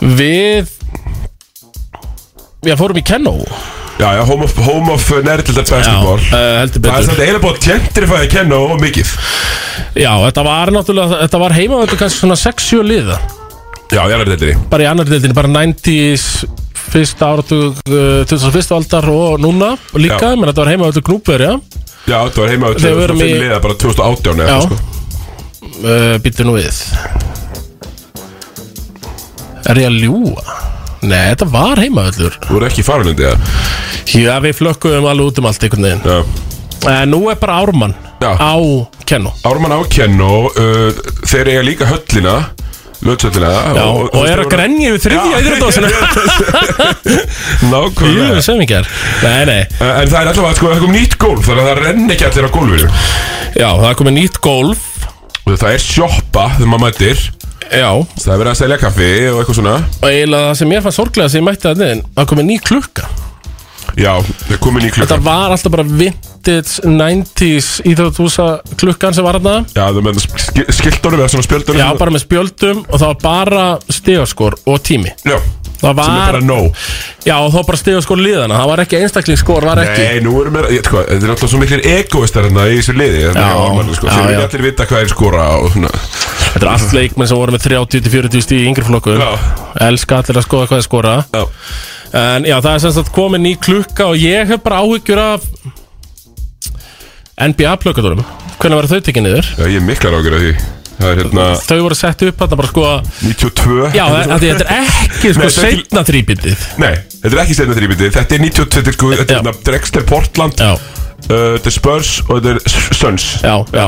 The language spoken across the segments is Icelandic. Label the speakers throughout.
Speaker 1: Við Við fórum í Kenno
Speaker 2: Já, já, home of, home of nerdildar basketball
Speaker 1: Já, eh, heldur betur
Speaker 2: Það er svona eiginlega búið að gentrifæða Kenno og mikið
Speaker 1: Já, þetta var náttúrulega Þetta var heimavöldu kannski svona 6-7 liða
Speaker 2: Já, ég er að deildinni
Speaker 1: Bara í annar deildinni, bara 90s Fyrsta áratug, uh, 21. aldar og núna líka
Speaker 2: Já.
Speaker 1: Menn þetta var heimavöldu knúpverja
Speaker 2: Já, það var heima á
Speaker 1: Þegar við erum
Speaker 2: 2005
Speaker 1: í-
Speaker 2: liða, bara 2018 eða
Speaker 1: Já,
Speaker 2: eitthvað, sko.
Speaker 1: uh, býttu nú við Er ég að ljúga? Nei, þetta var heimavöllur
Speaker 2: Þú voru ekki í farulendi, eða?
Speaker 1: Já, við flökkum alveg út um allt einhvern veginn
Speaker 2: Já.
Speaker 1: En Eh, nú er bara Ármann
Speaker 2: Já.
Speaker 1: á Kenno
Speaker 2: Ármann á Kenno, uh, þeir eiga líka höllina, lötshöllina
Speaker 1: Já, og, er að grenja yfir þriðja íðröndásinu
Speaker 2: Nákvæmlega
Speaker 1: Jú, sem ekki er Nei, nei,
Speaker 2: Eh, En það er allavega, sko, það kom nýtt gólf Þannig að það renn ekki allir á gólfinu
Speaker 1: já, það er komið nýtt golf
Speaker 2: Og það er sjoppa þegar maður mætir
Speaker 1: Já, og
Speaker 2: Það er verið að selja kaffi og eitthvað svona
Speaker 1: eiginlega það sem ég fann sorglega sem ég mætti það neðin Það er komið ný klukka
Speaker 2: Já, það er komin í
Speaker 1: Þetta
Speaker 2: klukkan
Speaker 1: var alltaf bara vintage 90s íþjóðtúsa klukkan sem var þarna
Speaker 2: Já, það með sk skiltunum eða svona spjöldunum
Speaker 1: Já, bara með spjöldum og það var bara stigaskor og tími
Speaker 2: Já,
Speaker 1: Það
Speaker 2: sem er
Speaker 1: var,
Speaker 2: bara nóg
Speaker 1: já, og þá bara stigaskor liðana Það var ekki einstaklingsskor, var ekki
Speaker 2: Nei, nú erum við, ég- sko, þetta er alltaf svo miklir egoistar hérna í þessu liði Já, mann, sko,
Speaker 1: já,
Speaker 2: Þeir
Speaker 1: já.
Speaker 2: vilja allir vita hvað er skora og svona
Speaker 1: Þetta er allt leikmenn sem voru með 30-40 stíð í yngri flokkum
Speaker 2: Já.
Speaker 1: Elska allir að skoða hvað er skora
Speaker 2: Já,
Speaker 1: En já, það er sem sagt komin ný klukka og ég hef bara áhyggjur af NBA plökkaturum Hvernig var þau tekið niður?
Speaker 2: já ég er miklar ágjur af því Það er hérna
Speaker 1: Þau voru sett upp þarna bara sko
Speaker 2: 92
Speaker 1: Já, þetta þetta er ekki sko
Speaker 2: Nei, þetta er ekki-
Speaker 1: seinna þrýbindið
Speaker 2: Nei, þetta er ekki setna þrýbiti Þetta er 92, sko,
Speaker 1: Já.
Speaker 2: þetta er hérna Drexler Portland
Speaker 1: Já,
Speaker 2: uh, Þetta er Spurs og þetta er Suns
Speaker 1: já, já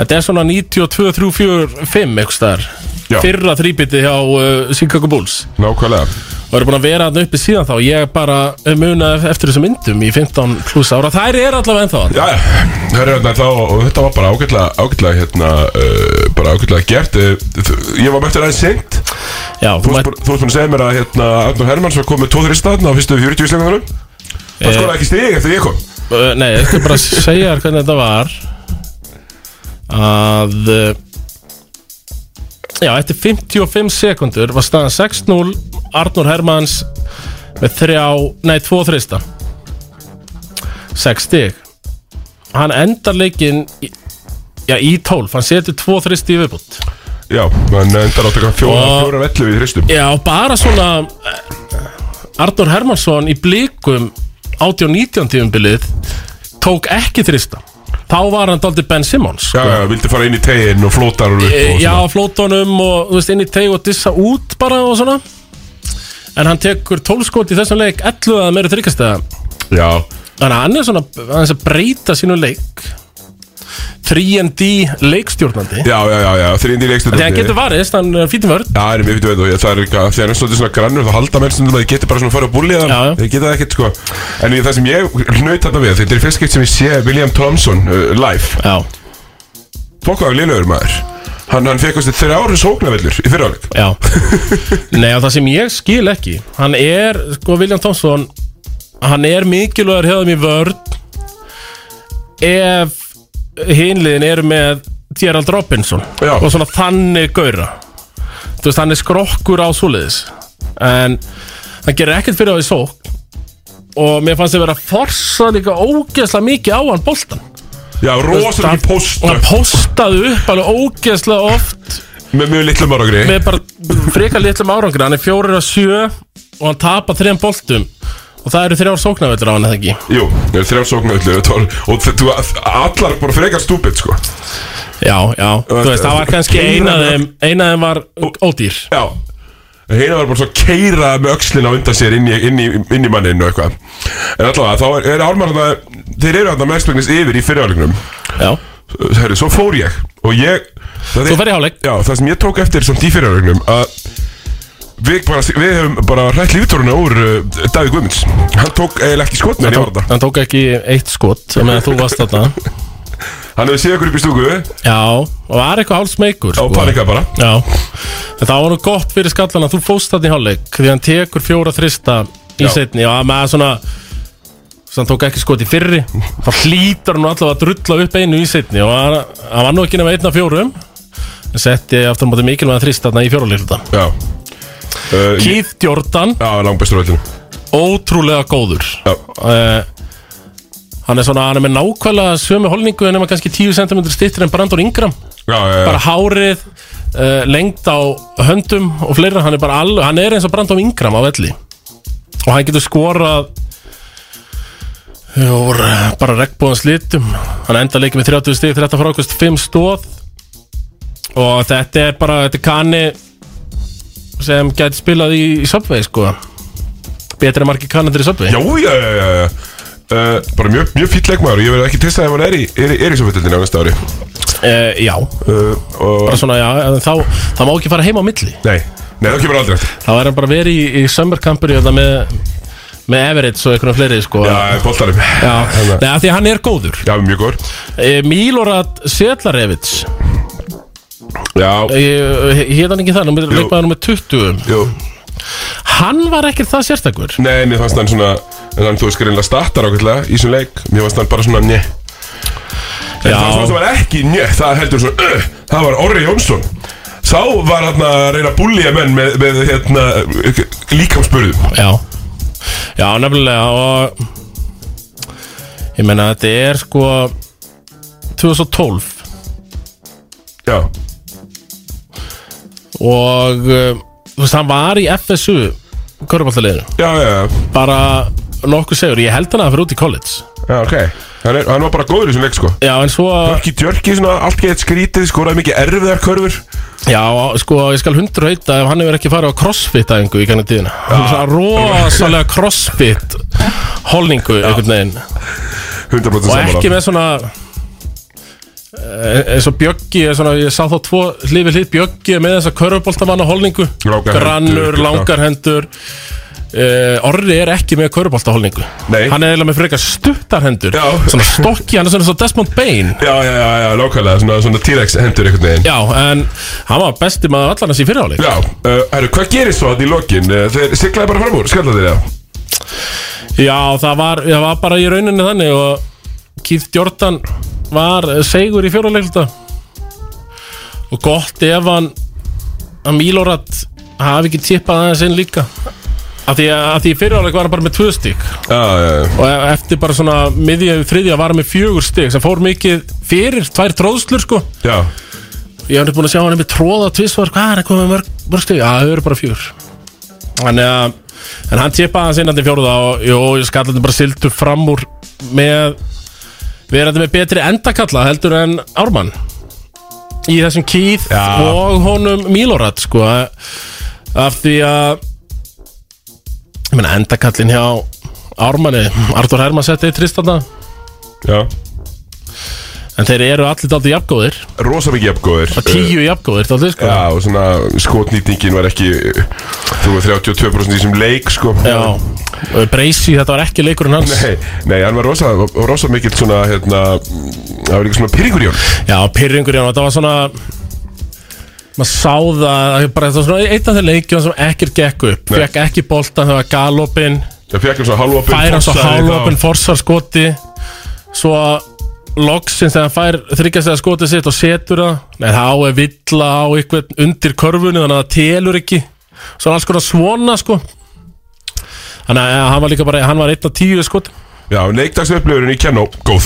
Speaker 1: Þetta er svona 92, 3, 4, 5 eitthvað staðar
Speaker 2: Já.
Speaker 1: Fyrra þrýbindið hjá uh, Chicago Bulls
Speaker 2: Nákvæmlega
Speaker 1: og eru búin að vera þarna uppi síðan þá Ég bara muna eftir þessum myndum í 15 pluss ára Þær er allavega ennþá þarna.
Speaker 2: Já, já, það er hérna þá og þetta var bara ágætlega, ágætlega hérna, uh, bara ágætlega gert uh, þ- Ég var mættur aðeins seint
Speaker 1: Já,
Speaker 2: Þú
Speaker 1: þú
Speaker 2: varst
Speaker 1: mætt
Speaker 2: búin- þú varst búin að segja mér að hérna Arnur Hermanns var komið 2-3 staðna á fyrstu 40 slengunum
Speaker 1: Eh.
Speaker 2: Það skoraði ekki stig eftir ég kom
Speaker 1: Uh, Nei, ég skal bara segja þér hvernig þetta var Að uh, Já, eftir 55 sekundur var staðan 6-0 Arnur Hermanns með þrjá, nei, tvo þrista 6 stig Hann endar leikinn í, Já, í 12 Hann setur tvo þristi í viðbútt
Speaker 2: Já, en endar átt eitthvað fjóra,
Speaker 1: Og-
Speaker 2: fjóra vellu við þristum
Speaker 1: Já, bara svona eh, Arnur Hermansson í blikum 18-19 tíumbilið tók ekki þrista þá var hann daldi Ben Simmons
Speaker 2: Já,
Speaker 1: sko.
Speaker 2: já, vildi fara inn í teginn og flótar og upp
Speaker 1: E,
Speaker 2: og
Speaker 1: Já, flótonum og þú veist, inn í teig og dissa út bara og svona en hann tekur 12 skot í þessum leik 11 að meira þryggjastega
Speaker 2: Já,
Speaker 1: þannig að hann er svona aðeins að breyta sínu leik 3D leikstjórnandi
Speaker 2: já, já, já, já þrýndi leikstu
Speaker 1: þegar hann getur varist, hann er fítum vörð
Speaker 2: Já, en ég veit, veit, og ég, það er eitthvað, þegar hann er svolítið svona grannur þá halda menn stundum að þið getur bara svona að fara að búlið
Speaker 1: Já, já.
Speaker 2: þeir geta það ekkert, sko En ég, það sem ég hnaut þetta við, þetta er fyrst skeitt sem ég sé William Thompson uh, live
Speaker 1: Já,
Speaker 2: Bokkaður liðlegur maður Hann, hann fekk þessi þrjáru sóknarvellur í fyrirháleik
Speaker 1: Já Nei og það sem ég skil ekki Hann er, sko William Thompson Hann er mikilvægur hefðum í vörð Ef Hinliðin eru með Gerald Robinson
Speaker 2: Já.
Speaker 1: Og svona þannig gaura Þú veist, hann er skrokkur á svoleiðis En hann gerir ekkert fyrir á því sók Og mér fannst þið vera að forsa líka ógeðslega mikið á hann boltan
Speaker 2: Já, rosalega
Speaker 1: Hann- Og
Speaker 2: ekki póstu
Speaker 1: hann postaði upp alveg ógeðslega oft
Speaker 2: með mjög litlum árangri
Speaker 1: með bara frekar litlum árangri hann er fjórir að sjö og hann tapar þrejum boltum og það eru þrjár sóknarveldur á hann eða ekki
Speaker 2: Jú, það er þrjár sóknarvellur og, og þ- þú, allar bara frekar stúpid, sko
Speaker 1: já, já, þú veist, það var kannski eina af þeim eina af þeim var ódýr
Speaker 2: Já Heina var bara svo keira með öxlin á undan sér inn í, inn í, inn í manninu og eitthvað En allavega, þá er, er Ármann þarna Þeir eru þarna mestmengnis yfir í fyrirháleikunum
Speaker 1: já,
Speaker 2: Herru, svo fór ég Og ég
Speaker 1: þú fer í hálfleik
Speaker 2: Já, það sem ég tók eftir samt í fyrirháleikunum Að við, bara, við hefum bara hrætt líftóruna úr uh, Davíð Guðmunds Hann tók eiginlega ekki skotni en ég var þetta
Speaker 1: hann tók ekki eitt skot á meðan þú varst þarna
Speaker 2: Hann hefur séð okkur upp í stúku og
Speaker 1: já, og var eitthvað hálfsmeikur sko.
Speaker 2: panikað bara
Speaker 1: já, en það var nú gott fyrir skallan að þú fóst þarna í hálfleik því hann tekur fjóra þrista í
Speaker 2: Já.
Speaker 1: setni og með svona sem hann tók ekki skot í fyrri þá hlýtar hann nú allavega að drulla upp einu í setni og hann hann var nú ekki nema einn af fjórum en setti aftur á móti mikilvæg að þrista þarna í fjóruleikluta
Speaker 2: Já Uh, ég-
Speaker 1: Keith Jordan,
Speaker 2: Já, langbæstur á vellinu
Speaker 1: ótrúlega góður
Speaker 2: Já.
Speaker 1: uh, Hann er svona, hann er með nákvæmlega sömu holningu en nema kannski 10 cm stittir en Brandon Ingram
Speaker 2: Já, já, já.
Speaker 1: bara hárið, uh, lengt á höndum og fleira, hann er bara alveg hann er eins og Brandon Ingram á velli og hann getur skorað Jú, bara regnbúðan slítum hann enda leikið með 30 stig 13 frákust, 5 stóð og þetta er bara, þetta er kanni sem gæti spilað í, í Subway sko betri en margir kannandir í Subway
Speaker 2: Já, já, já, já, já. Uh, bara mjög, mjög fýll leikmaður og ég verði ekki testað ef hann er í, er, er í svo fyllildinu á næsta ári
Speaker 1: uh, já,
Speaker 2: uh, og,
Speaker 1: bara svona, já, en þá, þá má ekki fara heim á milli
Speaker 2: Nei, nei, það kemur aldrei eftir
Speaker 1: þá er hann bara verið í, í summerkampur með, með Everett og einhvern fleiri sko.
Speaker 2: Já, boltarum
Speaker 1: Já.
Speaker 2: hérna.
Speaker 1: Nei, af því að hann er góður
Speaker 2: já mjög góður
Speaker 1: e, Milorad Svetlarevits
Speaker 2: Já,
Speaker 1: e, hétt hann ekki það, númer-
Speaker 2: Jú.
Speaker 1: leikmaður nummer 20
Speaker 2: jú
Speaker 1: hann var ekkert það sérstakur
Speaker 2: Nei, mér fannst hann svona En hann, þú veist, greinlega startar ákveðlega í þessum leik Mér fannst hann bara svona njö En það svona sem var ekki njö Það heldur svona, uh, það var Orri Jónsson Sá var hann að reyna að búlja menn með, með hérna, líkamspörðum
Speaker 1: já, já nefnilega og ég meina þetta er sko 2012
Speaker 2: Já,
Speaker 1: og eh, þú veist, hann var í FSU Körbáltaliðinu,
Speaker 2: já, já, já,
Speaker 1: bara nokkuð segur, ég held hann að fyrir út í college
Speaker 2: já ok Hann, er, hann var bara góður í þessum leik, sko
Speaker 1: Já, en svo
Speaker 2: Dörki djörki, svona allt gett skrítið, skoraði mikið erfiðar körfur
Speaker 1: Já, sko, ég skal hundur heita ef hann hefur ekki farið á crossfit-æfingu í kannan tíðina Hann er svona rosalega crossfit-holningu einhvern veginn
Speaker 2: 100%
Speaker 1: Og
Speaker 2: saman
Speaker 1: ekki með svona eh, eins og Bjöggi er svona, ég sá þá tvo hlifið hlið Bjöggi er með þessa körfuboltamanna holningu
Speaker 2: Langar hendur,
Speaker 1: Grannur,
Speaker 2: já.
Speaker 1: langar hendur Uh, orri er ekki með körfuboltaholningu
Speaker 2: Nei.
Speaker 1: Hann er eiginlega með frekar stuttar hendur
Speaker 2: Já.
Speaker 1: Svona stokki, hann er svona svo Desmond Bain
Speaker 2: Já, já, já, já, lókalega, svona, svona T-Rex hendur einhvern veginn
Speaker 1: Já, en hann var besti maður allan hans í fyrirháleik
Speaker 2: Já, uh, herru, hvað gerist svo hann í lokin? Uh, þeir siglaði bara fram úr, skalla þér það?
Speaker 1: Já, það var, það var bara í rauninni þannig og Keith Jordan var segur í fjóruleikluta og gott ef hann að Milorad hafi ekki tippað aðeins inn líka af því að af því fyriráleik var hann bara með tvö stygg
Speaker 2: Já, já, já,
Speaker 1: og e- eftir bara svona miðja við þriðja var hann með fjögur stygg sem fór mikið fyrir, tvær tróðslur sko
Speaker 2: já,
Speaker 1: ég hef búin að sjá hann með tróða tvisvar hvað er hann komið með mörg, mörg stygg, já það eru bara fjögur þannig að en hann tippaði hans innandi fjóruða og jó, skallandi bara sildu fram úr með verandi með betri endakalla heldur en Ármann í þessum kýð
Speaker 2: Já.
Speaker 1: og honum Milorad sko af því að ég meina endakallin hjá Ármanni, Artur Hermann setti í tristanda
Speaker 2: já
Speaker 1: en þeir eru allir daldið jafngóðir
Speaker 2: Rosa mikið jafngóður Uh,
Speaker 1: tíu jafngóðir daldið sko
Speaker 2: Já, og svona skotnýtingin var ekki uh, Þú var 32% í þessum leik, sko
Speaker 1: Já, Breysi, þetta var ekki leikurinn hans
Speaker 2: Nei, nei, hann var rosa, rosa mikill svona, hérna mm, Það var líka svona pyrringur í honum
Speaker 1: Já, pyrringur í hann, þetta var svona maður sá það bara þetta var svona einn af þeir leikjum sem ekkert gekk upp,
Speaker 2: Nei.
Speaker 1: fekk ekki boltan það var galopin,
Speaker 2: Það fekk hann svo hálfopin
Speaker 1: fær hann svo hálopin forsvar skoti svo loksins þegar hann fær þryggjast eða skotið sitt og setur það nei, þá er villa á eitthvað undir körfunni þannig að það telur ekki svo er alls konar svona sko þannig að hann var líka bara hann var einn af tíu skotum
Speaker 2: Já, leikdagsupplifurinn í Kenó, góð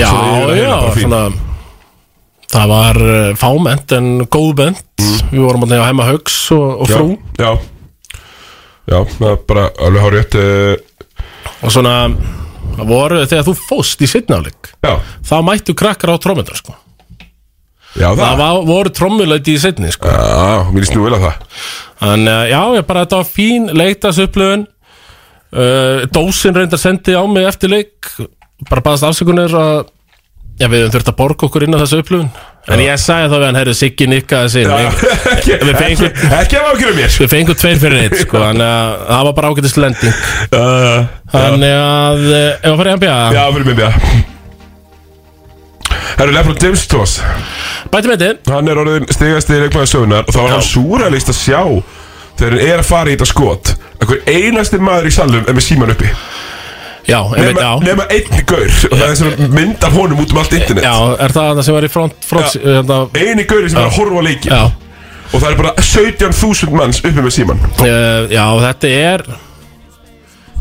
Speaker 1: Já,
Speaker 2: Svo er það
Speaker 1: já,
Speaker 2: bara fínt.
Speaker 1: svona Það var uh, fámennt en góðbent Við vorum að nefna heima högs og, og
Speaker 2: Mm. Já,
Speaker 1: frú
Speaker 2: Já, já, það er bara alveg hárið uh,
Speaker 1: Og svona það voru, Þegar þú fóst í setnafleik
Speaker 2: Já,
Speaker 1: Þá mættu krakkar á trómyndar sko.
Speaker 2: já, það,
Speaker 1: Það var, voru trómmuleiti í setni sko.
Speaker 2: Já, mér líst nú vel að það
Speaker 1: Þannig að já, ég bara þetta var fín leiktasupplöfun uh, Dósin reyndar sendi á mig eftir leik Bara baðast afsökunar að Já, við höfum þurft að borga okkur inn á þessu upplöfun En ég sagði þá við hann, herru, Siggi nikkaði sér
Speaker 2: ekki,
Speaker 1: Við fengum-
Speaker 2: ekki, ekki að ákjörum mér
Speaker 1: Við fengum tveir fyrir eitt sko Þannig að það var bara ágætist lending
Speaker 2: uh,
Speaker 1: Þannig að eh, Ef að fara í NBA
Speaker 2: Já, fyrir mig mér Herru, Lefron James Tóas
Speaker 1: Bæti með þetta
Speaker 2: Hann er orðin stigasti leikmaður sögunar Og þá var
Speaker 1: Já.
Speaker 2: hann súralist að sjá Þegar hann er að fara í þetta skot að hver einasti maður í salnum er með síman uppi
Speaker 1: Já, ég veit
Speaker 2: Nema,
Speaker 1: já
Speaker 2: nema einn gaur Og það er svona mynd af honum út um allt internet
Speaker 1: Já, er það það sem var í front, front
Speaker 2: Já.
Speaker 1: já. Hérna,
Speaker 2: Einu gauri sem er að horfa á leikin
Speaker 1: já
Speaker 2: Og það er bara 17.000 manns uppi með síman
Speaker 1: uh, Já, þetta er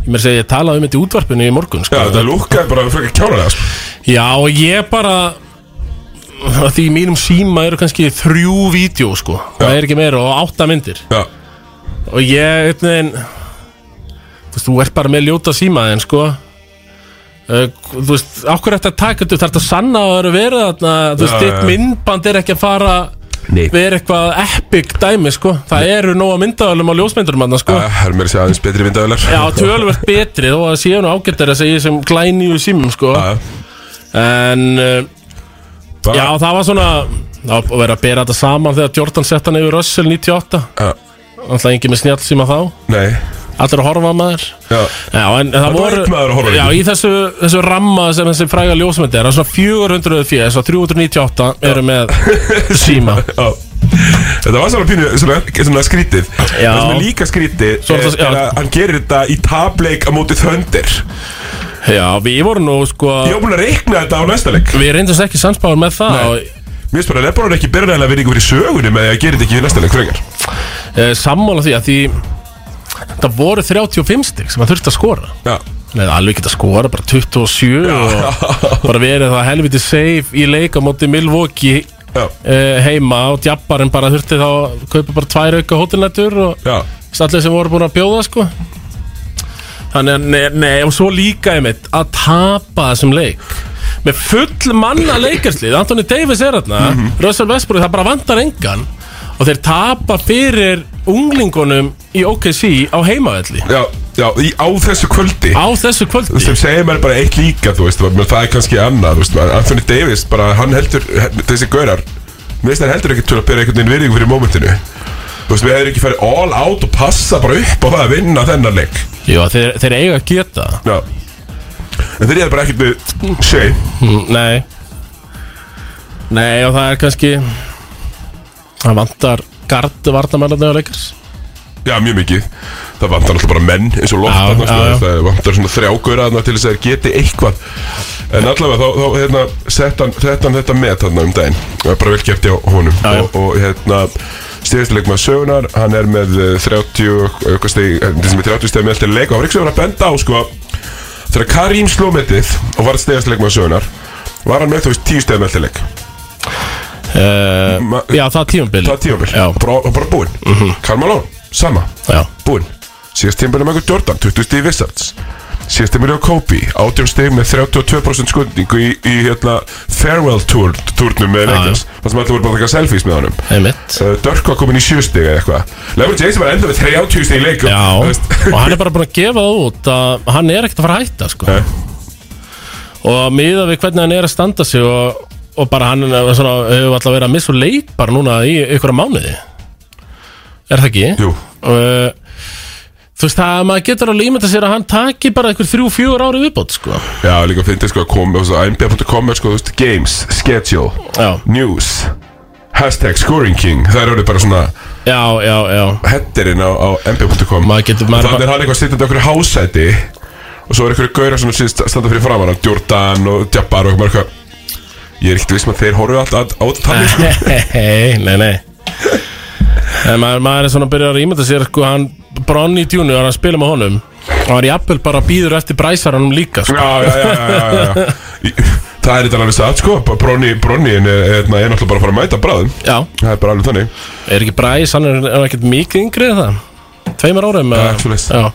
Speaker 1: Ég meir að segja, ég talaði um þetta í útvarpinu í morgun
Speaker 2: Já,
Speaker 1: sko.
Speaker 2: þetta lúkkaði bara frekar kjánalega sko.
Speaker 1: Já, og ég bara að Því í mínum síma eru kannski þrjú vídeo sko. Það er ekki meira og átta myndir
Speaker 2: Já,
Speaker 1: Og ég, einhvern veginn Þú veist, þú ert bara með ljóta símaðin, sko uh, Þú veist, okkur eftir að taka þetta Þú þarf að sanna að það eru verið þarna Þú veist,
Speaker 2: Já,
Speaker 1: þitt
Speaker 2: já, já.
Speaker 1: myndband er ekki að fara
Speaker 2: Nei.
Speaker 1: Verið eitthvað epic dæmi, sko Það eru nóga myndaðalum á ljósmyndurum hann, sko
Speaker 2: það er mér að segja aðeins betri vindavelar
Speaker 1: Já, tölvert betri þó að séu nú ágættari að segja sem glænýju símum, sko En, uh, já, það var svona Það var að vera að bera þetta saman þegar Jordan sett hann yfir Russell 98
Speaker 2: Já,
Speaker 1: Þannig að engin með snjálsíma þá
Speaker 2: nei
Speaker 1: Allir að horfa á maður
Speaker 2: Já,
Speaker 1: Já, en það
Speaker 2: var
Speaker 1: voru
Speaker 2: einn maður að horfa á
Speaker 1: Já,
Speaker 2: þetta.
Speaker 1: í þessu, þessu ramma sem þessi fræga ljósmyndi er það er svona 400 fjö, svo 398 eru með síma
Speaker 2: já Þetta var svona pínu, svona, svona skrítið
Speaker 1: Já.
Speaker 2: Það sem er líka skrítið
Speaker 1: Svo er
Speaker 2: er
Speaker 1: það- já.
Speaker 2: að hann gerir þetta í tableik á móti þöndir
Speaker 1: Já, við vorum nú sko
Speaker 2: Ég var búin að reikna þetta á næsta leik
Speaker 1: Við reyndast ekki sannspáður með það og,
Speaker 2: Mér finnst bara að Lebron er ekki byrjanlega verið ykkur í sögunni með því að gera þetta ekki í næsta leik frekar
Speaker 1: e, Sammála því að því Það voru 35 stig sem það þurfti að skora
Speaker 2: Já,
Speaker 1: Nei, alveg ekki að skora, bara 27 og bara verið það helviti safe í leik á móti Milwaukee
Speaker 2: já,
Speaker 1: e, heima og djabbarinn bara þurfti þá að kaupa bara tvær auka hótelnættur og
Speaker 2: já
Speaker 1: allir sem voru búin að bjóða sko þannig að nei, nei og svo líka einmitt að tapa þessum leik með full manna leikarslið Anthony Davis er þarna
Speaker 2: Mhm.
Speaker 1: Russell Westbrook það bara vantar engan og þeir tapa fyrir unglingunum í OKC á heimavelli
Speaker 2: Já, já, í, á þessu kvöldi
Speaker 1: á þessu kvöldi
Speaker 2: sem segir mér bara eitt líka, þú veist, menn það er kannski annað, þú veist, maður. Anthony Davis, bara hann heldur, þessi gaurar, mér finnst hann heldur ekki til að byrja einhvern veginn virðingu fyrir mómentinu. Þú veist, við hefur ekki farið all out og passa bara upp á það að vinna þennan leik.
Speaker 1: Jú, þeir, þeir eiga að geta það.
Speaker 2: Já. En þeir eru bara ekkert við shame.
Speaker 1: Mm, Nei Nei og það er kannski Það vantar gardu vartamennarni á leikars
Speaker 2: Já, mjög mikið. Það vantar alltaf bara menn eins og loft
Speaker 1: Já,
Speaker 2: þarna,
Speaker 1: já,
Speaker 2: sko,
Speaker 1: já.
Speaker 2: það vantar svona þrjágöra þarna til þess að þeir geti eitthvað. En allavega þá, þá hérna, sett hann, sett hann þetta með þarna um daginn. Það er bara vel gert hjá honum.
Speaker 1: Já, já.
Speaker 2: Og, og hérna, stíðastileg maður sögunar, hann er með eh, 30, og eitthvað stig, það sem er 30 stig með alltaf leik. Og hann var ekki sem var að benda á, sko, þegar Karim sló metið og var stíðastileg maður sögunar, var hann með þú veist 10 stig með alltaf leik.
Speaker 1: uh,
Speaker 2: Ma-
Speaker 1: Já það er tímabili
Speaker 2: Það er tímabil.
Speaker 1: Já, Mhm.
Speaker 2: Bara, bara búinn. Mm -hmm. sama
Speaker 1: já,
Speaker 2: búinn síðast tímabilið með Jordan, 20 stíð Wizards síðast tímabilið á Kobe, 18 stíð með 32% skundingu í, í hérna, farewell tour, tournum með Lakers þar sem allir voru bara að taka selfies með honum
Speaker 1: einmitt
Speaker 2: uh, Dörk var komin í 7 stíð eða eitthvað Lebron James var enda með 30 stíð í leikum
Speaker 1: Já,
Speaker 2: þú veist.
Speaker 1: og hann er bara búin að gefa það út að hann er ekkert að fara að hætta sko.
Speaker 2: Nei.
Speaker 1: og miða við hvernig hann er að standa sig og, og bara hann er svona, hefur alltaf verið að missa úr leik bara núna í ykkur mánuði Er það ekki?
Speaker 2: Jú,
Speaker 1: uh, Þú veist það að maður getur alveg ímynda sér að hann taki bara einhver þrjú, fjögur ári viðbót sko.
Speaker 2: já líka fyndið sko að kom NBA.com er sko, þú veist, games, schedule
Speaker 1: Já,
Speaker 2: news, hashtag scoring king það er orðið bara svona
Speaker 1: já, já, já
Speaker 2: hetterinn á, á mb.com
Speaker 1: Maður getur- maður
Speaker 2: Þannig
Speaker 1: bara-
Speaker 2: er hann eitthvað sittandi á okkur hásæti Og svo er einhverju gaurar sem sit- standa fyrir framan hann Jordan og Jabbar og eitthvað bara eitthvað Ég er ekkert viss um að þeir horfðu alltaf á þannig
Speaker 1: Eh.
Speaker 2: sko
Speaker 1: Nei, nei, nei En maður, maður er svona að byrja að ímynda sér sko, hann Bronny Junior, hann spila með honum og hann er jafnvel bara býður eftir bræsaranum líka sko.
Speaker 2: Já, já, já, já, já, já, já. Í- Það er þetta alveg satt sko Bronni, Bronni er, er, er náttúrulega bara að fara að mæta bráðum
Speaker 1: Já,
Speaker 2: Það er bara alveg þannig
Speaker 1: er ekki bræs, hann er, er ekkert mikið yngri en það Tveimur árum
Speaker 2: Já,
Speaker 1: eða-
Speaker 2: svoleiðis.
Speaker 1: Já.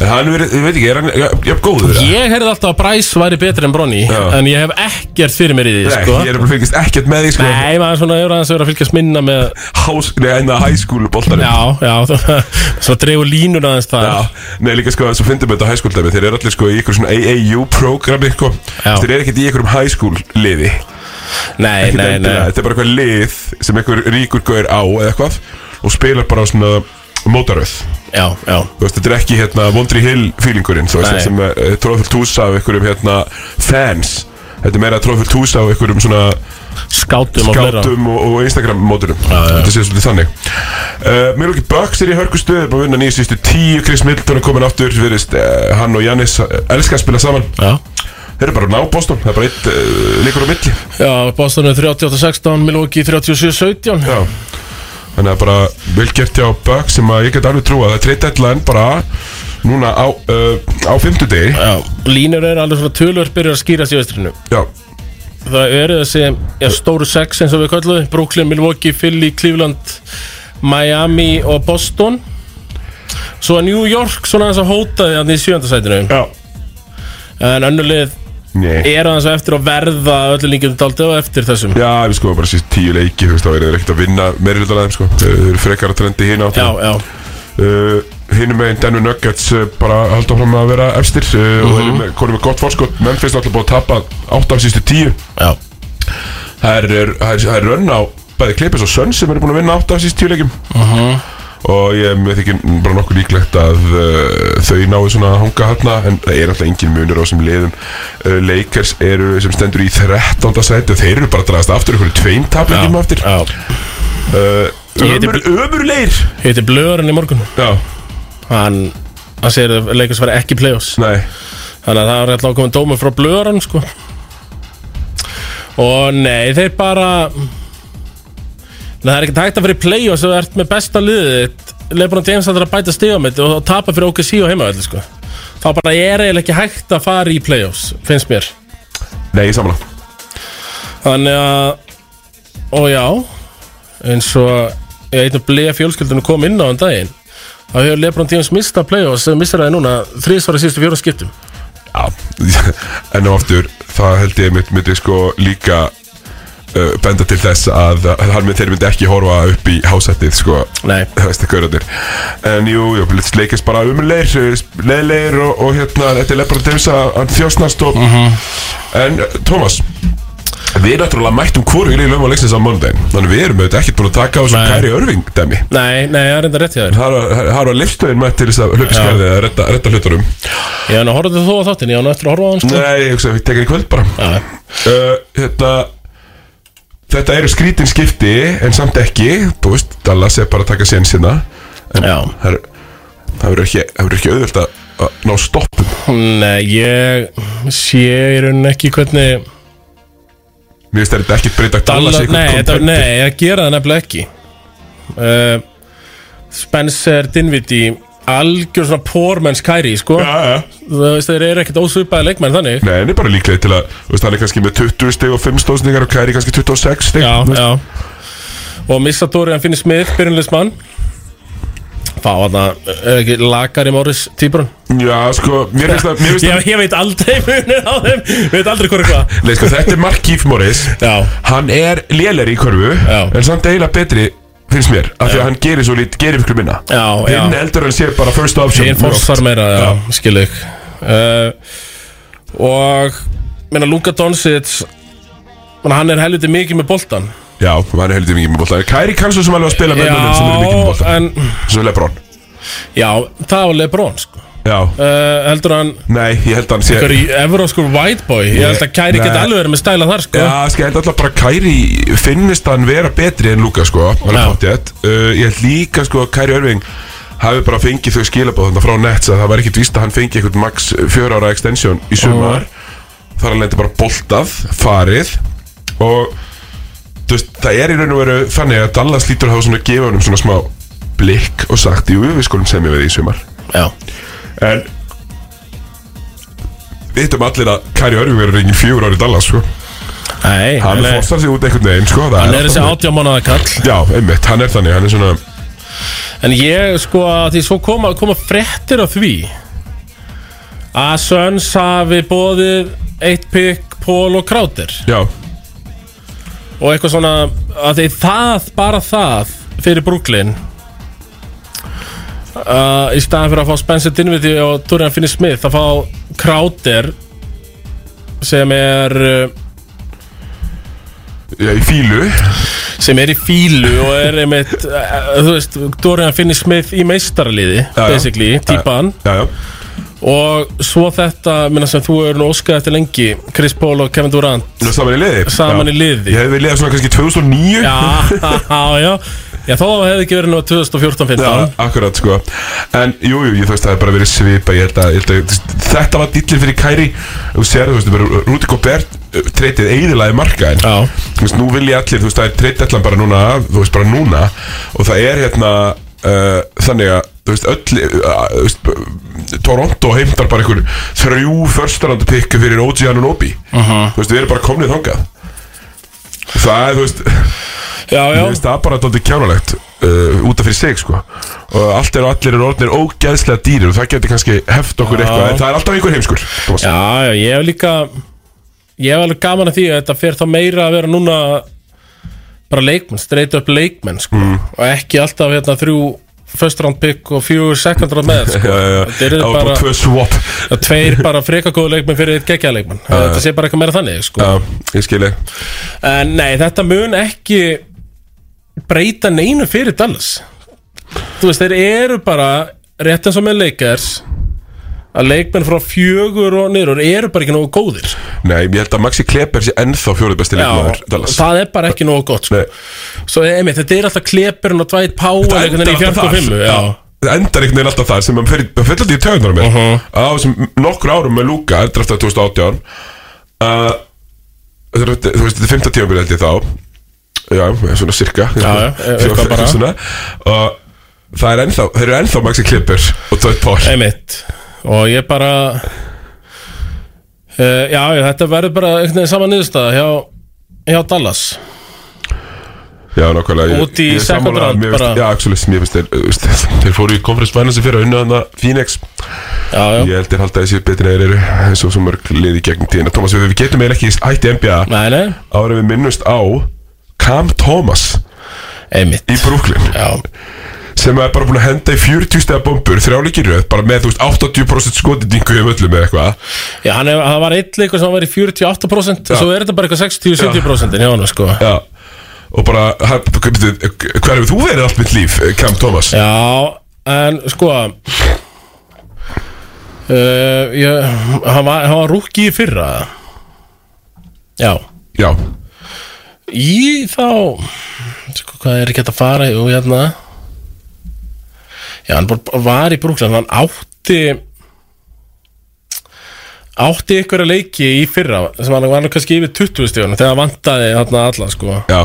Speaker 2: En hann verið, ég veit ekki, er hann jafn góður eða?
Speaker 1: Ég heyrði alltaf að bræs væri betri en Bronny
Speaker 2: Já.
Speaker 1: en ég hef ekkert fyrir mér í því
Speaker 2: Nei,
Speaker 1: sko.
Speaker 2: ég er bara fylgist ekkert með því sko
Speaker 1: Nei, maður er svona að aðeins að vera að fylgjast minna með
Speaker 2: Hás, nei, en það high school boltanum
Speaker 1: Já, já, svo dreigur línur aðeins það
Speaker 2: Já, nei líka sko, svo fyndum við þetta á high school dæmi Þeir eru allir sko í ykkur svona AAU-programmi sko.
Speaker 1: Já.
Speaker 2: Þeir eru ekkert í ykkur um high school liði
Speaker 1: Nei,
Speaker 2: Ekkert
Speaker 1: nei, nei
Speaker 2: endilega. Þetta er bara eitthvað lið sem einhver ríkur gaur á eða eitthvað Og spilar bara á svona mótaröð
Speaker 1: Já, já,
Speaker 2: Þú veist, þetta er ekki hérna Wondry Hill feelingurinn Þú
Speaker 1: Nei.
Speaker 2: veist, sem eh, er tróðfullt hús af einhverjum hérna fans Þetta er meira tróðfullt hús af einhverjum svona
Speaker 1: skátum og fleira
Speaker 2: gátum og, og Instagram móturum Þetta sé svolítið þannig uh, Mér lóki Bucks er í hörkustuð er búin að vinna nýja sístu tíu Chris Middleton er komin aftur verist, uh, hann og Jannis elskar að spila saman
Speaker 1: Já,
Speaker 2: Þeir eru bara að ná Boston það er bara eitt uh, líkur á milli
Speaker 1: já Boston er 38-16, Milwaukee 37-17
Speaker 2: Já Þannig að bara vel gert hjá Bögg sem að ég get alveg trúa Það er treyta allan bara núna á, uh, á fimmtudegi
Speaker 1: Já, línur eru alveg svona tölvörð byrjar að skýrast í vestrinu
Speaker 2: Já,
Speaker 1: Það eru þessi já, stóru sex eins og við kallum Brooklyn, Milwaukee, Philly, Cleveland, Miami og Boston Svo að New York svona aðeins að hótaði hann í sjöndasætinu
Speaker 2: já
Speaker 1: En önnulið
Speaker 2: Nei
Speaker 1: er aðeins á eftir að verða öllu líkjum daldið og eftir þessum
Speaker 2: Já, við sko bara síst tíu leiki, þú veist, þá er þeir ekkert að vinna meiri hlutan aðeim, sko. Þeir eru frekar að trendi hinn átt.
Speaker 1: Já, já,
Speaker 2: Uh, hinn meginn Denver Nuggets uh, bara halda fram að vera efstir uh,
Speaker 1: Mhm.
Speaker 2: og þeir eru með, konum með gott fórskot. Memphis er alltaf búið að tapa átt af sístu tíu.
Speaker 1: já
Speaker 2: Það er, það er, það er rönn á bæði Clippers og Suns sem eru búin að vinna átt af síst tíu leikum.
Speaker 1: Mhm.
Speaker 2: Og ég mér þykir bara nokkuð líklegt að uh, þau náðu svona að hanga hérna en það er alltaf engin munur á þessum liðum. Uh, Lakers eru sem stendur í 13. sæti og þeir eru bara að draðast aftur ykkur tveim tapleikum
Speaker 1: já,
Speaker 2: aftur.
Speaker 1: já.
Speaker 2: Uh,
Speaker 1: Ég heiti
Speaker 2: ömur, ömurleir
Speaker 1: Hitti blöðurinn í morgun
Speaker 2: Já,
Speaker 1: Hann, hann segir að leikast fara ekki í play-offs
Speaker 2: nei
Speaker 1: Þannig að það var alltaf komin dómur frá blöðarann sko. Og nei, þeir bara Nei, það er ekki tægt að fyrir play og þú ert með besta liðið þitt, Lebron James ætlar að bæta stigamitt og þá tapa fyrir OKC og heimavelli sko. þá bara er eiginlega ekki hægt að fara í playoffs finnst mér
Speaker 2: Nei, ég samanlá
Speaker 1: þannig að, og já eins og ég einn og blei fjölskyldunum kom inn á um daginn þá hefur Lebron James mistað playoffs sem missar það núna þrísvara síðustu fjórum skiptum
Speaker 2: Já, enn og aftur það held ég mynd, myndi sko líka uh, benda til þess að að hann mynd, þeir myndi ekki horfa upp í hásættið sko,
Speaker 1: nei,
Speaker 2: það veist það gaurarnir en jú, jú, leikist bara umleir leiðleir og, og hérna þetta er lefnir til þess að hann þjósnast og,
Speaker 1: Mhm.
Speaker 2: en uh, Tómas við náttúrulega mættum hvoru í lögum á leiksins á mánudaginn, þannig við erum auðvitað ekkert búin að taka á þessu
Speaker 1: Nei.
Speaker 2: kæri örving dæmi
Speaker 1: nei, nei, það er enda rétt hjá þér
Speaker 2: Það var- það var liftuðin mætt til þess að hlaupa skarðið að redda, redda hlutunum
Speaker 1: Ég hann að horfa þú á þáttinn, ég hann eftir að horfa á hann sko.
Speaker 2: Nei, ég hugsa að við tekum í kvöld bara
Speaker 1: Já,
Speaker 2: uh, Þetta Þetta eru skrítin skipti En samt ekki, þú veist Dallas er bara að taka sén sinna
Speaker 1: já.
Speaker 2: Það er- það verður ekki, það verður ekki auðvöld að, að ná stoppum
Speaker 1: Nei, eh, ég sé í rauninni ekki hvernig
Speaker 2: Mér finnst þetta ekki breyta
Speaker 1: Dallas,
Speaker 2: Dallas í einhvern
Speaker 1: nei, þetta,
Speaker 2: contender.
Speaker 1: nei, ég gera það nefnilega ekki uh, Spencer Dinwiddie algjör svona pórmenns kæri sko.
Speaker 2: Já, já.
Speaker 1: þú veist þeir eru ekkert ósvipaði leikmenn þannig
Speaker 2: Nei, hann er bara líklega til að þú veist, Hann er kannski með 20 stig og 5 stóðsningar Og Kæri kannski 26 stig
Speaker 1: Já,
Speaker 2: Þú veist,
Speaker 1: já Og missa Dóri, hann finnir smið, byrjunleismann Fá hann að er ekki lakari Morris týpurinn
Speaker 2: já sko, mér finnst það, mér finnst
Speaker 1: ég,
Speaker 2: það
Speaker 1: ég veit aldrei munið á þeim Ég veit aldrei hvort hvað
Speaker 2: Nei, sko, þetta er Mark Keef Morris
Speaker 1: Já,
Speaker 2: Hann er lélæri í körfu
Speaker 1: Já.
Speaker 2: En samt eiginlega betri finnst mér Af því að hann gerir svo lít, gerir fyrir minna
Speaker 1: Já, já.
Speaker 2: Hinn eldur hann sé bara first option
Speaker 1: Hinn forsvar meira, já,
Speaker 2: Já.
Speaker 1: já. skilu ykk uh, Og Meina Luka Doncic meina, Hann er helviti mikið með boltan
Speaker 2: Já, hann er heldur mikið með bolta Kæri kannski sem alveg að spila með mönnum sem er mikið með bolta
Speaker 1: en
Speaker 2: Svo Lebron
Speaker 1: Já, það var Lebron sko.
Speaker 2: Já,
Speaker 1: uh, Heldur hann
Speaker 2: nei, ég held að hann sé
Speaker 1: Hver í Evróskur white boy Ég held að Kæri
Speaker 2: Nei.
Speaker 1: geti alveg verið með stæla þar sko.
Speaker 2: Já, sko, ég held alltaf bara að Kæri finnist hann vera betri en Luka, sko Hann er
Speaker 1: Já.
Speaker 2: pottjætt uh, Ég held líka, sko, að Kæri Örving hafi bara fengið þau skilabóð þannig frá Nets að það var ekkit víst að hann fengi eitthvað max fjöra ára extension í sumar þar hann lendi bara boltað, farið og þú veist, það er í raun og veru þannig að Dallas lítur að hafa svona gefa honum svona smá blikk og sagt, jú, við skulum semja við því í sumar
Speaker 1: já.
Speaker 2: en við hittum allir að Kæri Örving verður reyngin fjögur ári í Dallas, sko
Speaker 1: Nei,
Speaker 2: hann
Speaker 1: nei.
Speaker 2: fórstar sig út einhvern veginn, sko það
Speaker 1: hann er
Speaker 2: alltaf
Speaker 1: þessi
Speaker 2: þannig.
Speaker 1: átjá mánuða kall
Speaker 2: Já, einmitt, hann er þannig, hann er svona
Speaker 1: En ég sko að því svo koma, koma frettir af því Að Söns hafi bóðið Eitt pick, Pól og Krátir
Speaker 2: Já,
Speaker 1: og eitthvað svona að því það, bara það fyrir Brooklyn uh, í staðan fyrir að fá Spencer Dinwiddie og Dorian Finney-Smith að fá Crowder sem er uh,
Speaker 2: já, í fílu
Speaker 1: sem er í fílu og er einmitt, uh, þú veist, Dorian Finney-Smith í meistarliði,
Speaker 2: já.
Speaker 1: basically, típan
Speaker 2: Já, já,
Speaker 1: og svo þetta, minna sem þú er nú óskað eftir lengi, Chris Paul og Kevin Durant
Speaker 2: já saman í liði
Speaker 1: Saman
Speaker 2: já.
Speaker 1: í liði.
Speaker 2: Ég hefði viljað svona kannski 2009
Speaker 1: Já, já, já Já, þá hefði ekki verið nú 2014-15
Speaker 2: Já, akkurat sko En jú, jú, ég þú veist, það er bara verið svipa Ég held að, ég held að þetta var dillin fyrir Kæri Þú sér, þú veist, þú verður Rúti Gobert uh, treytið eiginlega markaðin
Speaker 1: Já.
Speaker 2: Þú veist, nú vilja allir, þú veist, það er treytið allan bara núna Þú veist, bara núna Og það er hérna uh, Þannig að, þú veist, öll uh, þú veist, Toronto heimtar bara einhver Þrjú förstarandu pikku fyrir OG Anunobi
Speaker 1: Mhm.
Speaker 2: Þú veist, við erum bara komnið þangað Það er, þú veist,
Speaker 1: Já, já,
Speaker 2: Mér finnst það bara dóttir kjánalegt uh, út af fyrir sig sko og allt er og allir er orðnir ógeðslega dýrir og það getur kannski heft okkur eitthvað en það er alltaf einhver heimskur Thomas.
Speaker 1: já, já, ég hef líka Ég hef alveg gaman að því að þetta fer þá meira að vera núna bara leikmenn, straight up leikmenn sko.
Speaker 2: Mm.
Speaker 1: og ekki alltaf hérna þrjú first round pick og fjögur second round með sko.
Speaker 2: Já, já, já.
Speaker 1: Þetta
Speaker 2: það
Speaker 1: eru
Speaker 2: var bara
Speaker 1: bara
Speaker 2: Uh, tvö swap
Speaker 1: að tveir bara frekagóðu leikmenn fyrir eitt geggja leikmenn þetta sé bara eitthvað meira þannig sko.
Speaker 2: Já, ég skilji
Speaker 1: en Eh, nei, þetta mun ekki breyta neinu fyrir Dallas þú veist, þeir eru bara rétt eins og með leikars að leikmenn frá fjögur og niður eru bara ekki nógu góðir
Speaker 2: Nei, ég held að Maxi Kleber sé ennþá fjóruð besti leikmaður Dallas
Speaker 1: það er bara ekki nógu gott sko.
Speaker 2: Nei,
Speaker 1: svo emi, þetta er alltaf klepurinn og dvæt pá
Speaker 2: það
Speaker 1: einhvern veginn í
Speaker 2: endar alltaf
Speaker 1: 45
Speaker 2: þar.
Speaker 1: já.
Speaker 2: Það endar einhvern veginn alltaf þar sem hann fyrir alltaf í töðunar mér uh
Speaker 1: Mhm.
Speaker 2: á þessum nokkur árum með Luka draftaði 2018 uh, þú veist, þú veist, þetta er 15 tíma held ég þá já, svona cirka
Speaker 1: Já, já, eitthvað bara.
Speaker 2: Svona. og það er ennþá þeir eru ennþá Maxi Klippur og Tveit Pál
Speaker 1: Einmitt Og ég bara uh, Já, já, þetta verður bara einhvern veginn sama niðurstaða hjá, hjá Dallas
Speaker 2: já, nákvæmlega ég-
Speaker 1: Út í
Speaker 2: ég er
Speaker 1: second
Speaker 2: sammála,
Speaker 1: round
Speaker 2: mér finnst-
Speaker 1: bara.
Speaker 2: já, Axelis, mér finnst þeir þú veist, þeir fóru í Conference Finance fyrir að unna þarna Phoenix
Speaker 1: Já, já
Speaker 2: ég held þeir halda þessi betri en þeir eru eins og svo mörg liði gegnum tíðina Thomas, við, við getum eiginlega ekki hætti NBA
Speaker 1: Nei, nei,
Speaker 2: ára við minnumst á Cam Thomas
Speaker 1: einmitt
Speaker 2: í Brooklyn
Speaker 1: Já,
Speaker 2: sem er bara búin að henda í 40 stegar bombur þrjáleikir röð, bara með þú veist 80% skotindingu í öllum eða eitthvað
Speaker 1: já hann hef, það var eitt leikur sem var í 48% og Svo er þetta bara eitthvað 60-70% hjá hann, sko
Speaker 2: Já. og bara hann- byrju, hver hefur þú verið allt mitt líf Cam Thomas
Speaker 1: Já, en sko Uh, ég, hann var, hann var rúkki í fyrra Já
Speaker 2: Já,
Speaker 1: Í þá sko, Hvað er ekki hægt að fara Jú, hérna Já, hann bara var í Brooklyn Hann átti Átti ykkur að leiki í fyrra sem hann var nú kannski yfir 20 stíðunum þegar hann vantaði þarna alla sko
Speaker 2: já,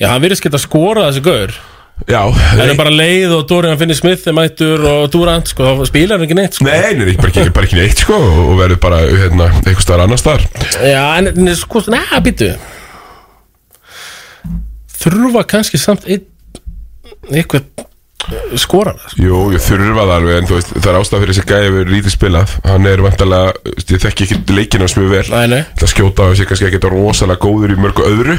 Speaker 1: Já, hann virðist geta skorað þessi gaur
Speaker 2: já
Speaker 1: Það
Speaker 2: Nei,
Speaker 1: er bara leið og Dorian Finney Smith er mættur og Durant sko, þá spilar hann ekki neitt sko
Speaker 2: nei, nei, bara ekki, bara ekki neitt sko og verður bara hérna, eitthvað staðar annars staðar
Speaker 1: Já, en en sko, neða, býtu Þurfa kannski samt einn eitthvað skorana sko.
Speaker 2: Jú, ég þurfa það alveg en þú veist, það er ástæð fyrir þessi gæði að vera lítið spilað hann er vantalega, ég þekki ekki leikinu hans mjög vel
Speaker 1: sko. Nei, nei,
Speaker 2: Það skjóta á þessi kannski ekki rosalega góður í mörgu öðru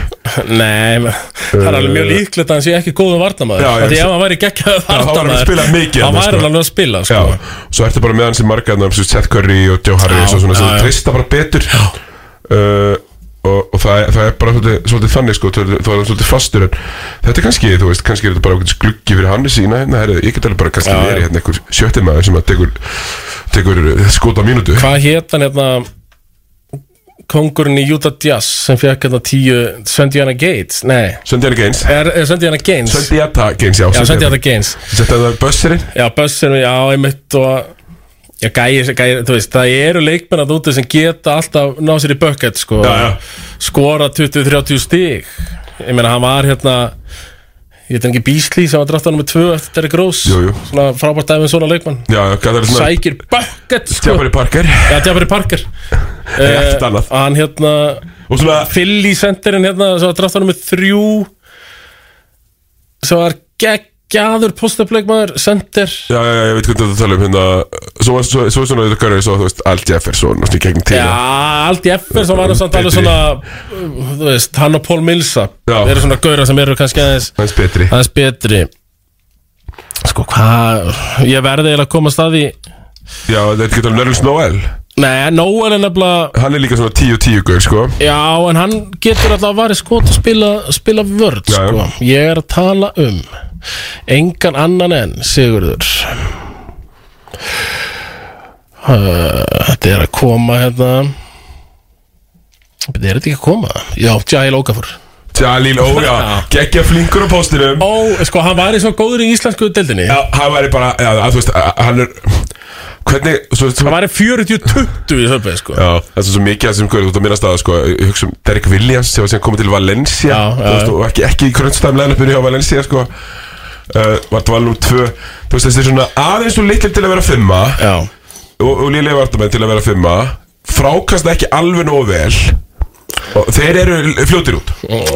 Speaker 1: nei men- Það er alveg mjög líklegt að hann sé ekki góðum varnamaður
Speaker 2: Uh. Já,
Speaker 1: Af
Speaker 2: já,
Speaker 1: Því
Speaker 2: svo-
Speaker 1: ef hann væri geggjaður
Speaker 2: hann
Speaker 1: varnamaður
Speaker 2: alveg að spila mikið
Speaker 1: Hann
Speaker 2: þarna,
Speaker 1: væri
Speaker 2: sko.
Speaker 1: alveg að spila, sko
Speaker 2: Já, svo ertu bara með hann sem marga þannig sem Seth Curry og Joe Harris og svona
Speaker 1: já,
Speaker 2: sem
Speaker 1: já.
Speaker 2: þú treysta bara betur uh, og, og það, er- það er bara svolítið, svolítið þannig sko, þú þú er hann svolítið fastur en þetta er kannski, þú veist, kannski er þetta bara okkur gluggi fyrir hann í sína, hérna, herri, ég get alveg bara kannski
Speaker 1: Já, já.
Speaker 2: verið hérna einhver sjötti maður sem að tekur, tekur eh, skot á mínútu
Speaker 1: Hvað hét hann hérna Kongurinn í Utah Jazz sem fekk hérna tíu Svendiana Gates, nei
Speaker 2: Söndiana Gaines
Speaker 1: er, er Svendiana Gaines
Speaker 2: Söndiata Gaines, já
Speaker 1: Já, Svendiana Gaines
Speaker 2: Söndiata það bösserinn
Speaker 1: Já, Bössin, já, einmitt og Já, gæi, gæi, þú veist, það eru leikmenn að úti sem geta alltaf ná sér í bucket, sko
Speaker 2: Já, já.
Speaker 1: Skora 20-30 stig Ég meina, hann var hérna Ég veit ekki Bísli sem var draftan nummer 2 eftir Derrick Rose
Speaker 2: Jú, jú.
Speaker 1: Svona frábært dæmið svona leikmann
Speaker 2: Já, hvað er það?
Speaker 1: Sækir bucket, sko
Speaker 2: Stjapari Parker
Speaker 1: Já, Jabari Parker
Speaker 2: Ekkert
Speaker 1: Eh,
Speaker 2: annað.
Speaker 1: Hann hérna
Speaker 2: og svona
Speaker 1: Philly senderinn hérna sem var draftan nummer 3 sem var geggjaður postupleikmaður sender
Speaker 2: Já, já, já, ég veit hvernig þú tala um hérna Svo var svo, svo svona þetta görður svo, þú veist, Al Jefferson og svona í gegnum
Speaker 1: Já,
Speaker 2: tíða
Speaker 1: Aldi Effers var nú samt alveg
Speaker 2: Betri.
Speaker 1: svona uh, þú veist, hann og Pól Milsa
Speaker 2: Já.
Speaker 1: eru svona gauðra sem eru kannski aðeins
Speaker 2: Hans betri
Speaker 1: aðeins betri Sko, hvað ég verði eiginlega að koma að staði
Speaker 2: Já, þetta getur alveg Nörlis um Noel
Speaker 1: Nei, Nóel er nefnilega
Speaker 2: Hann er líka svona 10-10 gaur, sko
Speaker 1: Já, en hann getur alltaf að varja skot að spila, spila vörð,
Speaker 2: Já, já.
Speaker 1: sko Ég er að tala um engan annan en Sigurður Uh, Þetta er að koma hérna Þetta er þetta ekki að koma Já, Jail Okafor
Speaker 2: Jalil Óga, geggja flinkur á postinum
Speaker 1: Ó, sko, hann væri svo góður í íslensku deildinni
Speaker 2: Já, hann væri bara, já, að, þú veist, að- hann er Hvernig, svo, svo,
Speaker 1: Það væri 40-20 í höfnveg sko
Speaker 2: Já, það er svo mikið að sem hverju þú ert að minnast að það, sko, ég hugsa um Derek Williams sem var sem komið til Valencia
Speaker 1: Já,
Speaker 2: þú
Speaker 1: já.
Speaker 2: veist, og ekki, ekki í kröndstæðum leðanöpunni hjá Valencia sko, uh, var dvalum 2 þú veist þessi er svona aðeins og litlir til að vera 5 og,
Speaker 1: Já,
Speaker 2: og lýlega vartamenn til að vera 5 frákast ekki alveg nóg vel og þeir eru fljótir út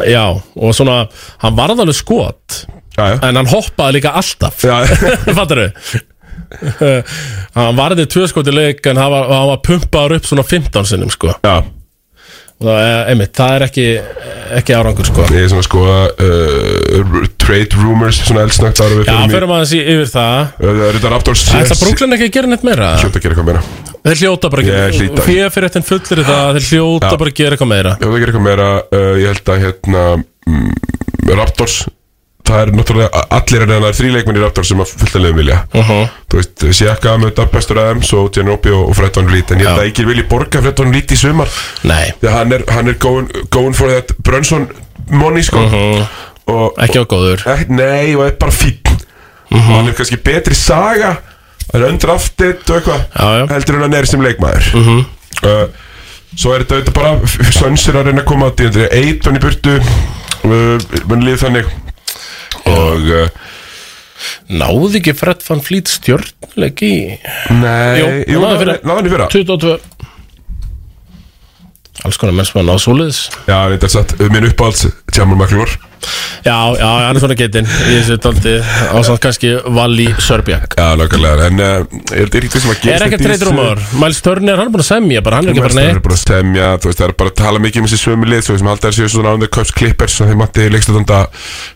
Speaker 1: já og svona, hann varð alveg skot
Speaker 2: Já, já,
Speaker 1: En hann hoppaði líka alltaf
Speaker 2: já,
Speaker 1: Fattar þau? hann varði tvö skot í leik en hann var, hann var pumpaður upp svona 15 sinnum sko
Speaker 2: já.
Speaker 1: Og það er, einmitt, það er ekki, ekki árangur sko
Speaker 2: Ég er svona sko uh, Trade rumors, svona eldsnögt ára við
Speaker 1: Já,
Speaker 2: förum í-
Speaker 1: fyrir maður þessi yfir það
Speaker 2: Uh, Rita Raptors
Speaker 1: Það er það Brooklyn ekki að gera neitt meira
Speaker 2: Hljóta að gera eitthvað meira
Speaker 1: Þeir hljóta bara
Speaker 2: Ég
Speaker 1: ekki
Speaker 2: hlýta-
Speaker 1: Fyrir fyrir þetta fullir það Þeir hljóta
Speaker 2: Já.
Speaker 1: bara að gera eitthvað meira
Speaker 2: Ef það gerir eitthvað meira, uh, ég held að hérna mm, Raptors Það er náttúrulega allir en það er þrýleikmenn í Raptors sem að fullta liðum vilja
Speaker 1: uh -huh.
Speaker 2: Þú veist, Sjekka, Möta, Bestur Adams og Jenny Oppi og, og Fred Van Vliet En ég held að ekki vilji borga Fred Van Vliet í sumar
Speaker 1: Nei,
Speaker 2: Þegar hann er, hann er going, going for that Brunson money sko Og
Speaker 1: ekki á góður
Speaker 2: Ek, nei, og er bara fín og hann er kannski betri saga hann er undrafted og
Speaker 1: Já, já.
Speaker 2: eitthvað heldur en hann er sem leikmaður uh, svo er þetta auðvitað bara sönsir að reyna að koma að því þetta er eitt hann í burtu uh, mann líð þannig og uh,
Speaker 1: Náði ekki Fred van Fleet stjórnleik í
Speaker 2: nei,
Speaker 1: Jú,
Speaker 2: jú,
Speaker 1: náði
Speaker 2: náði
Speaker 1: fyrra.
Speaker 2: náði hann í fyrra
Speaker 1: 22 Alls konar menn sem að ná svoleiðis
Speaker 2: já, þetta er satt, minn uppáhalds Tjámur Maklur
Speaker 1: Já, já, hann er svona getinn Ég sé daldi á samt kannski Valli Sörbjak
Speaker 2: já, nákvæmlega, en uh, er þetta ekki sem að
Speaker 1: Er
Speaker 2: gerist
Speaker 1: ekki
Speaker 2: þetta í
Speaker 1: treyður
Speaker 2: þessu-
Speaker 1: um áður Miles Turner, hann er búin að semja bara Hann er ekki bara
Speaker 2: Það
Speaker 1: neitt
Speaker 2: er bara að stemja, þú veist, það er bara að tala mikið um þessi sömu lið, þú veist, sem halda þessi svona on the cups clippers og þeir matti leikstundanda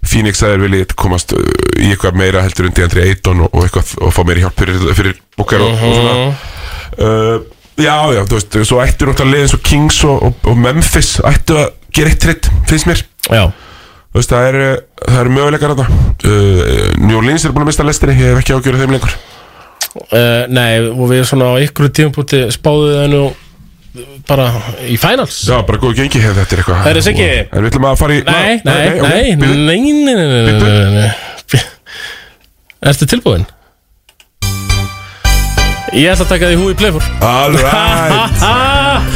Speaker 2: Phoenix að þeir viljið komast uh, í eitthvað meira heldur en Deandre Ayton og, og eitthvað og fá meiri hjálp fyrir, fyrir búkar og, og svona
Speaker 1: Mhm.
Speaker 2: uh, Já, já, þú veist, svo ættu náttúrulega lið eins og Kings og, og, og Memphis ættu að gera eitt tritt, finnst mér
Speaker 1: Já,
Speaker 2: Þú veist, það eru það er möguleikar að það uh, New Orleans er búin að mista lestinni, ég hef ekki ágjörðu þeim lengur
Speaker 1: uh, nei, og við svona á ykkur tímpúti spáðuð það nú bara í finals
Speaker 2: Já, bara góðu gengi hefur þetta er eitthvað
Speaker 1: Herra Siggi.
Speaker 2: En við ætlum að fara í
Speaker 1: Nei, nei,
Speaker 2: ok,
Speaker 1: nei,
Speaker 2: bíðu.
Speaker 1: nei, nei, nei, nei, nei, nei, nei, nei. Ertu tilbúin? Ég ætla að taka því hú í Playfor
Speaker 2: All right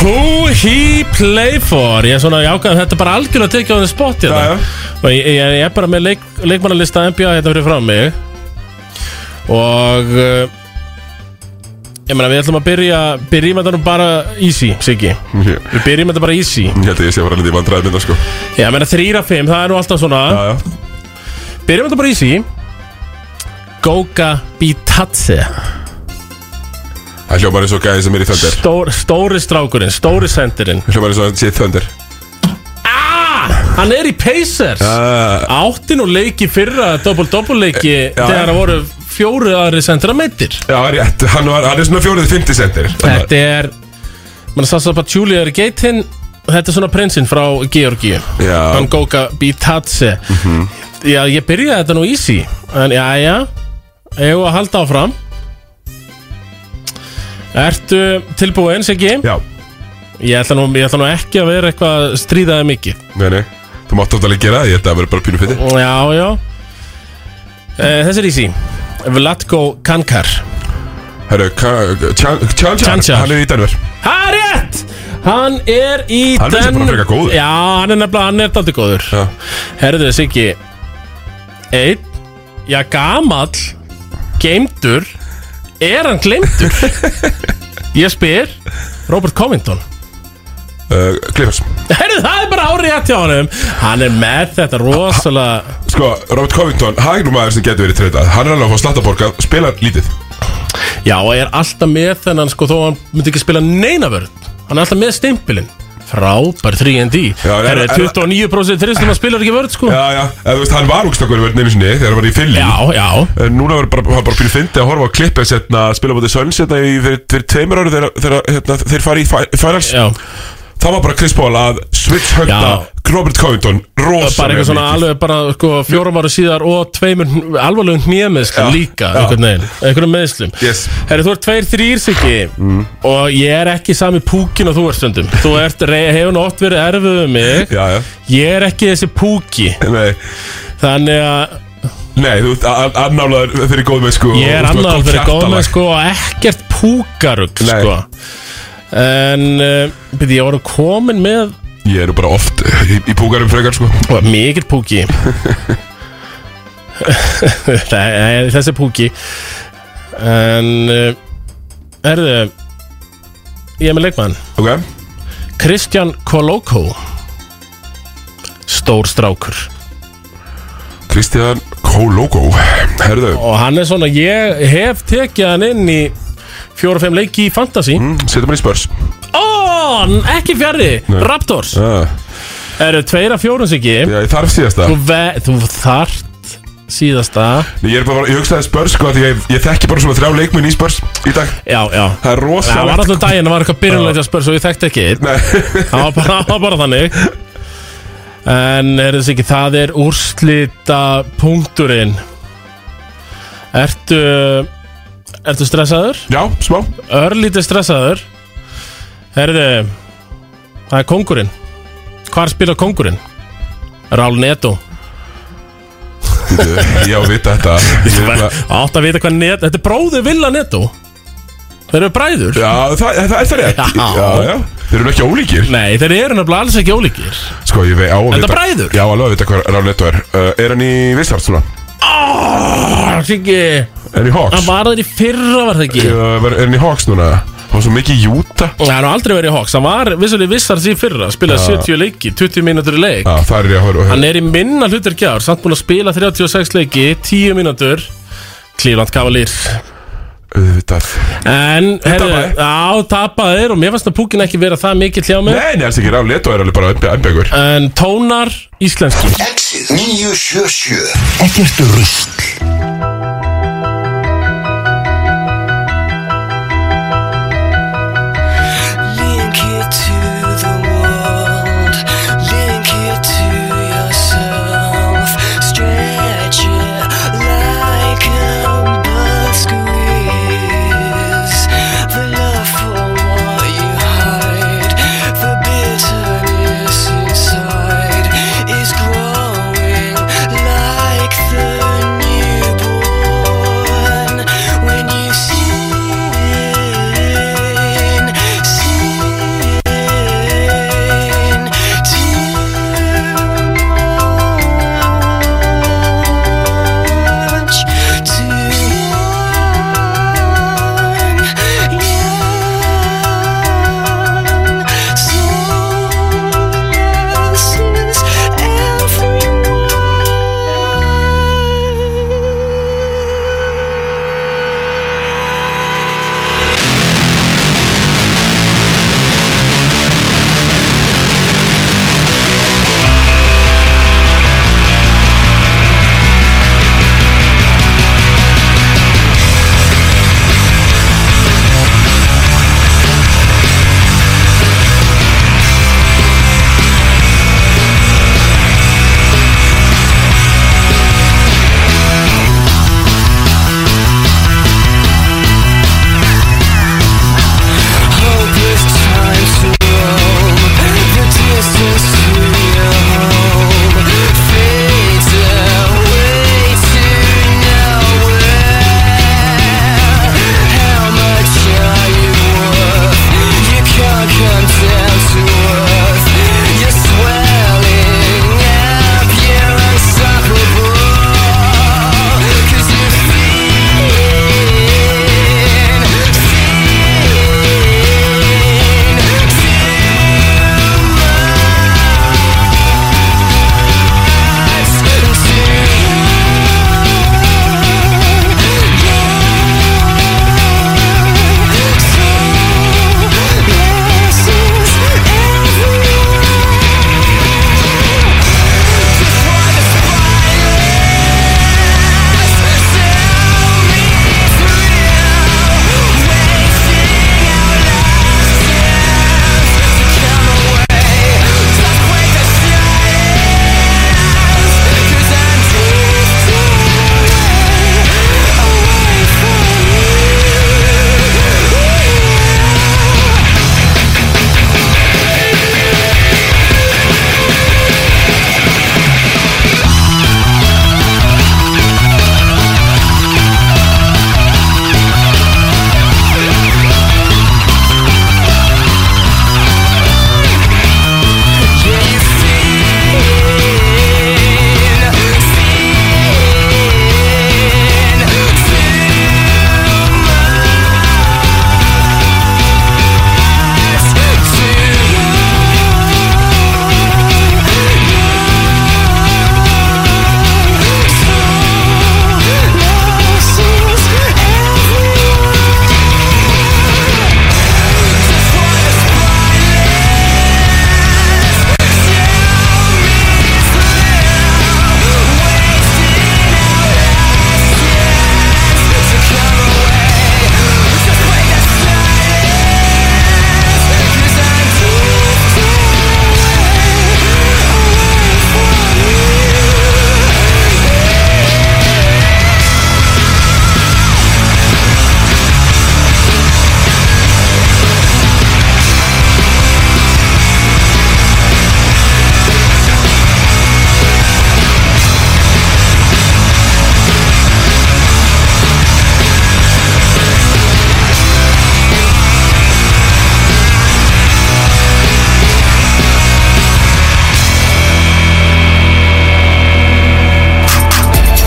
Speaker 1: Hú í Playfor Ég er svona jákað Þetta er bara algjörlega tekið á því spot
Speaker 2: Já, já.
Speaker 1: hérna. Og ég, ég, ég er bara með leik, leikmannalista NBA hérna fyrir frá mig Og uh, Ég meina við ætlum að byrja Byrjum þetta nú bara easy, Siggi
Speaker 2: Ég
Speaker 1: Við byrjum þetta bara easy
Speaker 2: ég held að ég sé að fara lítið í vandræði mynda sko Já,
Speaker 1: Já, ég meina 3-5, það er nú alltaf svona
Speaker 2: já
Speaker 1: Byrjum þetta bara í sí Goga Bitatse
Speaker 2: Það hljómar eins og gæði sem er í Thunder
Speaker 1: Stór, Stóri strákurinn, stóri sendirinn
Speaker 2: Það hljómar eins og hann sé í Thunder
Speaker 1: ah, Hann er í Pacers
Speaker 2: uh,
Speaker 1: Átti nú leiki fyrra Double-double leiki
Speaker 2: Eh, já.
Speaker 1: Þegar það voru fjóru aðri sendir að meittir
Speaker 2: Já, rétt, hann, var, hann er svona fjórið fymti sendir
Speaker 1: Þetta er Man sassa bara Julia er í geitin Þetta er svona prinsinn frá Georgíu
Speaker 2: Já. Mhm.
Speaker 1: Hann Goga Bitatse Já, ég byrjaði þetta nú easy En já, já Ég að halda áfram Ertu tilbúin, Siggi?
Speaker 2: Já,
Speaker 1: Ég ætla, nú, ég ætla nú ekki að vera eitthvað að stríða þig mikið
Speaker 2: nei, nei Þú mátt ofta að gera það, ég held að það verður bara pínu fyndi
Speaker 1: Já, já Eh, Þessi er easy Vlatko Kankar
Speaker 2: Herru, Ka- Chan- Chanchar,
Speaker 1: Chanchar.
Speaker 2: hann er í Denver
Speaker 1: Það er rétt! Hann er í
Speaker 2: Hann er sem bara
Speaker 1: Den-
Speaker 2: frekar góður.
Speaker 1: Já, hann er nefnilega, hann er daldi góður
Speaker 2: Já,
Speaker 1: Herðu, Siggi Einn, já, gamall Geimdur Er hann gleymdur? Ég spyr Robert Covington
Speaker 2: uh, Clippers
Speaker 1: Herðu, það er bara árið hjá honum Hann er með þetta rosalega
Speaker 2: Sko, Robert Covington, hann er nú maður sem getur verið treytað Hann er alveg að fá slattaborga, spilar lítið
Speaker 1: Já, og er alltaf með þennan sko Þó hann myndi ekki spila neina vörð Hann er alltaf með stimpilinn Frábær 3D
Speaker 2: Já, en-
Speaker 1: Herðu,
Speaker 2: en-
Speaker 1: 29% þrýstum að spila ekki vörð sko
Speaker 2: Já, já, eða, þú veist, hann var úkstakur í verðinu sinni þegar hann var í Philly
Speaker 1: Já, já
Speaker 2: En Eh, Núna var bara, var bara fyrir fyndi að horfa á klippið setna, spila bótið Suns setna í fyrir, fyrir tveimur ári þegar, þegar hérna, þeir fari í fi- finals
Speaker 1: Já,
Speaker 2: Það var bara Chris Paul að switch högna
Speaker 1: Já.
Speaker 2: Robert Covington
Speaker 1: bara
Speaker 2: rosalega
Speaker 1: eitthvað svona
Speaker 2: mikið.
Speaker 1: alveg bara sko, fjórum ára síðar og tveimur alvarlegum hnjamiðskum
Speaker 2: Já,
Speaker 1: líka
Speaker 2: já.
Speaker 1: einhvern veginn, einhverjum meðslum
Speaker 2: Yes. Mm.
Speaker 1: Herri, þú ert tveir þrýr siggi og ég er ekki sami púkin og þú ert stundum þú ert, rey- hefur nú oft verið erfið um mig
Speaker 2: Já, já,
Speaker 1: ég er ekki þessi púki
Speaker 2: nei
Speaker 1: þannig að
Speaker 2: Nei, þú ert a- a- annálaður fyrir góðmennsku og-
Speaker 1: Ég er
Speaker 2: og þú ert
Speaker 1: annað fyrir
Speaker 2: hjartalag.
Speaker 1: góðmenn sko og ekkert púkarugg
Speaker 2: Nei.
Speaker 1: sko En uh, byrði ég voru komin með
Speaker 2: Ég er bara oft í, í púkarum frekar sko
Speaker 1: Það var mikill púki Það er þessi púki En uh, Erðu Ég er með leikmann
Speaker 2: Ok
Speaker 1: Kristján Koloko Stór strákur
Speaker 2: Kristján Kólókó Herðu,
Speaker 1: Og hann er svona, ég hef tekið hann inn í Fjóra og fimm leiki í Fantasy mm.
Speaker 2: mm, setjum hann í spörs
Speaker 1: Ó, ekki fjarrði, Raptors
Speaker 2: ah,
Speaker 1: Eru tveir af fjórun sig ekki
Speaker 2: Já, ég þarf síðasta
Speaker 1: Þú, ve- þú þart síðasta
Speaker 2: Nei, Ég er bara, ég hugsaði spörs sko Því ég, ég þekki bara svona þrjá leikmenn í spörs í dag
Speaker 1: Já, já
Speaker 2: Það er
Speaker 1: Það var
Speaker 2: rosalegt
Speaker 1: alltaf daginn, það var eitthvað byrjunleiti að spyrja svo ég þekkti ekki einn.
Speaker 2: Nei,
Speaker 1: Það var bara, það var bara þannig En er þess ekki, það er úrslita punkturinn Ertu Ertu stressaður?
Speaker 2: Já, smá
Speaker 1: Örlítið stressaður Herðu Það er kongurinn Hvar spila kongurinn? Rál Neto
Speaker 2: Bíddu, Ég á að vita þetta Ég er bara-
Speaker 1: Átt að vita hvað Neto Þetta er bróðir Villa Neto Þeir eru bræður
Speaker 2: Já, það, það er það rétt
Speaker 1: Já.
Speaker 2: já, já. Þeir eru ekki ólíkir
Speaker 1: Nei, þeir eru nefnilega alls ekki ólíkir
Speaker 2: Sko, ég vei á að vita
Speaker 1: Enda bræður?
Speaker 2: Já, alveg að vita hvað Ráleto er uh, Er hann í Vissart svona?
Speaker 1: Það er ekki
Speaker 2: Er hann í Hawks?
Speaker 1: Hann var þar í fyrra var það ekki
Speaker 2: Já, var- Er hann í Hawks núna? Hann var svo mikið í Júta
Speaker 1: Nei, hann var aldrei verið í Hawks Hann var vissulega vissar í fyrra Spilaði 70 leiki, 20 mínútur í leik
Speaker 2: Já, það er ég að höra
Speaker 1: Hann er í minna hlutur gjár Samt búin að spila 36 leiki, 10 mínútur Cleveland Cavalier
Speaker 2: Auðvitað
Speaker 1: En, herðu,
Speaker 2: tapaði.
Speaker 1: á, tapaðir Og mér fannst að púkin ekki vera það mikið hljá mig
Speaker 2: Nei, nei, alls ekki Ráleto er alveg bara ennbyggur
Speaker 1: En tónar íslenski
Speaker 3: Exið 977 Ekkert rusl
Speaker 4: Link it to the world, link it to yourself, stretch it like a bud squeeze. The love for what you hide, the bitterness inside is growing like the new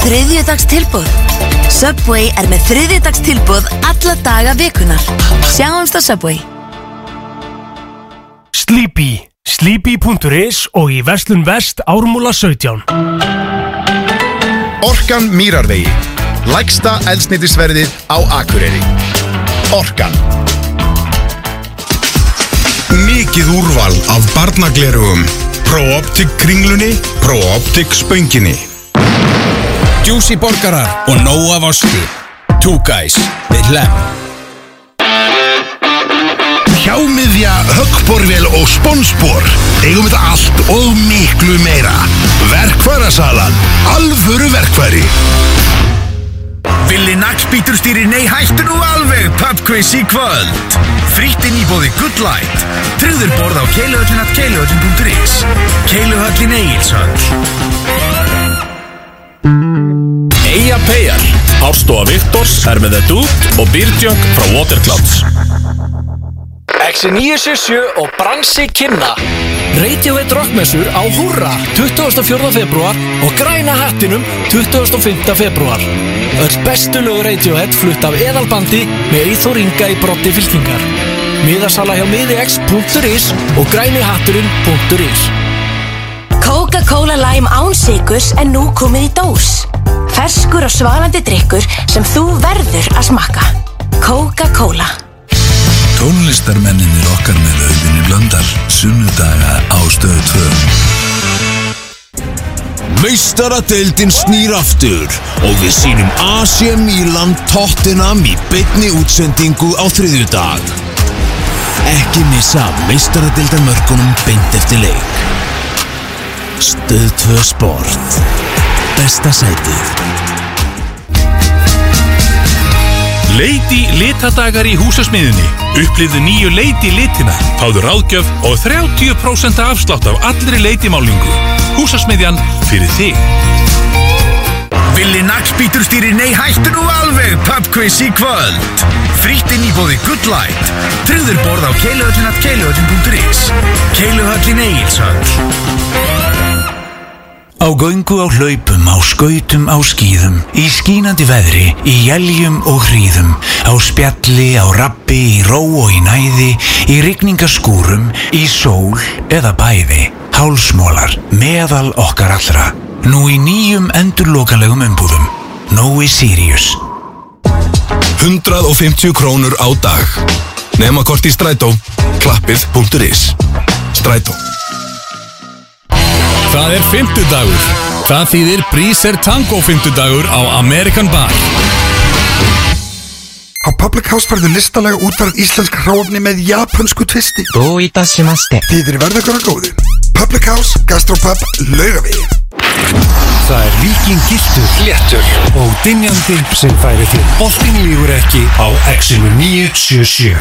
Speaker 5: þriðjudags tilbúð Subway er með þriðjudags tilbúð alla daga vikunar Sjáumst á Subway
Speaker 6: Sleepy Sleepy.is og í Vestlun Vest Ármúla 17
Speaker 7: Orkan Mýrarvegi Lægsta elsnýtisverðið á Akureyri Orkan
Speaker 8: Mikið úrval af barnaglerugum Pro-Optik kringlunni Pro-Optik spönginni Juicy borgarar og nóg af osti Two guys við hlem
Speaker 9: Hjámiðja, höggborvél og sponsbor eigum þetta allt og miklu meira Verkfærasalan Alvöru verkfæri
Speaker 8: Villi Nagsbítur stýrir nei hættu nú alveg pubquiz í kvöld Frýttin í bóði Good Light Tryggður borð á keiluhöllin at keiluhöllin.is Keiluhöllin Egilshöll
Speaker 10: Eyja Peyjar Árstofa Viktors er með The Dude og Byrjung frá Waterclouds
Speaker 11: X977 og Bransi Kinna Radiohead Rockmessur á Húrra 24. februar og Græna Hattinum 25. februar Öll bestu lög Radiohead flutt af eðalbandi með Eithor Inga í brotti fylkingar Miðasala hjá miðix.is og grænihatturinn.is
Speaker 5: Coca-Cola Lime án sigurs en nú komið í dós Ferskur og svalandi drikkur sem þú verður að smakka Coca-Cola
Speaker 12: Tónlistarmenninir okkar með auðvinni blöndal Sunnudaga á stöðu 2
Speaker 13: Meistaradeildin snýr aftur og við sýnum AC Milan Tottenham í bytni útsendingu á þriðjudag. Ekki missa meistaradeildarmörkunum beint eftir leik. Stöð 2 Sport. Besta sætið.
Speaker 14: Leiti litadagar í húsasmiðinni. Upplifðu nýju leiti litina, fáðu ráðgjöf og 30% afslátt af allri leitimálingu. Húsasmiðjan fyrir þig.
Speaker 8: Villi Nagsbítur stýrir nei hættu nú alveg pubquiz í kvöld Frýttin í bóði Good Light Tryggður borð á keiluhöllin at keiluhöllin.is Keiluhöllin Egilshöll
Speaker 12: Á göngu á hlaupum, á skautum, á skýðum, í skínandi veðri, í jæljum og hríðum, á spjalli, á rappi, í ró og í næði, í rigningaskúrum, í sól eða bæði, hálsmólar, meðal okkar allra. Nú í nýjum endurlokalegum umbúðum, Nói Sirius.
Speaker 15: 150 krónur á dag Nefna kort í strætó Klappið.is Strætó
Speaker 16: Það er fymtudagur. Það þýðir Breezer Tango fymtudagur á American Bar.
Speaker 17: Á Public House færðu listalega útvarð íslensk hráfni með japansku tvisti. Dó í dasimaste. Þið er verðakona góðu. Public House, Gastropub, Laugavegi.
Speaker 6: Það er vikingiltur, léttur og dinjandi sem færi þér. Boltin lífur ekki á Exinu 977.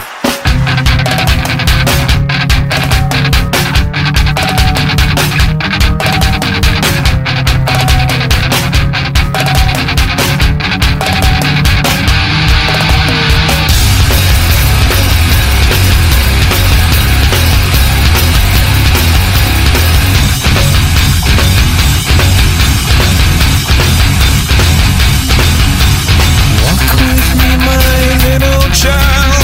Speaker 4: Walk with me, my little child.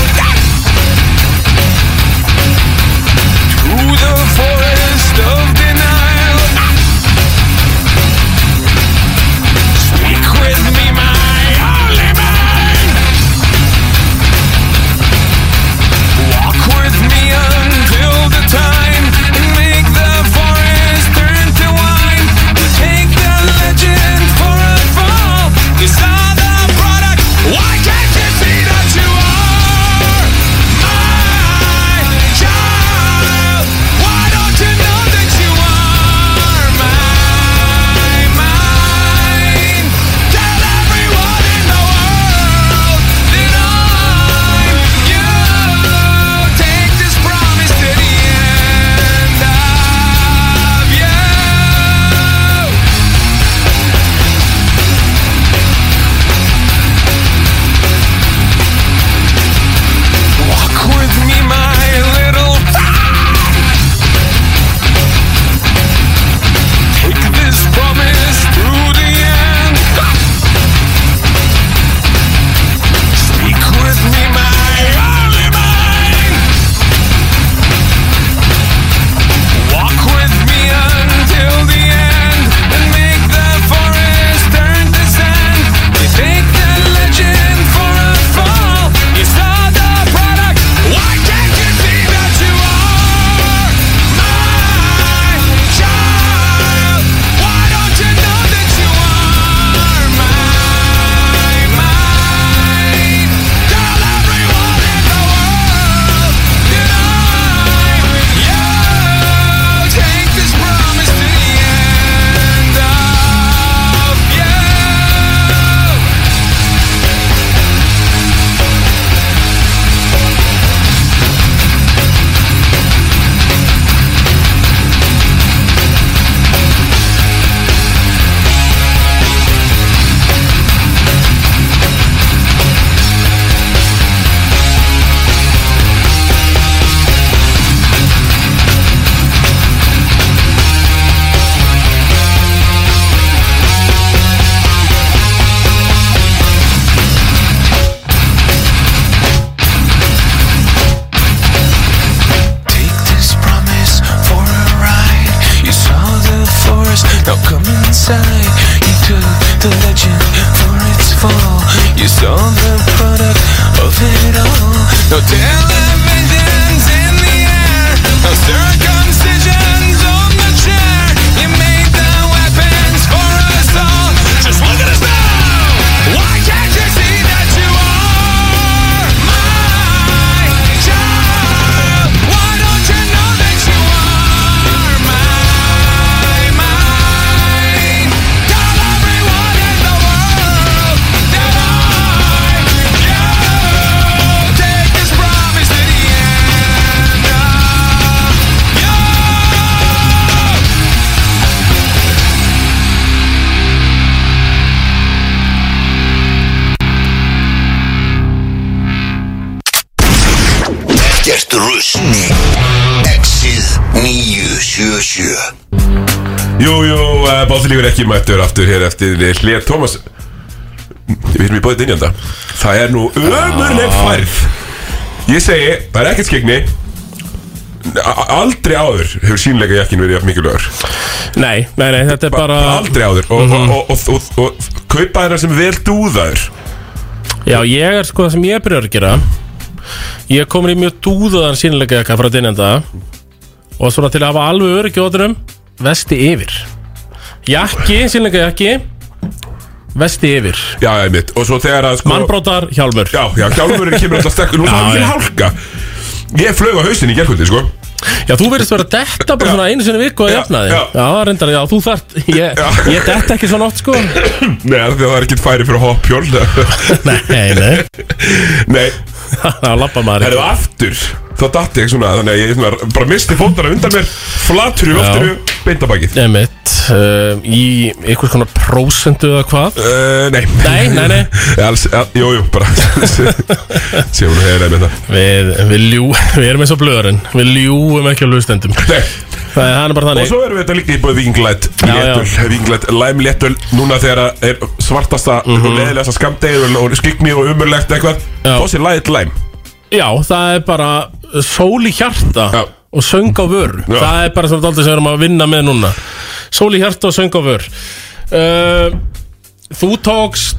Speaker 4: Show the product of it all. No televisions in the air. No circumcisions on the chair. You made the weapons for us all. Just look at us now. Why can't you see that you are my child? Why don't you know that you are mine, mine? Tell everyone in the world that I'm yours. Take this promise to the end of you.
Speaker 3: Ekkert rusl Exið 977
Speaker 2: Jú, jú, uh, báþlífur ekki mættur aftur hér eftir Hlið Tómas Við erum í bóðið innjönda Það er nú
Speaker 1: Ah.
Speaker 2: ömurleg færð Ég segi, það er ekkert skegni Aldrei áður hefur sínleika jakkin verið jafn mikilvægur
Speaker 1: Nei, nei, nei, þetta er bara Mhm.
Speaker 2: Aldrei áður Og, og, og, og, og, og kaupa þeirra sem vel dúðaður
Speaker 1: Já, ég er sko það sem ég er byrjar að gera Ég er komin í mjög dúðaðan sínleika jakka frá dynenda Og svona til að hafa alveg öryggi ótrum Vesti yfir Jakki, sínleika jakki Vesti yfir
Speaker 2: Já, ég mitt Og svo þegar að sko
Speaker 1: Mannbrotar, hjálmur
Speaker 2: Já, já, hjálmurinn kemur alltaf sterkur Nú það er
Speaker 1: Já,
Speaker 2: ekki
Speaker 1: já.
Speaker 2: hálka Ég flög á haustin í gerkvöldi, sko
Speaker 1: Já, þú verðist vera að detta bara svona einu sinni í viku að jafna þig Já, já reyndar, já, þú þart Ég, ég detta ekki svona oft, sko
Speaker 2: Nei, af því að það er ekkert færi fyrir að hoppa hjól
Speaker 1: Nei, nei
Speaker 2: Nei
Speaker 1: Það lappa maður
Speaker 2: Herðu aftur Þá datt ég svona Þannig að ég svona, bara misti fótana undan mér Flatur í loftinu Beintabakið
Speaker 1: Emmett uh, Í einhvers konar prósendu eða hvað
Speaker 2: uh, Nei
Speaker 1: Nei, nei, nei
Speaker 2: Alls, al, Jú, jú, bara Sér hún hefur með það
Speaker 1: Við, við, ljú, við erum eins og blöðurinn Við ljúum ekki á hlustendum
Speaker 2: Nei
Speaker 1: Það er hann er bara
Speaker 2: Og
Speaker 1: þannig
Speaker 2: svo erum við þetta líka í búið vinglætt
Speaker 1: Já, já.
Speaker 2: Léttöl, vinglætt, læm léttöl Núna þegar það er svartasta mm
Speaker 1: Mhm.
Speaker 2: -hmm. og leðilegasta skamdegið og skikni og umurlegt eitthvað Fósið lætt læm
Speaker 1: Já, það er bara sól í hjarta og söng á vör
Speaker 2: Já.
Speaker 1: Það er bara svona daldið sem við erum að vinna með núna Sól í hjarta og söng á vör uh, Þú tókst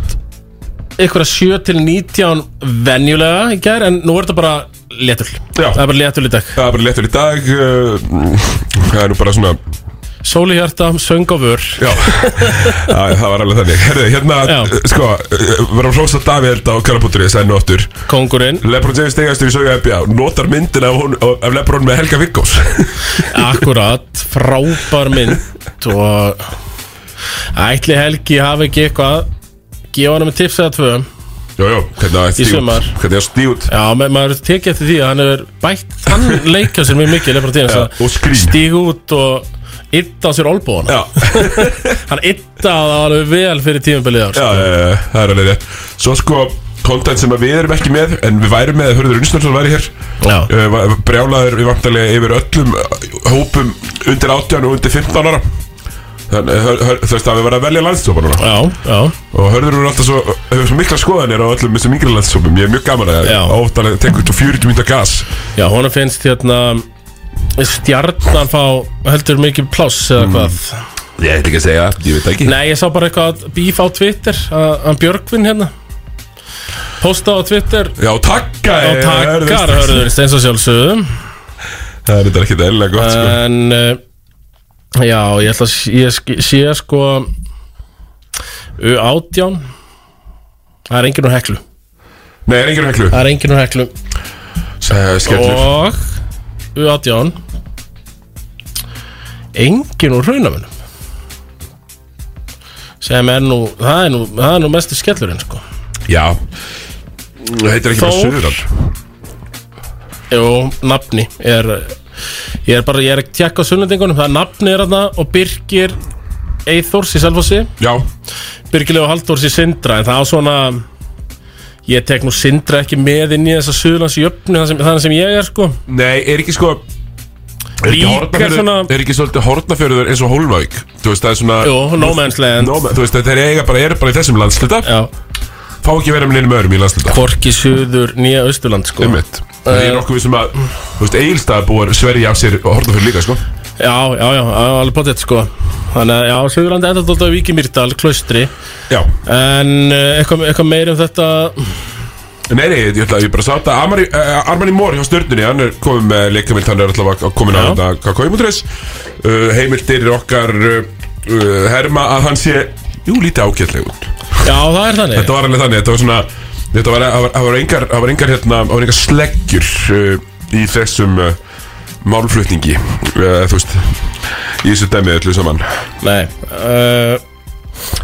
Speaker 1: einhverja 7 til 19 venjulega í gær en nú er þetta bara léttul
Speaker 2: Já.
Speaker 1: Það er bara léttul í dag
Speaker 2: Það er bara léttöl í dag uh, Það er nú bara svona
Speaker 1: Sól í hjarta, söng á vör
Speaker 2: Já, Já, það var alveg þannig Herðu, hérna,
Speaker 1: Já.
Speaker 2: sko, verðum að hrósa Davíð á Karabútturinn, það er nú aftur
Speaker 1: Kongurinn
Speaker 2: Lebron James stegastur í sögja NBA Notar myndina af, hún, af Lebron með Helga Viggós
Speaker 1: Akkurat, frábær mynd og ætli Helgi hafi ekki eitthvað gefa hann með tips eða tvö
Speaker 2: Jó, jó, hvernig það er
Speaker 1: Í sumar.
Speaker 2: Hvernig það er stíut
Speaker 1: Já, me- maður tekið eftir því að hann hefur bætt hann leika sér mjög mikið lefra tíðan
Speaker 2: Já, og skrín.
Speaker 1: stíg út og ytta á sér olbóðan hann ytta það alveg vel fyrir tímabilið ár
Speaker 2: Já, eh, það er alveg rétt Svo sko, content sem að við erum ekki með En við værum með, hörður Unnsnörsson væri hér Eh, va- Brjálaður við vantarlega yfir öllum eh, Hópum undir 18 og undir 15 ára Þannig, hör- hör- þú veist að við verðum að velja landstofa núna
Speaker 1: Já, já
Speaker 2: Og hörður eru alltaf svo, hefur svo mikla skoðanir á öllum þessum yngri landsópum, ég er mjög gaman að óttalega tekur þetta 40 mínúta gas
Speaker 1: Já, honum finnst hérna stjarnan fá heldur mikið pláss
Speaker 2: Mm.
Speaker 1: eða hvað
Speaker 2: Ég ætla ekki að segja það, ég veit ekki
Speaker 1: Nei, ég sá bara eitthvað bíf á Twitter að að Björgvin hérna Posta á Twitter
Speaker 2: Já, takka eh,
Speaker 1: Já, takkar, Eh, hörður, steins og sjálfsögðum
Speaker 2: Það er þetta ekki eðlilega gott, sko
Speaker 1: En, uh, já, ég ætla að s- ég sk- sé sko U18 Það er enginn úr heklu
Speaker 2: Nei, er enginn úr heklu eh,
Speaker 1: Það er enginn úr heklu
Speaker 2: Skellur
Speaker 1: Og U18 Enginn úr hraunamönnum sem er nú, það er nú, það er nú mestu skellurinn sko
Speaker 2: Já Það heitir ekki bara
Speaker 1: Þór.
Speaker 2: Suðurland
Speaker 1: Jú, nafni er, Ég er bara, ég er að tjekka á sunnendingunum Það er nafni er aðna og Birgir Eithors í Selfossi
Speaker 2: Já
Speaker 1: Birgir Leo Halldórs í Sindra En það á svona Ég tek nú Sindra ekki með inn í þessa suðlands jöfnu þannig sem, þannig sem ég er sko
Speaker 2: Nei, er ekki sko Er ekki,
Speaker 1: Líka
Speaker 2: Hornafjörður-
Speaker 1: svona-
Speaker 2: er ekki svolítið hortnafjörður eins og Hólmavík Þú veist, það er svona
Speaker 1: Jú, no man's land. Eh.
Speaker 2: no, man- Þú veist, þeir eiga bara, eru bara í þessum landslita
Speaker 1: Já
Speaker 2: Fá ekki vera með neinum öðrum í landslita
Speaker 1: Hvorki suður nýja austurland sko
Speaker 2: Einmitt. Það er nokkuð við sem að Þú veist, Egilstaðabúar sverja af sér og hortnafjörður líka, sko
Speaker 1: Já, já, já, alveg potið sko Þannig að, já, Suðurlandi Endardótt á Víki Mýrdal, Klaustri
Speaker 2: Já
Speaker 1: En eh, eitthvað, eitthvað meir um þetta
Speaker 2: Nei, nei, ég ætla að ég bara sátt að Armani, uh, Armani Mór hjá stjörnunni, hann er komið með leikamilt, hann er alltaf komin á þetta kakóimútreis uh, Heimildir okkar uh, uh, herma að hann sé, jú, lítið ágætleg út
Speaker 1: Já, það er þannig
Speaker 2: Þetta var alveg þannig, þetta var svona, þetta var, það var, það var engar, það var engar hérna, það var engar sleggjur uh, í þessum uh, málflutningi, uh, þú veist, í þessu dæmið öllu saman
Speaker 1: Nei uh,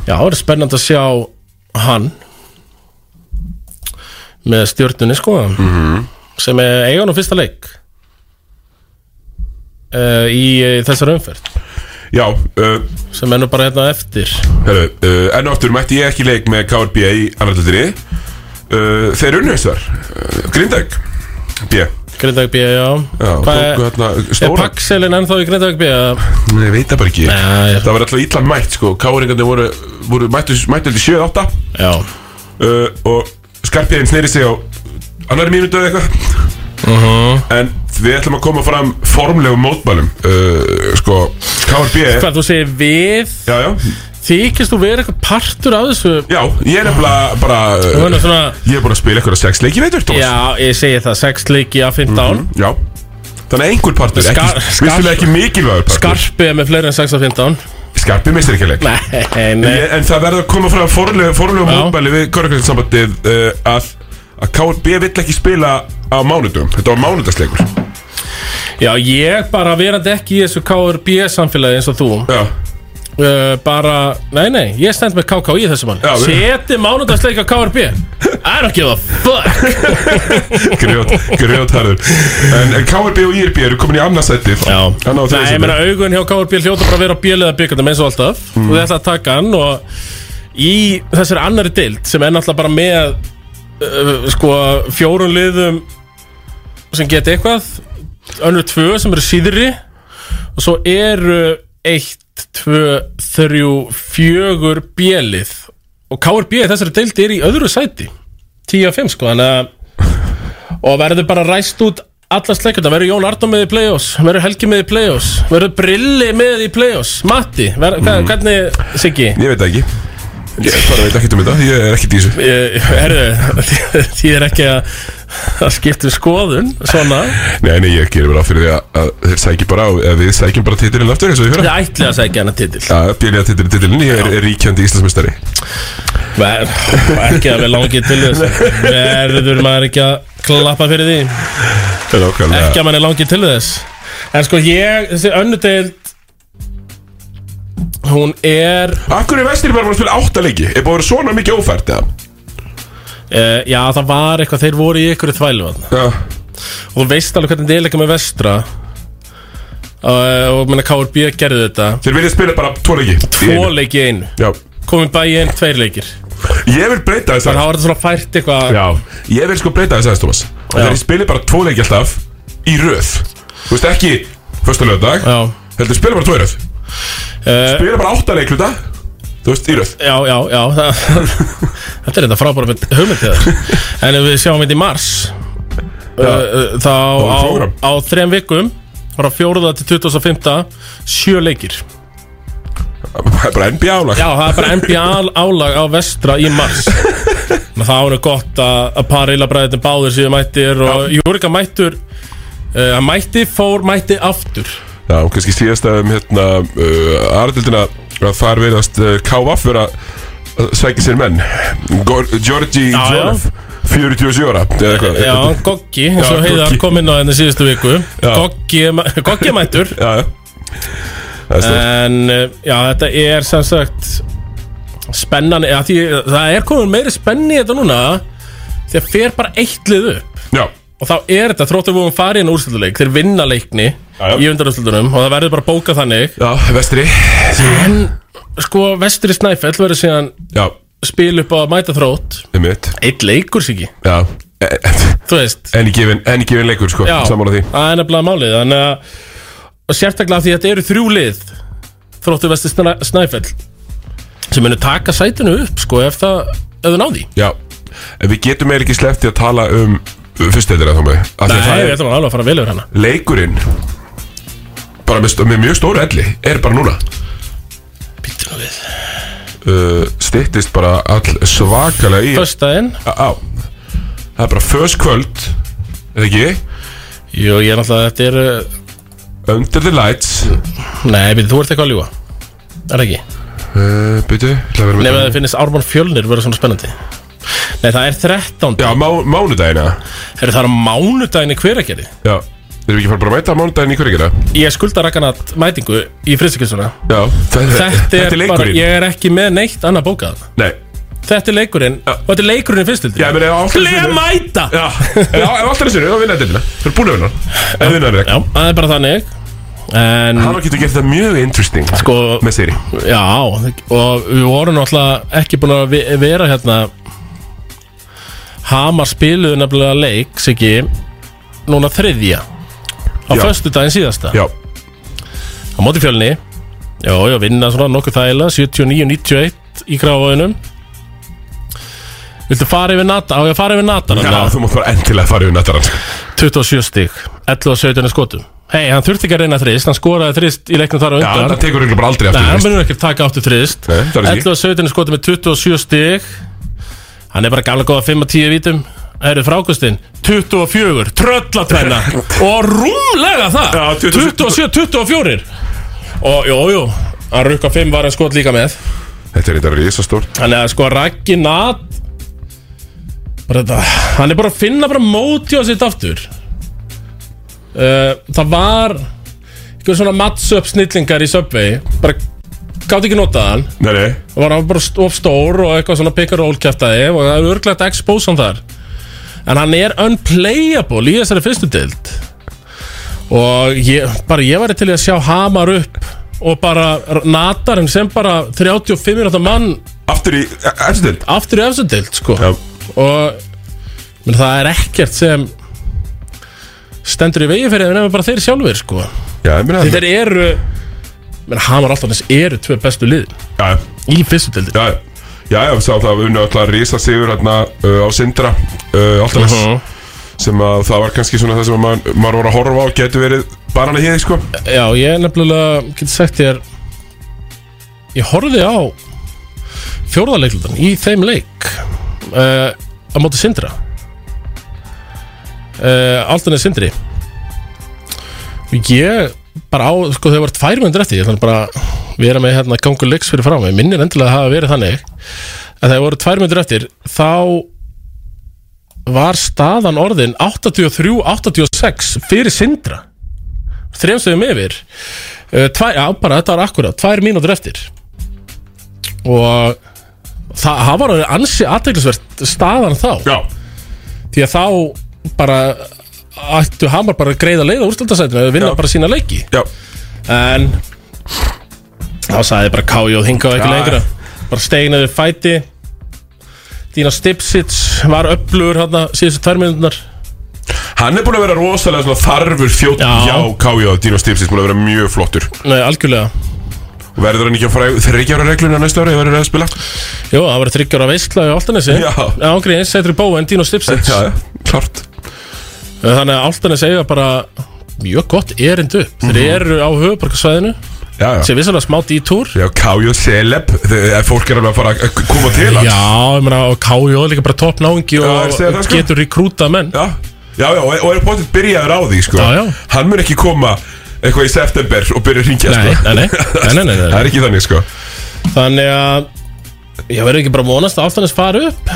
Speaker 1: Já, það er spennandi að sjá hann Með stjórnunni, sko
Speaker 2: Mhm.
Speaker 1: Sem er eigan á fyrsta leik uh, Í uh, þessar umferð
Speaker 2: Já uh,
Speaker 1: Sem er nú bara hérna eftir
Speaker 2: Herru, uh, enn og aftur mætti ég ekki í leik með KRB í annaðlutinni uh, Þeir unnu þess þar uh, Grindavík B
Speaker 1: Grindavík B, já
Speaker 2: Já,
Speaker 1: Hvað
Speaker 2: tóku
Speaker 1: er-
Speaker 2: hérna
Speaker 1: Er
Speaker 2: stóra
Speaker 1: Paxelin ennþá í Grindavík B? eða?
Speaker 2: Nei, ég veit það bara ekki Það var alltaf illa mætt sko Káringarnir voru, voru mættu, mættu til 7-8
Speaker 1: Já
Speaker 2: uh, Og skarpiðin sneri sig á annari mínútu eða eitthvað
Speaker 1: Mhm.
Speaker 2: En við ætlum að koma fram formlegum mótmælum uh, Sko, KRB
Speaker 1: Hvað þú segir við?
Speaker 2: Já, já
Speaker 1: Þykist þú vera eitthvað partur af þessu?
Speaker 2: Já, ég er nefnilega bara
Speaker 1: Þú erum svona
Speaker 2: Ég er búin að spila eitthvað sex leiki veitur, Thomas
Speaker 1: Já, ég segi það, 6 leiki af 15
Speaker 2: Mm, Já Þannig að einhver partur, ekki- vissulega ekki mikilvægur partur.
Speaker 1: Skarpið er með fleiri en 6 af 15
Speaker 2: Skarpið mistir ekki leik
Speaker 1: Nei,
Speaker 2: En,
Speaker 1: nei
Speaker 2: ég, en það verður að koma fram formlegum formlegu mótmæli við Körugrænssambandið uh, að, að KRB vill ekki spila á mánudum Þetta var mánudagsleikur
Speaker 1: Já, ég bara verandi ekki í þessu KRB samfélagi eins og þú Eh,
Speaker 2: Já
Speaker 1: bara, nei, nei, ég stend með KK í þessu mann
Speaker 2: Já, við-
Speaker 1: Seti mánudagsleika KRB I don't give a fuck
Speaker 2: Grjót, grjótharður en, en KRB og IRB eru komin í annarsættið Já
Speaker 1: Nei, ég meina augun hjá KRB hljóta bara að vera á bjöliða byggandum eins og alltaf
Speaker 2: Mm.
Speaker 1: og þið ætla að taka hann og í þessari annari deild sem er náttúrulega bara með uh, sko fjórun liðum sem geta eitthvað önnur tvö sem eru síðri og svo eru eitt, tvö, þrjú fjögur bjölið og KRB í þessari deild er í öðru sæti 10 af 5 sko þannig að og verður bara ræst út alla sleikur, það verður Jón Arnó með í play-offs verður Helgi með í play-offs, verður Brilli með í play-offs, Matti ver, hva, hvernig, Siggi?
Speaker 2: Ég veit það ekki Ég bara veit ekkert um þetta, ég er ekkert í þessu
Speaker 1: Eh, Herðu, því er ekki að, að skipta um skoðun svona,
Speaker 2: Nei, nei, ég gerir bara á fyrir því að, að þeir sækja bara á, að við sækjum bara titilinn aftur eins og við
Speaker 1: þið
Speaker 2: höfum
Speaker 1: ætli að segja hana titil
Speaker 2: Já, bjöliða titilinn, titilinn, ég er, er ríkjandi íslensmestari
Speaker 1: Ver, ekki að við langið til þess verður maður ekki að klappa fyrir því ekki að mann er langið til þess en sko ég, þessi önnudeild hún er
Speaker 2: Akkur er vestir bara búin að spila átta leiki Er búin að vera svona mikið ófært eða?
Speaker 1: Uh, já, það var eitthvað, þeir voru í ykkur þvælu
Speaker 2: Já.
Speaker 1: Og þú veist alveg hvernig deil eitthvað með vestra uh, Og menna KRB gerði þetta
Speaker 2: Þeir vilja spila bara tvo leiki
Speaker 1: Tvo leiki í einu
Speaker 2: Já.
Speaker 1: Komum bæ í einu, tveir leikir
Speaker 2: Ég vil breyta þess
Speaker 1: Þannig að það var þetta svona fært eitthvað
Speaker 2: Já, ég vil sko breyta þess aðeins, Thomas Að
Speaker 1: Já.
Speaker 2: þeir spili bara tvo leiki alltaf í röð Þú veist ekki, fyrsta lögdag Já Heldur spila bara tvo í röð
Speaker 1: Eh.
Speaker 2: Spila bara átta leikluta Þú veist, í röð
Speaker 1: Já, já, já það, Þetta er þetta frábæra með hugmyndið En ef við sjáum þetta í mars uh, uh, Þá
Speaker 2: er
Speaker 1: á,
Speaker 2: prógram.
Speaker 1: á þrem vikum Frá 4. til 25. Sjö leikir
Speaker 2: Það er bara NBA álag
Speaker 1: Já, það er bara NBA ál- álag á vestra í mars Þannig að Það er gott að, að parila bræðin báðir síðan mættir og Júrika mættur uh, hann mætti, fór, mætti aftur
Speaker 2: Já, og kannski síðast að um hérna uh, Aradildina að þar verðast uh, KVF vera að sækja sér menn Gor- Georgi
Speaker 1: Já, já.
Speaker 2: Jorf 47 ára eða eitthvað.
Speaker 1: Já, Goggi, eins og
Speaker 2: Já,
Speaker 1: heiðar
Speaker 2: Goggi.
Speaker 1: kom inn á henni síðustu viku
Speaker 2: Já.
Speaker 1: Goggi er mæ- Goggi er mættur
Speaker 2: Já, já Það er stórt.
Speaker 1: En uh, já, þetta er sem sagt spennan, já, því, það er komin meiri spenni í þetta núna því að fer bara eitt lið upp
Speaker 2: já.
Speaker 1: og þá er þetta þróttu við um farið en úrslutleik þeir vinna leikni í undarúrslutunum og það verður bara bókað þannig
Speaker 2: Já, vestri
Speaker 1: En sko, vestri snæfell verður síðan
Speaker 2: já.
Speaker 1: spil upp á að mæta þrótt
Speaker 2: Einmitt
Speaker 1: Eitt leikur sig ekki
Speaker 2: Já E,
Speaker 1: Þú veist
Speaker 2: Enni gefin, enni gefin leikur sko
Speaker 1: Já,
Speaker 2: Sammála því
Speaker 1: það er nefnilega málið Þannig að og sérstaklega af því að þetta eru þrjú lið þróttu vestri Sna- snæfell sem munu taka sætinu upp sko ef það, ef það náði
Speaker 2: Já En við getum eiginlega ekki sleppt í að tala um Fyrstættir að þá með Af því að
Speaker 1: Nei,
Speaker 2: það
Speaker 1: við
Speaker 2: er-
Speaker 1: ætlum alveg að fara vel yfir hana
Speaker 2: Leikurinn Bara með, stó- með mjög stóru elli Er bara núna
Speaker 1: losna við
Speaker 2: uh, Stittist bara all svakalega í
Speaker 1: Föstaðinn
Speaker 2: Á Það er bara föst kvöld Eða ekki?
Speaker 1: Jú, ég er náttúrulega Þetta er uh,
Speaker 2: Under the lights
Speaker 1: Nei, byrju, þú ert eitthvað að ljúa Er það ekki?
Speaker 2: uh, Byrju
Speaker 1: Nefn að það finnist Ármann Fjölnir vera svona spennandi Nei, það er 13
Speaker 2: Já, má, mánudagina
Speaker 1: Er það á mánudagina hver að gera?
Speaker 2: Já Þeir eru ekki fara bara að mæta á mánudaginn í hverju gera
Speaker 1: Ég skulda rakkanat mætingu í fristikilsuna
Speaker 2: Já, þetta,
Speaker 1: Þetta er, bara,
Speaker 2: leikurinn
Speaker 1: ég er ekki með neitt annað bókað
Speaker 2: Nei
Speaker 1: Þetta er leikurinn og þetta er leikurinn í fyrstildri
Speaker 2: Já, menn, ef allt er
Speaker 1: Lega mæta
Speaker 2: Já, Já, ef alltaf er sinni, þá vinna þetta Þú er búin að vinna Ef vinna þetta
Speaker 1: Já, það er bara þannig En
Speaker 2: Hann getur gert það mjög interesting
Speaker 1: Sko
Speaker 2: Með séri
Speaker 1: Já, og við vorum náttúrulega ekki búin að ve- vera hérna Hamar spiluðu nefnilega leik Siggi Núna þriðja Á
Speaker 2: Já.
Speaker 1: föstu daginn síðasta
Speaker 2: Já
Speaker 1: Á móti fjölni Já, já, vinna svona nokkuð þægilega 79-91 í gráðunum Viltu fara yfir nata? Á ég að fara yfir nata?
Speaker 2: Já, þú mátt bara endilega fara yfir nattarann
Speaker 1: 27 stík 11 og 17 skotum Hei, hann þurfti ekki að reyna þrist Hann skoraði þrist í leiknum þar á
Speaker 2: Já,
Speaker 1: undan
Speaker 2: það tekur ykkur bara aldrei
Speaker 1: Nei,
Speaker 2: aftur
Speaker 1: hann
Speaker 2: veist.
Speaker 1: munur ekki að taka áttu þrist
Speaker 2: Nei, það er
Speaker 1: 11
Speaker 2: ekki
Speaker 1: og 17 skotum með 27 stík Hann er bara gamla góða 5 og 10 vítum Það eru frákustinn 24, tröllatvenna Og rúmlega það
Speaker 2: Já, 27,
Speaker 1: 27, 24 Og jú, jú Hann rukka 5 var en skot líka með
Speaker 2: Þetta er þetta risastórt
Speaker 1: Þannig að sko Raggi Nat bara þetta, Hann er bara að finna bara móti á sitt aftur uh, Það var eitthvað svona match-up snillingar í Subway bara gátt ekki notað hann
Speaker 2: Nei, nei
Speaker 1: og var hann bara st- of stór og eitthvað svona pick and roll kæftæði og það er örglægt að expose hann þar en hann er unplayable í þessari fyrstu dild og ég, bara ég væri til í að sjá Hamar upp og bara r- natarinn sem bara 35 minúta mann
Speaker 2: aftur í e, efstu dild
Speaker 1: aftur í efstu dild sko Já. og menn, það er ekkert sem stendur í vegi fyrir þeim nefnir bara þeir sjálfur sko
Speaker 2: Já, ég meina
Speaker 1: Því þeir eru menn, Hamar Altanins eru tvö bestu lið
Speaker 2: Já,
Speaker 1: Í fyrstu dildi
Speaker 2: Já, já, já, sá það unnu alltaf risa sigur hérna uh, á Sindra uh, alltaf
Speaker 1: Mhm.
Speaker 2: sem að það var kannski svona það sem að maður, maður voru að horfa á getur verið barana hér, sko
Speaker 1: Já, ég er nefnilega, getur sagt þér Ég horfði á Fjórðarleiklutan Í þeim leik uh, Á móti Sindra uh, Aldan er Sindri Og Ég bara á, sko þau var tvær myndir eftir Ég ætla bara að vera með hérna gangu leiks fyrir frá mig Minnir endilega að hafa verið þannig Að þegar voru tvær myndir eftir Þá var staðan orðin 83-86 fyrir Sindra þremstöðum yfir uh, tvær, já, bara þetta var akkurat, tvær mínútur eftir og það, það var alveg ansi aðteglisvert staðan þá
Speaker 2: já.
Speaker 1: því að þá bara ættu Hamar bara að greiða leið á úrstöldasætinu eða vinna bara sína leiki
Speaker 2: já.
Speaker 1: en þá sagði bara Kájóð hingað ekki
Speaker 2: Já.
Speaker 1: lengra bara stegnaði fæti Dína Stipsits var öflugur hérna síðustu tvær mínúturnar
Speaker 2: Hann er búin að vera rosalega svona þarfur fjótt
Speaker 1: Já.
Speaker 2: Já, Kája og Dino Stipsis búin að vera mjög flottur
Speaker 1: Nei, algjörlega
Speaker 2: Verður hann ekki að fara þryggja ára regluna næsta ára ef verður að spila?
Speaker 1: Jó, það var þryggjára veistla í Áltanesi
Speaker 2: Já.
Speaker 1: Já, gríns, Eitri Bóen, Dino Stipsins
Speaker 2: Já, klart
Speaker 1: Þannig að Áltanes eiga bara mjög gott erind upp Þeir
Speaker 2: Mhm.
Speaker 1: eru á höfuborgarsvæðinu
Speaker 2: Já, já
Speaker 1: sem vissalega smá dítúr
Speaker 2: Já, Kája og Celeb, þegar fólk er alveg að fara að koma til hans
Speaker 1: Já, ég meina, og KJ er líka bara toppnáðingi
Speaker 2: Já, ég
Speaker 1: og,
Speaker 2: segi það,
Speaker 1: og
Speaker 2: sko.
Speaker 1: getur rekrútað menn
Speaker 2: Já, Já, já, og og er potið byrjaður á því, sko
Speaker 1: Já, já.
Speaker 2: Hann mun ekki koma eitthvað í september og byrja að ringja,
Speaker 1: Nei, nei,
Speaker 2: sko
Speaker 1: nei, nei, nei, nei, nei.
Speaker 2: Það er ekki þannig, sko
Speaker 1: Þannig að ég verður ekki bara að vonast að Áltanes fari upp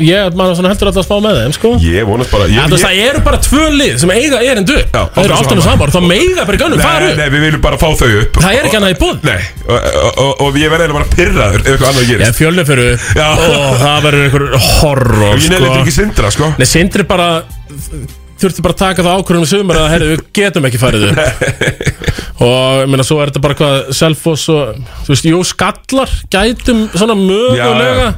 Speaker 1: Ég, maður svona heldur alltaf að spá með þeim, sko
Speaker 2: Ég vonast bara ég,
Speaker 1: En þú veist, það eru bara tvö lið sem eiga erind upp
Speaker 2: Já,
Speaker 1: Það eru Áltanes Hamar, það meiga fyrir gönnum fara
Speaker 2: Nei,
Speaker 1: upp
Speaker 2: nei, við viljum bara fá þau upp
Speaker 1: Það er ekki annað í búð
Speaker 2: Nei, og, og, og, og ég verði eiginlega bara pirraður ef eitthvað annað gerist
Speaker 1: Ég fjölni fyrir
Speaker 2: Já.
Speaker 1: og það verður einhver horror
Speaker 2: Ég nefnir ekki sindra, sko
Speaker 1: Nei, Sindri bara þurfti bara að taka það ákvörðum í sumar að herri, við getum ekki farið upp og ég meina, svo er þetta bara hvað Selfoss og, þú veist, jú, skallar gætum svona mögulega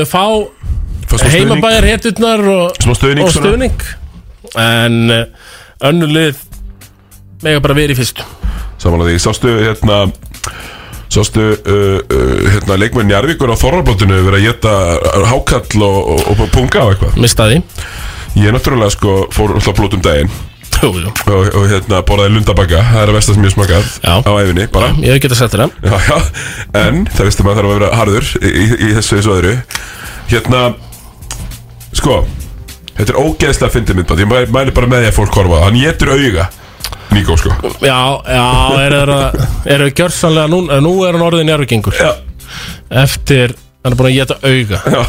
Speaker 1: ef þau
Speaker 2: Fá smá
Speaker 1: fá
Speaker 2: stuðning.
Speaker 1: heimabæjar hetutnar og,
Speaker 2: Smá stuðning,
Speaker 1: og
Speaker 2: svona.
Speaker 1: stuðning en eh, önnur lið mega bara verið í fyrstu
Speaker 2: Samanlega því, sástu hérna Sástu uh, uh, hérna, leikmenn Jarvíkur á Þorrablótinu verið að geta hákall og, og, og punga á eitthvað
Speaker 1: Mistaði
Speaker 2: Ég náttúrulega sko fór alltaf blót um daginn
Speaker 1: Jú, jú.
Speaker 2: Og, og hérna borðaði lundabakka Það er að versta sem ég hef smakað já. á æfinni bara.
Speaker 1: Ég hef getað sett þér hann
Speaker 2: já, já. En það veist að maður þarf að vera harður í, í, í þessu þessu öðru Hérna Sko Þetta er ógeðslega fyndið myndband Ég mæ- mæli bara með því að fólk horfa á það. Hann getur auga Níko sko
Speaker 1: Já, já, eru þeir að Eru þeir gjörsanlega nú eh, Nú er hann orðin erfingur
Speaker 2: Já
Speaker 1: Eftir Hann er búin að geta auga
Speaker 2: Já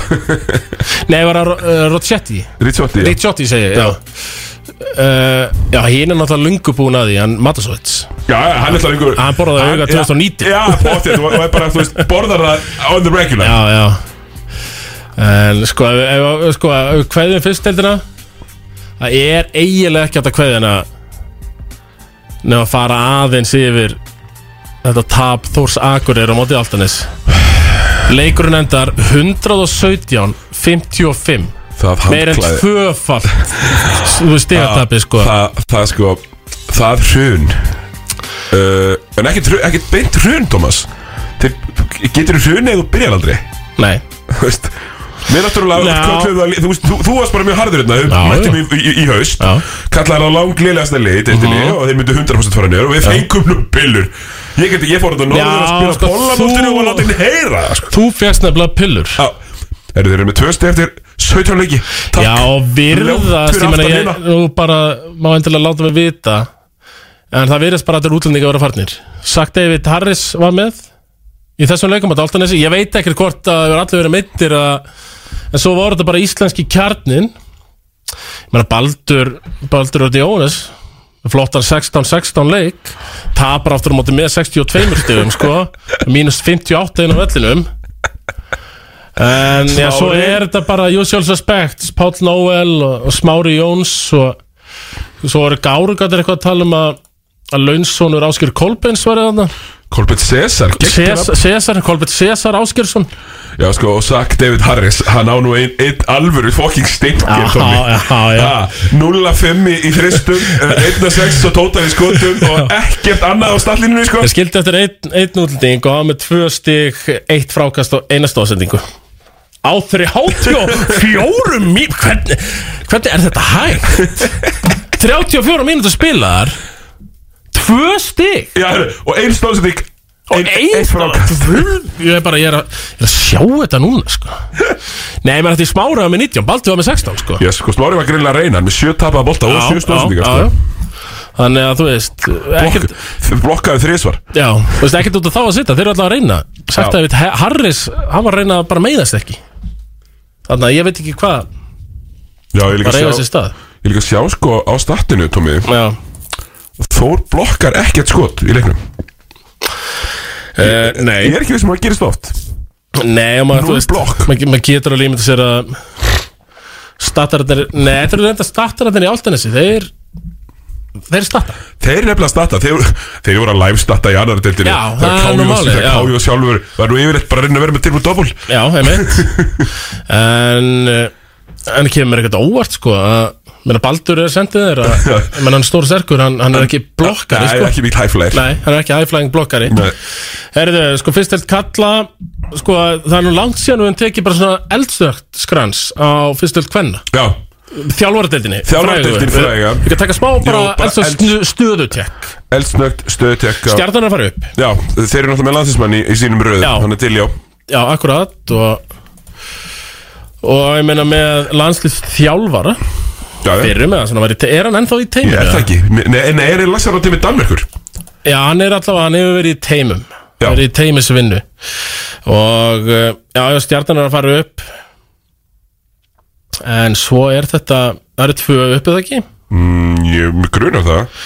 Speaker 1: Nei, var það uh, Rochetti
Speaker 2: Ricciotti, já.
Speaker 1: Ricciotti segi ég,
Speaker 2: Já.
Speaker 1: já Uh, já, hinn er náttúrulega lungu búin að því Hann Matasovits
Speaker 2: Já, já, hann er alltaf lengur
Speaker 1: Hann borðaði auga 2019
Speaker 2: Já, potið Og og er bara, þú veist, borðar það on the regular
Speaker 1: Já, já En sko, ef, ef, sko ef við kveðum fyrstdeildina Það er eiginlega ekki hægt að kveðina Nefn að fara aðeins yfir Þetta tap Þórs Akurir á móti Altanis Leikurinn endar 117-55
Speaker 2: Það
Speaker 1: Meir en
Speaker 2: handklæði.
Speaker 1: tvöfald Þú stigatappi sko
Speaker 2: það, það sko Það hrun uh, En ekkert hrun- ekkert beint hrun, Thomas Þeir, Getur hrun eða þú byrjar aldrei?
Speaker 1: Nei
Speaker 2: Þú veist Mér náttúrulega,
Speaker 1: Já.
Speaker 2: þú, þú, þú, veist, þú, þú varst bara mjög harður hérna, þú mættum í, í, í haust Kallaði hann á langlilegasta leið, deildinni
Speaker 1: Mhm.
Speaker 2: og þeir myndu 100% fara niður og við fengum nú pillur Ég, get, ég fór þetta norður að
Speaker 1: Já,
Speaker 2: spila
Speaker 1: sko,
Speaker 2: sko, bollamóttinu
Speaker 1: þú-
Speaker 2: og láta henni heyra það, sko.
Speaker 1: Þú fjast nefnilega pillur
Speaker 2: Já, eru þeir eru með tvö stið eftir 17 leiki Takk.
Speaker 1: Já, virðast,
Speaker 2: Ljótur
Speaker 1: ég meina
Speaker 2: aftan hérna.
Speaker 1: ég
Speaker 2: hina.
Speaker 1: nú bara má endilega láta mig vita en það virðast bara að þetta er útlendinga að vera farnir Sagt David Harris var með í þessum leikum að Daltanesi, ég veit ekkert hvort að það hefur allir verið meittir að en svo voru þetta bara íslenski kjarnin ég meina Baldur Baldur og Dionis flottar 16-16 leik tapar aftur á móti með 62 stigum sko, mínus 58 inn á vellinum En já, svo
Speaker 2: Smári.
Speaker 1: er þetta bara usual suspects Páll Nóel og, og Smári Jóns og svo eru gárugatir eitthvað að tala um að að launsónur Áskjör Kolbens var eða
Speaker 2: Kolbjörn Cesar geggjur
Speaker 1: Cesar, Cesar, Kolbjörn Cesar Áskjörsson
Speaker 2: Já sko og sagt David Harris Hann á nú einn ein alvöru fokking
Speaker 1: Já,
Speaker 2: steinker Tommy.
Speaker 1: já, já.
Speaker 2: Ha, 0-5 í, í þristum eh, 1-6 og tótaði skotum Og ekkert annað á stallinu sko
Speaker 1: Ég skildi eftir einn ein útlending og hafa með tvö stig, eitt frákast og einast ásendingu Á 34 mím hvernig, hvernig er þetta hægt? 34 mínútur spilaðar Tvö stig
Speaker 2: Já, og einn stóðsending
Speaker 1: Og einn stóðsending Ég er bara, ég er að, ég er að sjá þetta núna sko. Nei, maður þetta í smára með 19 Baldur var með 16 sko.
Speaker 2: Já sko Smári var greinlega að reyna hann Með sjö tapaða bolta og
Speaker 1: Já,
Speaker 2: sjö stóðsendingar
Speaker 1: já, já.
Speaker 2: sko.
Speaker 1: Þannig að þú veist ekkert,
Speaker 2: Blokk- sko. Blokkaði þrisvar
Speaker 1: Já, þú veist, ekkert út af þá að sitja, þeir eru alltaf að reyna Sagt
Speaker 2: Já.
Speaker 1: að við, Harris, hann var að reyna að bara meiðast ekki Þannig að ég veit ekki hvað
Speaker 2: Já, ég líka
Speaker 1: Bara eiga
Speaker 2: að
Speaker 1: sér
Speaker 2: sjá
Speaker 1: stað.
Speaker 2: Ég líka að sjá sko á startinu Tómi
Speaker 1: Já
Speaker 2: Þór blokkar ekkert skot í leiknum
Speaker 1: uh, Nei
Speaker 2: Ég er ekki vissum að það gerist oft
Speaker 1: Nei, og maður,
Speaker 2: Núll
Speaker 1: þú veist, maður mað getur alveg ímynda sér að Statararnir, nei, þetta eru reynda statararnir í áltanesi Þeir, þeir statar
Speaker 2: Þeir er nefnilega að starta, þeir, þeir voru að live starta í annar deildinu
Speaker 1: Já, það er nú málið,
Speaker 2: Það
Speaker 1: já.
Speaker 2: kájóð sjálfur, var nú yfirleitt bara að reyna að vera með tilbúið dobbul
Speaker 1: Já, einmitt En, eh, en kemur mér ekkert á óvart, sko að Menna Baldur er sendið þér að, menn hann er stór serkur, hann, hann er ekki blokkari,
Speaker 2: Nei,
Speaker 1: sko
Speaker 2: ekki mýtt hæflæðir
Speaker 1: Nei, hann er ekki high-flying blokkari Herðu, sko fyrst held kalla Sko það er nú langt síðan við höfum tekið bara svona eldsögt skrans á fyrst held kvenna
Speaker 2: Já
Speaker 1: Þjálfaradeildinni
Speaker 2: Þjálfaradeildin fræga.
Speaker 1: Við kan taka smá bara,
Speaker 2: bara
Speaker 1: eldsögt
Speaker 2: elds-
Speaker 1: elds... stöðutek
Speaker 2: Eldsnögt, stöðutekka
Speaker 1: Stjarnan er að fara upp
Speaker 2: Já, þeir eru náttúrulega með landsinsmann í, í sínum röðum
Speaker 1: Já.
Speaker 2: Hann er til, já
Speaker 1: Já, akkurat og, og ég meina með landslið þjálfara
Speaker 2: Já, já.
Speaker 1: Fyrir með það, svona var í te- er hann ennþá í
Speaker 2: Ég
Speaker 1: teiminu?
Speaker 2: er það ekki, Me- nei, nei, er lagsar á til með Danmerkur
Speaker 1: Já, hann er allavega, hann hefur verið í teimum Já. verið í teimisvinnu og uh, já, já, stjarnan er að fara upp en svo er þetta það eru tvö upp eða ekki
Speaker 2: mm, Ég mig grunar það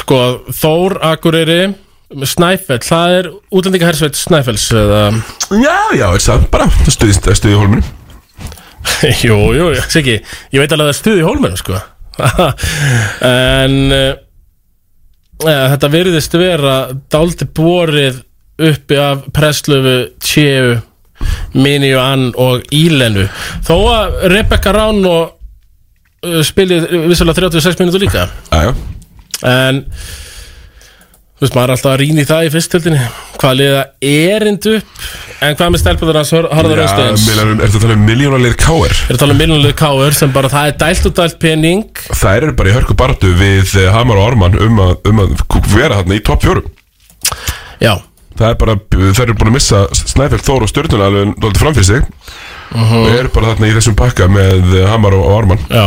Speaker 1: sko, Þór, Akureyri Snæfell, það er útlendingahersveit Snæfells eða
Speaker 2: Já, já, er það bara, það stuðist, það stuði hólminu
Speaker 1: Jú, jú, Siggi, ég veit alveg að það er stuð í hólmenum sko en uh, eh, þetta virðist vera dálti borið uppi af presslöfu tjeu Minju Ann og Ílenu þó að Rebecca Rán og eh, uh, spilið vissulega 36 mínútur líka
Speaker 2: Já, já
Speaker 1: en Þú veist, maður er alltaf að rýna í það í fyrstöldinni Hvað liða erind upp En hvað með stelpunar hans Harðar Östeins
Speaker 2: Já, er þetta að tala um miljónalið káir?
Speaker 1: Er að tala um miljónalið káir sem bara það er dælt og dælt pening
Speaker 2: Þær eru bara í hörku baratu við eh, Hamar og Orman um að, um að k- vera þarna í topp fjórum
Speaker 1: Já
Speaker 2: Það er bara, þær eru búin að missa Snæfell Þór og Stjörnuna alveg dálítið framfyrir sig og eru bara þarna í þessum pakka með eh, Hamar og, og Orman
Speaker 1: Já,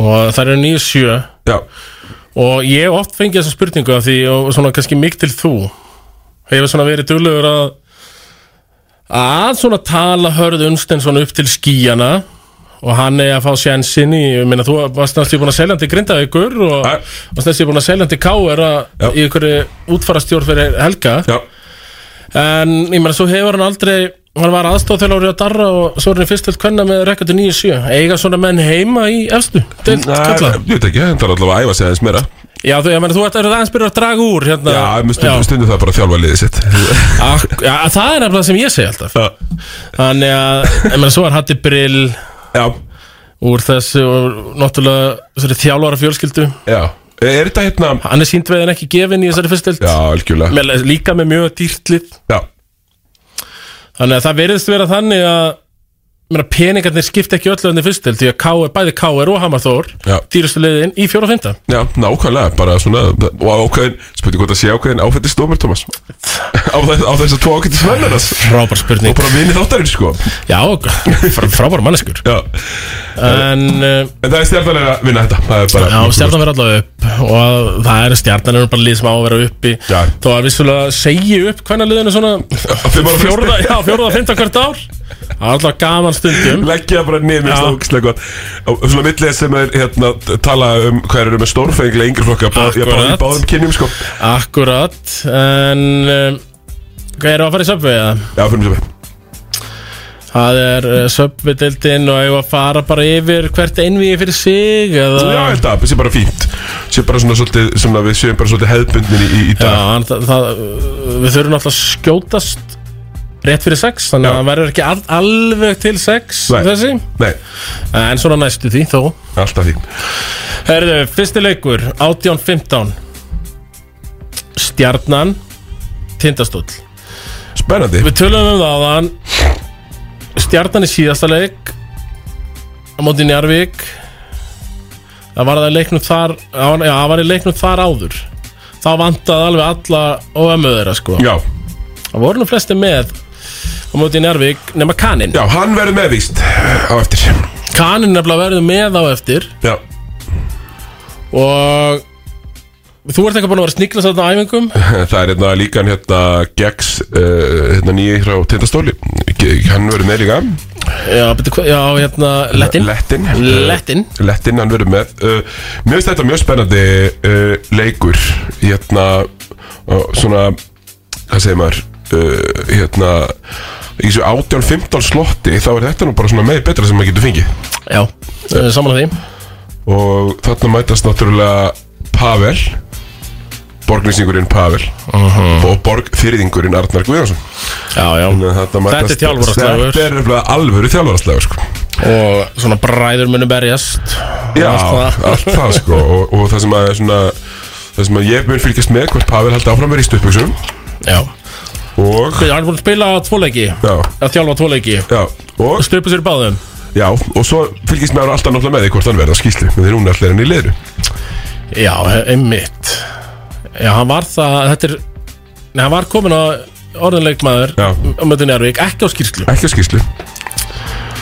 Speaker 1: og það eru nýju sjö
Speaker 2: Já
Speaker 1: Og ég hef oft fengið þessa spurningu af því, og svona kannski mikið til þú Hefur svona verið duglegur að að svona tala hörð Unstensson upp til skíjana og hann er að fá sénsinn í ég meina þú varst næstu búin að selja hann til Grindavíkur og varst næstu búin að selja hann til KR að- í einhverju útfarastjórn fyrir Helga
Speaker 2: Já.
Speaker 1: en ég meina svo hefur hann aldrei hann var aðstóð þegar árið að darra og svo er hann fyrstöld kvenna með rekkardu 9-7 eiga svona menn heima í efstu deild
Speaker 2: Nei,
Speaker 1: karla?
Speaker 2: ég veit ekki, það er allavega að æfa sig aðeins meira
Speaker 1: Já, þú, ég meina, þú ert að aðeins byrja að draga úr hérna.
Speaker 2: Já, um mér stundum, stundum það bara að þjálfa liðið sitt
Speaker 1: Ak já, það er nefnilega sem ég segi alltaf Þannig að, ég meina, svo er Hatti Brill
Speaker 2: Já
Speaker 1: Úr þessu, og náttúrulega, þessari þjálfara fjölskyldu
Speaker 2: Já, er þetta hérna
Speaker 1: Hann er síndveiðin ekki gefin í þessari fyrstild
Speaker 2: Já, algjörlega
Speaker 1: með, Líka með mjög dýrtlið
Speaker 2: Já
Speaker 1: Þannig að það veriðst vera þannig að ég meina, peningarnir skipta ekki öllu þannig fyrstild Því að KR, bæði KR og Hamarþór
Speaker 2: Já.
Speaker 1: Dýrustu leiðin í fjóra og fymta
Speaker 2: Já, nákvæmlega, bara svona Og ákveðin, spurning hvort það sé ákveðin áfættist dómur, Thomas Á, þess, á þess að tvo ákveðin svennaras
Speaker 1: Frábær spurning
Speaker 2: Og bara vinni þáttarinn, sko
Speaker 1: Já, frá, frábær manneskur
Speaker 2: Já
Speaker 1: En, en
Speaker 2: það er stjarnan er að vinna þetta Það er bara
Speaker 1: Já, stjarnan verður allavega upp og það er stjarnan er bara lið sem á að vera uppi já. þó að vissulega segja upp hvernig liðinu svona
Speaker 2: fimm ára
Speaker 1: fjórða,
Speaker 2: fresti.
Speaker 1: já, fjórða, fymta hvert ár það er alltaf gaman stundum
Speaker 2: Leggja bara niður, mér finnst það ógislega gott Og Svona millið sem er, hérna, tala um Hvað eru með stórfenglega yngri flokka bá- Ég bara í
Speaker 1: Akkurat.
Speaker 2: báðum kynjum, sko
Speaker 1: Akkurat en um, hvað eru að fara í söpvið?
Speaker 2: Já, fyrir mig söpvið
Speaker 1: Það er uh, söpviðdeildin og eigum að fara bara yfir hvert einvið fyrir sig eða
Speaker 2: Já, ég held að, það sé bara fínt Sé bara svona svolítið, svona við séum bara svolítið hefðbundin í, í
Speaker 1: Já,
Speaker 2: dag
Speaker 1: hann, það, það, við þurfum náttúrulega að skjótast rétt fyrir sex þannig að hann verður ekki al, alveg til sex
Speaker 2: Nei,
Speaker 1: þessi
Speaker 2: nei.
Speaker 1: en svona næstu því þó
Speaker 2: Alltaf því
Speaker 1: Herðu, fyrsti leikur 18-15 Stjarnan Tindastóll
Speaker 2: Spennandi
Speaker 1: Við tölum um það áðan Stjarnan í síðasta leik á móti Njarvík það var það í leiknum þar já, já, það var í leiknum þar áður þá vantaði alveg alla og ömmu þeirra sko
Speaker 2: Já
Speaker 1: Það voru nú flesti með á móti Njarvík nema Kanin
Speaker 2: Já, hann verður meðvíst eh, á eftir
Speaker 1: Kanin nefnilega verður með á eftir
Speaker 2: Já
Speaker 1: Og Þú ert eitthvað búin að vera að sniglast þarna á æfingum
Speaker 2: Það er hérna líka hann hérna Gex, uh, hérna nýji frá Tindastóli Ge- Hann verður með líka
Speaker 1: Já, betur hvað, já, hérna, Lettin
Speaker 2: Lettin
Speaker 1: Lettin
Speaker 2: Lettin, hann verður með uh, Mér finnst þetta mjög spennandi uh, leikur Hérna, uh, svona, hvað segir maður uh, Hérna, í þessu 18-15 slotti Þá er þetta nú bara svona með betra sem maður getur fengið
Speaker 1: Já, uh, samanlega því
Speaker 2: Og þarna mætast náttúrulega Pavel Borglýsingurinn Pavel
Speaker 1: Mhm.
Speaker 2: Og borgfyrðingurinn Arnar Guðjónsson
Speaker 1: Já, já
Speaker 2: Þetta,
Speaker 1: Þetta
Speaker 2: mætast-
Speaker 1: er þjálfaraslegur.
Speaker 2: Þetta er nefnilega alvöru þjálfaraslegur sko.
Speaker 1: Og svona bræður munu berjast og
Speaker 2: Já,
Speaker 1: allt það.
Speaker 2: allt það sko og, og það sem að er svona Það sem að ég mun fylgjast með hvort Pavel haldi áfram með ríkstuðbjöksum
Speaker 1: Já
Speaker 2: Og
Speaker 1: Hann er búin að spila tvoleiki
Speaker 2: Já
Speaker 1: Að þjálfa tvoleiki
Speaker 2: Já Og
Speaker 1: Stupa sér í báðum
Speaker 2: Já, og svo fylgjast með hann alltaf náttúrulega með því hvort hann verða á skýslu Þegar hún er alltaf hann í liðru
Speaker 1: Já, einmitt Já, hann var það, þetta er Nei, hann var komin á orðinleikmaður Já Á mötunni Arvík, ekki á skýrslu
Speaker 2: Ekki á skýrslu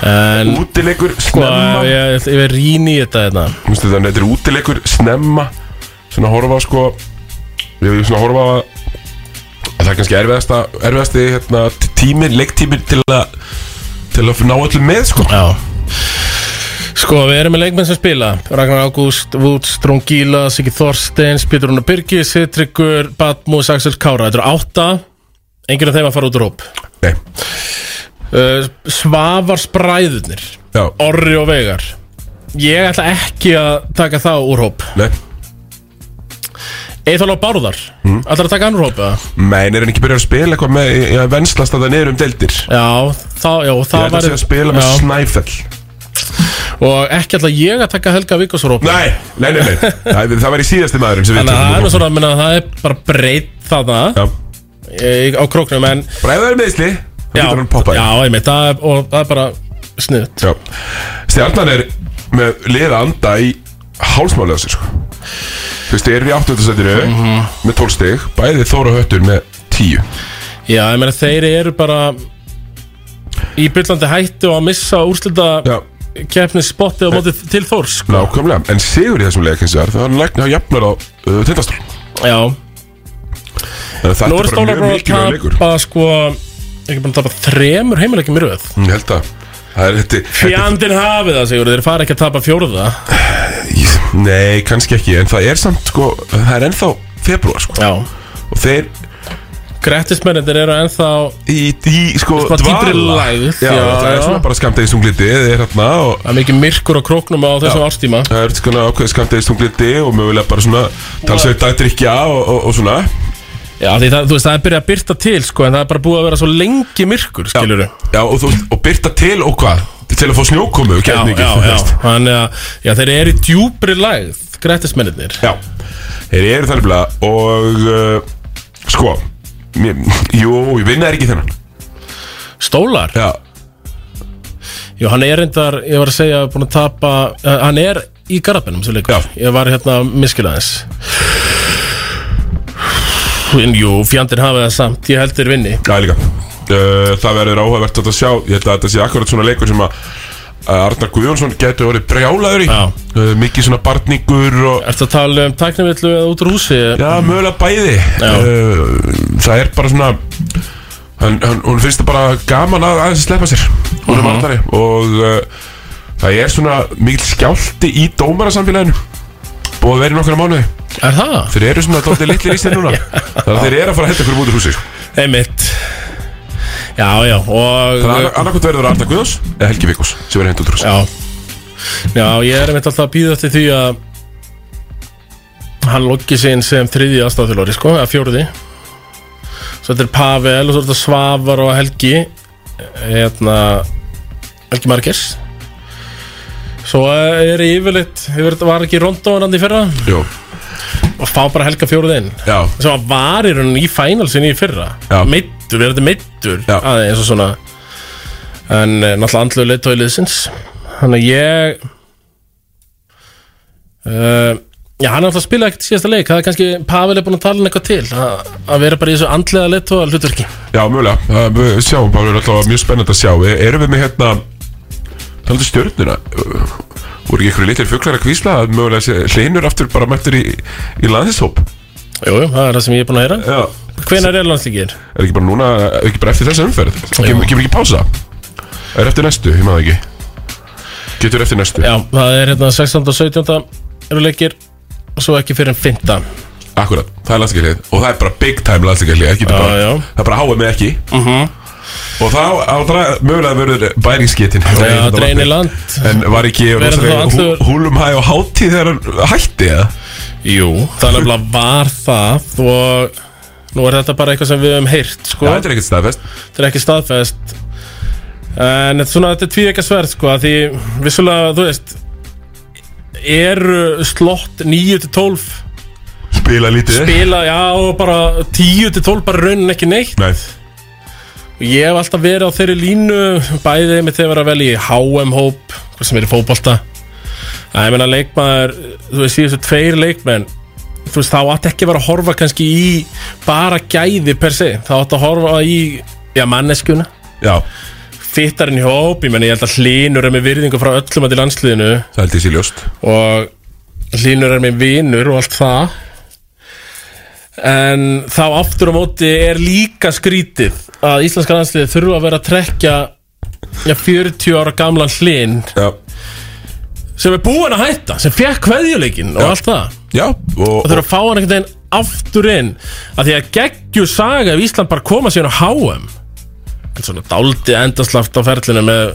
Speaker 1: En
Speaker 2: Útileikur
Speaker 1: snemma Sko, ég, ég, ég rýni í þetta hérna. þetta
Speaker 2: Þú veist þetta, þetta er útileikur snemma Svona horfa á, sko Ég vil svona horfa á að að Það er kannski erfiðasta, erfiðasti hérna, t- tíminn, leiktíminn til að Til að ná öllum með sko
Speaker 1: Já Sko, við erum með leikmenn sem spila Ragnar Ágúst, Woods, Drongíla, Siggi Þorsteins, Pétur Rúnar Byrgis, Sittryggur, Batmús, Axel Kára Þetta eru átta Enginn af þeim að fara út úr hóp
Speaker 2: Nei
Speaker 1: uh, Svavar Spræðunir
Speaker 2: Já.
Speaker 1: Orri og Vegar Ég ætla ekki að taka þá úr hóp
Speaker 2: Nei
Speaker 1: Eithal á Bárðar
Speaker 2: Hmm?
Speaker 1: mm. Ætlar að taka hann úr hóp eða?
Speaker 2: Mein, er hann ekki byrjað að spila eitthvað með í- í að venslast að það niður um deildir?
Speaker 1: Já, þá, já, það
Speaker 2: Ég ætla að
Speaker 1: væri-
Speaker 2: segja að spila með
Speaker 1: Já.
Speaker 2: Snæfell
Speaker 1: Og ekki ætla ég að taka Helga Víkos úr hóp
Speaker 2: Nei, nei, nei, nei. Það, það væri síðasti maðurinn sem við
Speaker 1: Þannig að það er nú
Speaker 2: tökum
Speaker 1: svona, menna, það er bara breytt þarna í- á króknum en
Speaker 2: bara ef það er meðsli
Speaker 1: þá getur hann poppað já, einmitt, það er, og það er bara sniðt
Speaker 2: já. Stjarnan er með liða anda í hálsmálið á sér sko. Þú veist, þeir eru í 8. setinu
Speaker 1: Mhm.
Speaker 2: með 12 stig, bæði Þóra og Höttur með 10
Speaker 1: Já, ég meina þeir eru bara í byrlandi hættu að missa úrslita keppni spotti á móti til Þórs sko.
Speaker 2: Nákvæmlega, en sigur í þessum leik hins vegar, það var læknir á jafnlar á uh, tindastól
Speaker 1: Já
Speaker 2: Þetta
Speaker 1: Nú er
Speaker 2: er bara
Speaker 1: stólar
Speaker 2: mjög
Speaker 1: bara að
Speaker 2: mikilvæg leikur
Speaker 1: tapa sko ekki bara að tapa þremur heimilegjum í röð
Speaker 2: Ég held að það er þetta
Speaker 1: Fjandinn hafið það sigur, þeir fara ekki að tapa fjórða
Speaker 2: Nei, kannski ekki, en það er samt sko, það er ennþá februar sko
Speaker 1: Já
Speaker 2: Og þeir
Speaker 1: Grettismennir eru ennþá
Speaker 2: í, í sko
Speaker 1: dýpri
Speaker 2: dvala.
Speaker 1: lægð
Speaker 2: Já, það er svona bara skamdegistungliti, þeir er hérna og
Speaker 1: Það er mikið myrkur á króknum á þessum
Speaker 2: Já.
Speaker 1: árstíma
Speaker 2: Það er svona ákveðið skamdegistungliti og mögulega bara svona talsveit dagdrykja og, og, og svona
Speaker 1: Já, því það, þú veist, það er byrjað að byrta til sko en það er bara búið að vera svo lengi myrkur skilur já,
Speaker 2: já, og, þú, og byrta til og hvað? Til að fá snjókomu,
Speaker 1: Já,
Speaker 2: gerðin ekki
Speaker 1: já, já, þannig að já, þeir eru í djúpri lægð Grettismennir
Speaker 2: Já, þeir eru það nefnilega og uh, sko mér, jú, ég vinna er ekki þennan
Speaker 1: Stólar?
Speaker 2: Já
Speaker 1: Jú, hann er reyndar, ég var að segja, búin að tapa uh, Hann er í garabinum sem leikur Já. Ég var hérna miskilaðins En jú, fjandinn hafa það samt Ég heldur vinni
Speaker 2: Já, líka uh, Það verður áhugavert að sjá Ég held að þetta sé akkurat svona leikur sem að að Arnar Guðjónsson getur orðið brjálaður í uh, Mikið svona barningur og
Speaker 1: Ertu að tala um tæknivillu eða út úr húsi?
Speaker 2: Já, mögulega bæði uh, Það er bara svona hann, hann, Hún finnst það bara gaman að aðeins sleppa sér Hún er
Speaker 1: Mhm.
Speaker 2: martari Og uh, það er svona mikil skjálti í dómarasamfélaginu Búið að vera í nokkra mánuði
Speaker 1: Er það?
Speaker 2: Þeir eru svona dálítið litlir í sér núna Þannig að þeir eru að fara að henda ykkur út úr húsi sko.
Speaker 1: Einmitt Já, já, og
Speaker 2: Þannig að annarkvæmt verður Arnar Guðjóns eða Helgi Vikus sem verður henda út úr húsi
Speaker 1: Já Já, ég er einmitt alltaf að býða eftir því að hann lokki sig inn sem þriði aðstafþjólari, sko, eða fjóruði Svo þetta er Pavel og svo er þetta Svavar og Helgi eh, hérna Helgi Margers Svo er yfirleitt, yfirleitt var ekki Rondónandi í fyrra
Speaker 2: Jó.
Speaker 1: og fá bara Helga fjóruði inn
Speaker 2: Já.
Speaker 1: sem hann var í rauninni í fænalsinni í fyrra
Speaker 2: Já.
Speaker 1: meittur, við erum þetta meittur aðeins og svona en eh, náttúrulega andlu leitói liðsins þannig að ég uh, já, hann er alltaf að spila ekkert síðasta leik það er kannski, Pavel er búin að tala hann eitthvað til að, að vera bara í þessu andlega leitóa hlutverki
Speaker 2: Já, mögulega, Það- við sjáum bara verður alltaf mjög spennandi að sjá E- Erum við með hérna Talandi um stjörnuna uh, Voru ekki ykkur litlir fuglar að kvísla að mögulega sé hlinur aftur bara mættur í, í landinshóp
Speaker 1: Jújú, það er það sem ég er búin að heyra
Speaker 2: Já.
Speaker 1: Hvenær er landslíkir?
Speaker 2: Er ekki bara núna, er ekki bara eftir þessa umferð Kem- Kemur ekki pása Er eftir næstu, ég maður ekki Getur eftir næstu
Speaker 1: Já, það er hérna 16. og 17. eru leikir og svo ekki fyrir en 15.
Speaker 2: Akkurat, það er landsleikarlið og það er bara big time landsleikarlið ekki
Speaker 1: Já,
Speaker 2: bara,
Speaker 1: já. Mhm.
Speaker 2: það er bara háið með ekki -huh. og þá á dra- mögulega verður bæringsgetin
Speaker 1: Já, drein í land.
Speaker 2: en var ekki
Speaker 1: Verður þá allur-
Speaker 2: húlum hæ og hátíð þegar hann hætti eða?
Speaker 1: Jú, það er nefnilega var það og nú er þetta bara eitthvað sem við höfum heyrt sko.
Speaker 2: Já, þetta er ekkert staðfest
Speaker 1: Þetta er ekki staðfest en þetta er svona, þetta er tvíekja sverð sko, að því vissulega, þú veist eru slott 9-12
Speaker 2: Spila lítið
Speaker 1: spila, já, og bara 10-12 bara raunin ekki neitt
Speaker 2: Nei.
Speaker 1: og ég hef alltaf verið á þeirri línu bæði með þeir vera vel í HM-hóp hvað sem er í fótbolta að ég meina leikmaður, þú veist, síðustu tveir leikmenn þú veist, þá átt ekki að vera að horfa kannski í bara gæði per se, þá átt að horfa í já, manneskuna
Speaker 2: já.
Speaker 1: fittarinn í hóp, ég meina ég held að hlínur er með virðingu frá öllum að til landsliðinu
Speaker 2: það held ég sér ljóst
Speaker 1: og hlínur er með vinur og allt það en þá aftur á móti er líka skrítið að íslenska landsliðið þurfa að vera að trekja já, 40 ára gamlan hlín
Speaker 2: já.
Speaker 1: sem er búin að hætta sem fekk kveðjuleikin og allt það
Speaker 2: já, og,
Speaker 1: og þurfa að fá hann einhvern veginn aftur inn að því að geggju saga ef Ísland bara koma síðan á HM en svona dáldi endaslaft á ferlinu með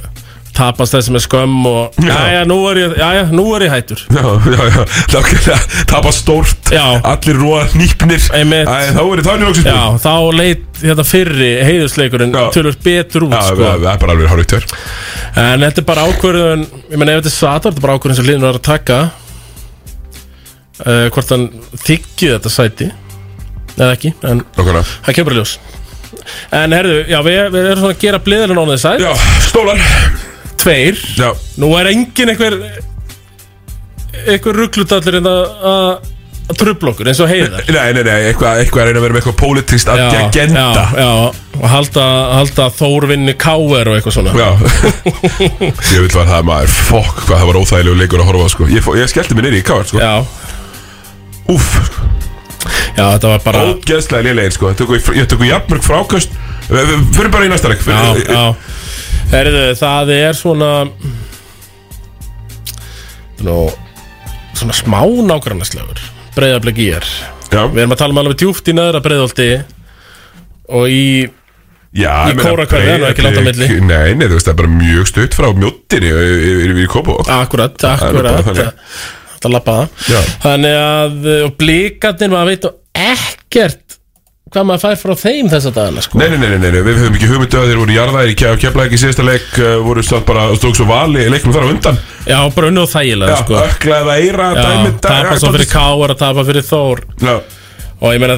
Speaker 1: tapast þessi með skömm og
Speaker 2: Já.
Speaker 1: jæja, nú er ég, jæja, nú er ég hættur
Speaker 2: Já, já, já, nákvæmlega, það var stórt
Speaker 1: Já
Speaker 2: Allir róa nýpnir
Speaker 1: Einmitt
Speaker 2: Æ, þá er ég þannig vaxin
Speaker 1: Já, þá leit þetta fyrri heiðusleikurinn tölur betur út
Speaker 2: Já,
Speaker 1: sko.
Speaker 2: það það er bara alveg hárið tver
Speaker 1: En þetta er bara ákvörðun Ég meina ef þetta er Satan, þetta er bara ákvörðun sem liðin var Eh, að taka uh, Hvort hann þykju þetta sæti eða ekki en
Speaker 2: Nákvæmlega.
Speaker 1: það kemur bara í ljós en herðu, já, við, við erum svona að gera bliðilinn ánæðið sæl já,
Speaker 2: stólar
Speaker 1: tveir,
Speaker 2: já.
Speaker 1: nú er engin einhver einhver ruglutallur en að að trubla okkur eins og heiðar
Speaker 2: Nei, nei, nei, eitthvað, eitthvað er að reyna að vera með eitthvað pólitískt agenda
Speaker 1: já, já, og halda, halda Þórvinni Káver og eitthvað svona
Speaker 2: Já, Ég vil var það maður, fokk, hvað það var óþægilegu leikur að horfa á, sko Ég, fó- ég skellti mér niður í káar, sko
Speaker 1: Já
Speaker 2: Úff, sko
Speaker 1: Já, þetta var bara
Speaker 2: Ógeðslega lélegir, sko Ég tóku, í- ég tóku jafnmörg frákast Fyrir bara í næsta leik
Speaker 1: Já,
Speaker 2: fyrir-
Speaker 1: já Herðu, það er svona Nú, Svona smá nágrannaslegur Breiðarblik í er
Speaker 2: já.
Speaker 1: Við erum að tala um alveg djúft í neðra breiðolti Og í
Speaker 2: Já,
Speaker 1: Í Kórakverfi, það er nú ekki langt á milli.
Speaker 2: Nei, nei, þú veist, það er bara mjög stutt frá mjóttinni yfir í Kópó
Speaker 1: Akkurat,
Speaker 2: er nú bara
Speaker 1: akkurat
Speaker 2: þannig.
Speaker 1: Þetta lappaða
Speaker 2: Já.
Speaker 1: Þannig að eh, og blikarnir maður veit nú ekkert Hvað maður fær frá þeim þessa dagana sko.
Speaker 2: Nei, nei, nei, nei, nei, nei, við höfum ekki hugmyndu að þeir voru jarðaðir í Kef- Keflavík í síðasta leik uh, voru státt bara stóks og vali í leiknum þar á undan
Speaker 1: Já, bara unnið og þægilega
Speaker 2: Já,
Speaker 1: sko.
Speaker 2: öklaða eira, dæmi, dæmi,
Speaker 1: Tapa
Speaker 2: já,
Speaker 1: svo fyrir
Speaker 2: dálítið-
Speaker 1: Káar að tapa fyrir Þór
Speaker 2: Já
Speaker 1: Og ég meina,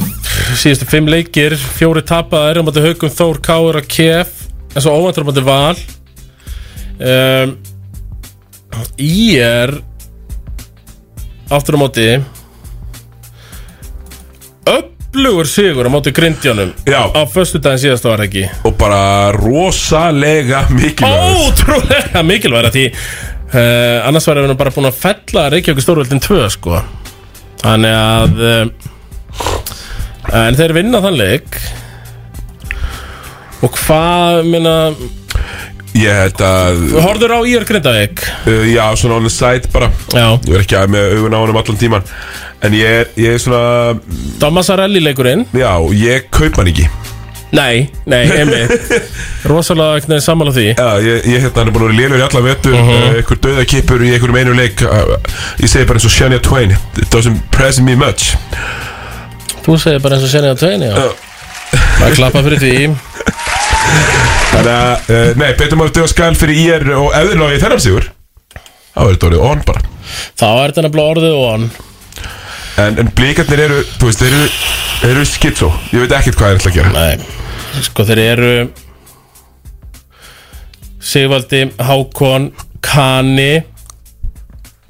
Speaker 1: síðustu fimm leikir Fjóri tapaðar, um að þau haugum Þór Káar og Kef En svo óvæntur um að þau val um, Í er Aftur á móti Öflugur sigur á móti grindjánum
Speaker 2: Já
Speaker 1: Á föstudaginn síðast var það ekki
Speaker 2: Og bara rosalega mikilvægur
Speaker 1: Ótrúlega mikilvægur af Því uh, annars væri við nú bara búin að fella Reykjavík stórvöldin 2 sko Þannig að uh, En þeir vinna þann leik Og hvað minna
Speaker 2: Ég held að
Speaker 1: Þú horfður á Ír Grindavík
Speaker 2: uh, Já, svona on the side bara
Speaker 1: Já
Speaker 2: Ég er ekki að með augun á honum allan tíman En ég er, ég er svona
Speaker 1: Damasarelli leikurinn
Speaker 2: Já, ég kaup hann ekki
Speaker 1: Nei, nei, einmitt Rosalega ekki neðið sammála því
Speaker 2: Já, ég, ég hérna hann er búin að vera lélur í alla vetur uh
Speaker 1: Mhm.
Speaker 2: Einhver döðakipur í einhverjum einu leik uh, Ég segi bara eins og Shania Twain It doesn't press me much
Speaker 1: Þú segir bara eins og senið á tveinu já Bara klappa fyrir því
Speaker 2: Þannig að, uh, nei, betur maður döða skal fyrir IR og ef þeir náðu í þennan sigur Þá er þetta orðið on bara
Speaker 1: Þá er þetta nefnilega orðið on
Speaker 2: En, en blíkarnir eru, þú veist, þeir eru, þeir eru skitsó Ég veit ekkert hvað þeir ætla að gera
Speaker 1: Nei, sko þeir eru Sigvaldi, Hákon, Kani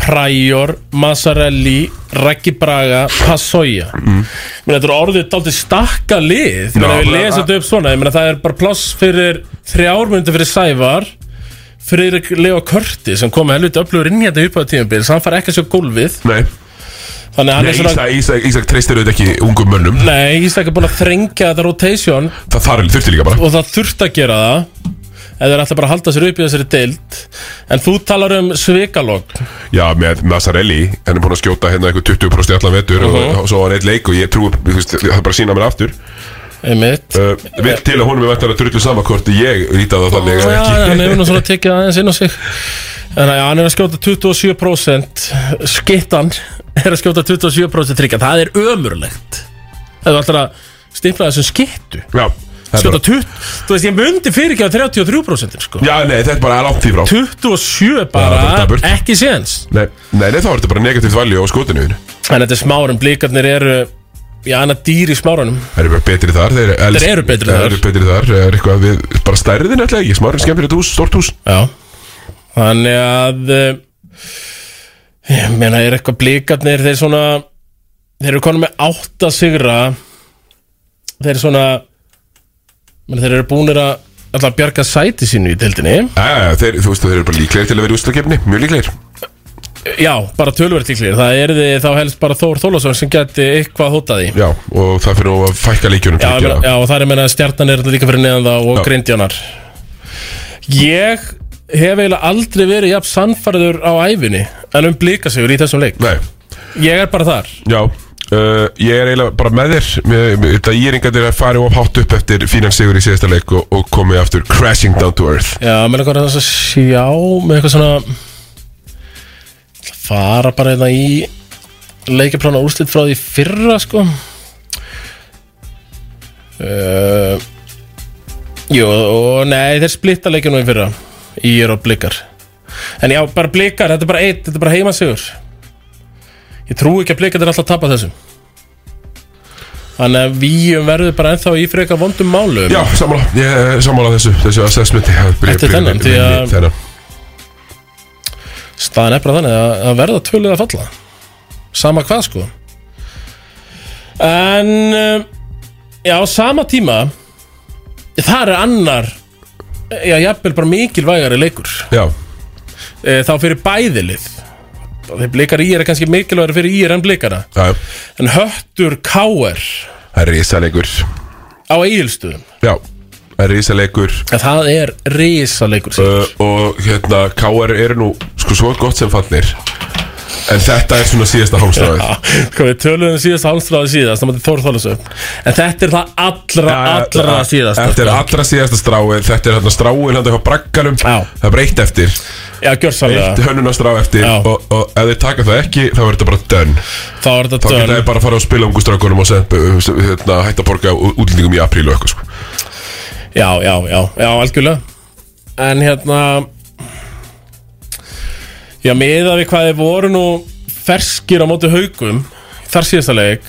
Speaker 1: Præjor, Massarelli Raggi Braga, Passoja mm. Menn þetta er orðið dálítið stakka lið
Speaker 2: Já,
Speaker 1: Menn við
Speaker 2: bara-
Speaker 1: lesum þetta upp svona Menn það er bara pláss fyrir þrjármyndu fyrir Sævar Friðrik Leo Körti sem kom með helviti öflugur inn hérna í upphæðu tímabil hann fær ekki að sjá gólfið
Speaker 2: Nei
Speaker 1: Þannig að hann
Speaker 2: Nei,
Speaker 1: er svona
Speaker 2: Ísak, Ísak, Ísak treystir auðvitað ekki ungum mönnum
Speaker 1: Nei, Ísak er búin að þrengja þetta rotation
Speaker 2: Það þarf, þurfti líka bara
Speaker 1: og það þurft að gera það eða það er alltaf bara að halda sér upp í þessari deild en þú talar um svikalokk
Speaker 2: Já, með Massarelli, hann er búin að skjóta hérna eitthvað 20% í allan vetur
Speaker 1: Mhm.
Speaker 2: og, og svo var hann eitt leik og ég trúi, þú veist, það er bara að sína mér aftur
Speaker 1: Einmitt
Speaker 2: uh, Vel til að honum er vettar að drullu sama hvort ég líti á það þannig
Speaker 1: Já,
Speaker 2: eða
Speaker 1: já, hann hefur
Speaker 2: ekki
Speaker 1: nú svona tekið aðeins inn á sig Þannig að já, hann er að skjóta 27% Skittan er að skjóta 27% tryggja Það er ömurlegt Ef þú ætlar að stifla þessum skittu
Speaker 2: Já, það er
Speaker 1: Skjóta 20 Þú veist, ég myndi fyrirgefa 33% sko.
Speaker 2: Já, nei, þetta er bara langt í frá
Speaker 1: 27
Speaker 2: Já, þetta
Speaker 1: bara,
Speaker 2: er daburt.
Speaker 1: ekki séns
Speaker 2: Nei, nei, nei, þá er þetta bara negativt valju á skotinu þínu.
Speaker 1: En þetta er smárum, blíkarnir eru Já, hann er dýr í smárunum
Speaker 2: Það eru bara betri þar Þeir, els,
Speaker 1: Þeir eru betri þar.
Speaker 2: Þeir eru betri þar Það er eitthvað við Bara stærðin alltaf ekki Smárin skemmtilegt hús, stórt hús
Speaker 1: Já Þannig að eh, Ég meina, er eitthvað blíkarnir Þeir svona Þeir eru konum með átta sigra Þeir eru svona meni, Þeir eru búnir að Alltaf að bjarga sæti sínu í deildinni
Speaker 2: Já, já, já, þeir, þú veist, þeir eru bara líklegir til að vera í úslakefni Mjög líklegir
Speaker 1: Já, bara tölverð líklegir Það er þið þá helst bara Þór Þólasson sem geti eitthvað hótað í
Speaker 2: Já, og það fyrir nú að fækka
Speaker 1: Já,
Speaker 2: leikjunum til að
Speaker 1: ég meina-
Speaker 2: gera.
Speaker 1: já og það er meina að stjarnan er þarna líka fyrir neðan það og
Speaker 2: Já.
Speaker 1: grindjánar Ég hef eiginlega aldrei verið jafn sannfæriður á æfinni en um blíkasigur í þessum leik
Speaker 2: Nei.
Speaker 1: Ég er bara þar
Speaker 2: Já uh, Ég er eiginlega bara með þér Mér- mér- Þetta íringandir að fara of hátt upp eftir Fínan sigur í síðasta leik og, og komið aftur Crashing down to earth
Speaker 1: Já, mér langar að þess að sjá með eitthvað svona ætla að fara bara hérna í leikjaplana úrslit frá því fyrra sko uh, Jú, og nei, þeir splitta leikjunum í fyrra í er og blikar En já, bara blikar, þetta er bara eitt, þetta er bara heimasigur Ég trúi ekki að blikar er alltaf að tapa þessu Þannig að víum verður bara ennþá í freka vondum málum
Speaker 2: Já, sammála, ég er sammála þessu, þessu assessmenti
Speaker 1: Þetta er þennan, því að-
Speaker 2: Þennan
Speaker 1: staðan er bara þannig að, að verða tvölið að falla sama hvað sko en um, já, á sama tíma þar er annar já, jafnvel bara mikilvægari leikur Eh,
Speaker 2: já.
Speaker 1: þá fyrir bæðilið þeir blikar í er kannski mikilvægari fyrir í er en blikara
Speaker 2: já.
Speaker 1: en höttur káer
Speaker 2: Það er risaleikur
Speaker 1: á eigilstöðum
Speaker 2: Já, það er risaleikur
Speaker 1: Það er risaleikur
Speaker 2: uh, Og hérna, KR eru nú sko svo gott sem fannir En þetta er svona síðasta hálfstráðið
Speaker 1: Já, sko við töluðum síðast hálfstráði síðast þá mátti Þór Þólasöf en þetta er það allra, allra síðast
Speaker 2: Þetta er allra síðasta stráið Þetta er hérna stráin hann eitthvað braggarum Það er breytt eftir
Speaker 1: Já, gjörsamlega.
Speaker 2: Eitt hönnunastrá eftir og, og ef þeir taka það ekki, þá er þetta bara done
Speaker 1: Þá er þetta
Speaker 2: Þá
Speaker 1: done.
Speaker 2: geta þeir bara að fara á spilangustrákunum og senda, hérna, hætta að borga ú- útlendingum í aprílu og eitthvað sko.
Speaker 1: já, já, já, já, algjörlega en hérna já, miða við hvað þið voru nú ferskir á móti haugum þar síðasta leik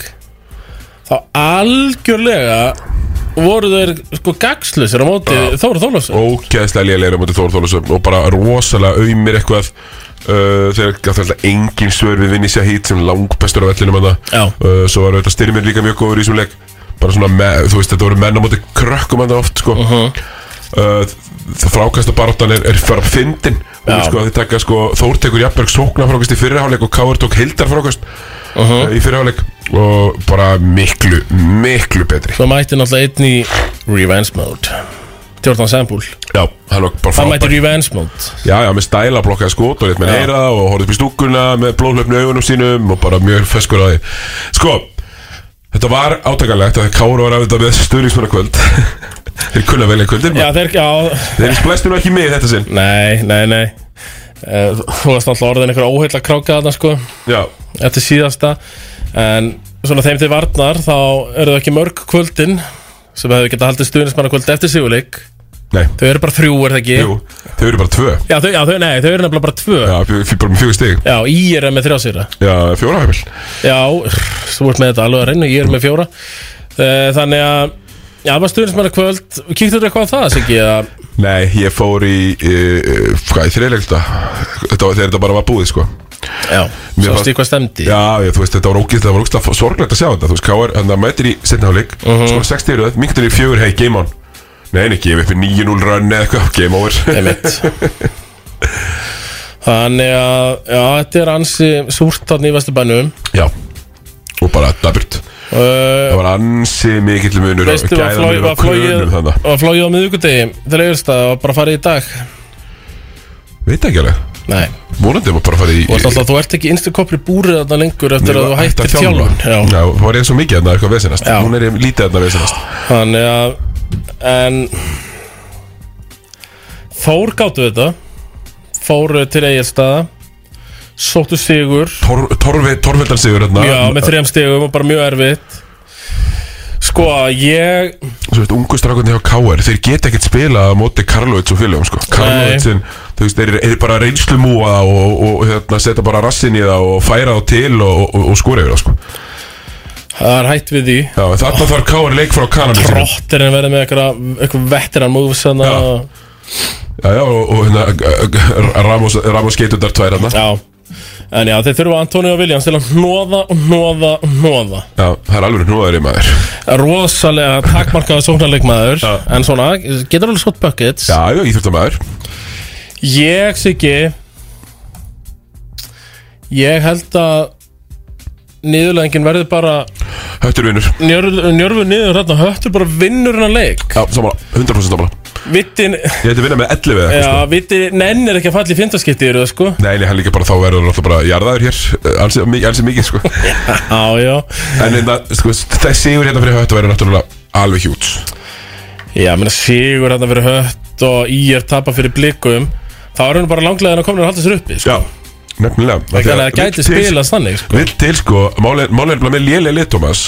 Speaker 1: þá algjörlega voru þeir sko gagslusir á móti Þór Þólasöf
Speaker 2: ógeðslega lélegir á móti Þór Þólasöfn og bara rosalega auðmir eitthvað uh, þegar gæti alltaf engin svör við Vinnisja Hít sem langbestur á vellinum hann uh, svo var auðvitað styrmir líka mjög góður í þessum leik bara svona, me, þú veist þetta voru menn á móti krökkum hann oft sko uh það frákasta baróttan er, er fara fyndin og
Speaker 15: Já.
Speaker 2: sko að þið taka sko Þór tekur Jafnberg sóknarfrákast í fyrirháleik og Káur tók hildarfrákast uh í fyrirháleik og bara miklu, miklu betri
Speaker 1: Svo mætti náttúrulega einn í Revenge Mode Jordan Sambúl
Speaker 2: Já, hann var bara
Speaker 1: Það
Speaker 2: frábær.
Speaker 1: mætti Revenge Mode
Speaker 2: Já, já, með stæla blokkaði skot og létt með
Speaker 1: Já.
Speaker 2: heyra það og horfði upp í stúkuna með blóðlöfnu augunum sínum og bara mjög feskur að því Sko, þetta var átakanlegt að Káru var af þetta með stöðlingsmannakvöld Þeir kunna vel einhvöldir
Speaker 1: Já, þeir, já
Speaker 2: Þeir splæstu nú ekki mig þetta sinn
Speaker 1: Nei, nei, nei Eh, Þú varst alltaf orðin einhver óheilla kráka þarna sko
Speaker 2: Já
Speaker 1: Eftir síðasta En svona þeim til varnar Þá eru það ekki mörg kvöldin Sem hefur getað haldið stuðnismanna kvöld eftir sigurleik
Speaker 2: Nei
Speaker 1: Þau eru bara þrjú, er það ekki?
Speaker 2: Jú, þau eru bara tvö
Speaker 1: Já, þau, já, þau, nei, þau eru nefnilega bara tvö
Speaker 2: Já, fjö- fjö- bara með fjögur stig
Speaker 1: Já, í er með þrjá sýra
Speaker 2: Já, fjóra heimil
Speaker 1: Já, þú ert með þetta alveg að reyna Ég er með fjóra Eh, Þannig að Já, það var stuðnismanna kvöld Kíktu þú eitthvað á það, Siggi? eða?
Speaker 2: Nei, ég fór í, í, í hvað, í þriðleikta þetta, var- þegar þetta bara var búið, sko
Speaker 1: Já, sástu í hvað stemdi
Speaker 2: Já, ég, þú veist, þetta var ógæst, það var ógæst sorglegt að sjá þetta, þú veist, K.R. hann það mætir í setna hálfleik, uh
Speaker 1: Mhm.
Speaker 2: -huh. skora 60 í röð, minktur í fjögur, hei, game on Nei, nei, gefið upp í 9-0 run eða eitthvað, game over
Speaker 1: Þannig að Já, þetta er ansi súrt þarna í Vesturbænum
Speaker 2: Já, og bara daburt Það var ansi mikill munur á-
Speaker 1: Uh, Veistu, var flóið
Speaker 2: gæðamunur á
Speaker 1: Var flóið
Speaker 2: krönum þarna.
Speaker 1: Var flóið á miðvikudegi Þegar auðvist að bara farið í dag
Speaker 2: Veit ekki alveg
Speaker 1: Nei
Speaker 2: Vonandi var bara að fara í
Speaker 1: Og alltaf þú ert ekki innstu koppli búrið þarna lengur Eftir
Speaker 2: Mér
Speaker 1: að þú
Speaker 2: var hætt
Speaker 1: hættir
Speaker 2: að þjálfa.
Speaker 1: þjálfun Já
Speaker 2: Já, það var eins og mikið þarna eitthvað vesenast Hún er lítið þarna vesenast
Speaker 1: Þannig að En Þór gáttu þetta Fóru til Egilstaða Sóttu sigur
Speaker 2: Tor, torfi, Torfeldan sigur þarna
Speaker 1: Já, með þrejum stigum og bara mjög erfitt Sko, ég
Speaker 2: Svo veist, ungu strákunni hjá K.R. Þeir geta ekkert spila á móti Karlovits og fylgjum, sko Karlovitsin, þú veist, þeir eru bara reynslu múa og, og, og hérna, setja bara rassin í það og færa þá til og, og, og skora yfir það, sko
Speaker 1: Það er hætt við því
Speaker 2: Já, en þarna þarf K.R. leik frá Kanada sínum.
Speaker 1: Trotterinn verði með eitthvað, eitthvað veteran moves hana,
Speaker 2: Já, já, og, og hérna, g- g- Ramos, Ramos getur þar tvær þarna
Speaker 1: Já En já, þeir þurfa Antonio Williams til að hnoða og hnoða og hnoða
Speaker 2: Já, það er alveg núðaður í maður
Speaker 1: Rosalega takmarkaða sóknarleikmaður En svona, getur alveg skott buckets
Speaker 2: Já, já, íþjóttamæður
Speaker 1: Ég, Siggi Ég held að Niðurlegin verði bara
Speaker 2: Höttur vinnur
Speaker 1: njörf, Njörfu niður þarna Höttur bara vinnur hennar leik
Speaker 2: Já, samanlega, 100% samanlega
Speaker 1: Vittin
Speaker 2: Ég ætti að vinna með 11 eða eitthvað, sko
Speaker 1: Já, viti, nenn er ekki að falla í fyndaskipti eru það sko
Speaker 2: Nei, nei, hann líka bara þá verður hann alltaf bara jarðaður hér eh, ansi, mi- ansi mikið, sko
Speaker 1: Já, já
Speaker 2: En hérna, sko, þessi sigur hérna fyrir höttu verður náttúrulega alveg hjút
Speaker 1: Já, menn sigur hérna fyrir hött og í er tapa fyrir blikum Þá er hann bara langlega en að komin að halda sér uppi sko.
Speaker 2: Já, nefnilega
Speaker 1: Þannig að það gæti spilast þannig
Speaker 2: sko. Vill til, sko, málið málið er bara með lélega lið, Thomas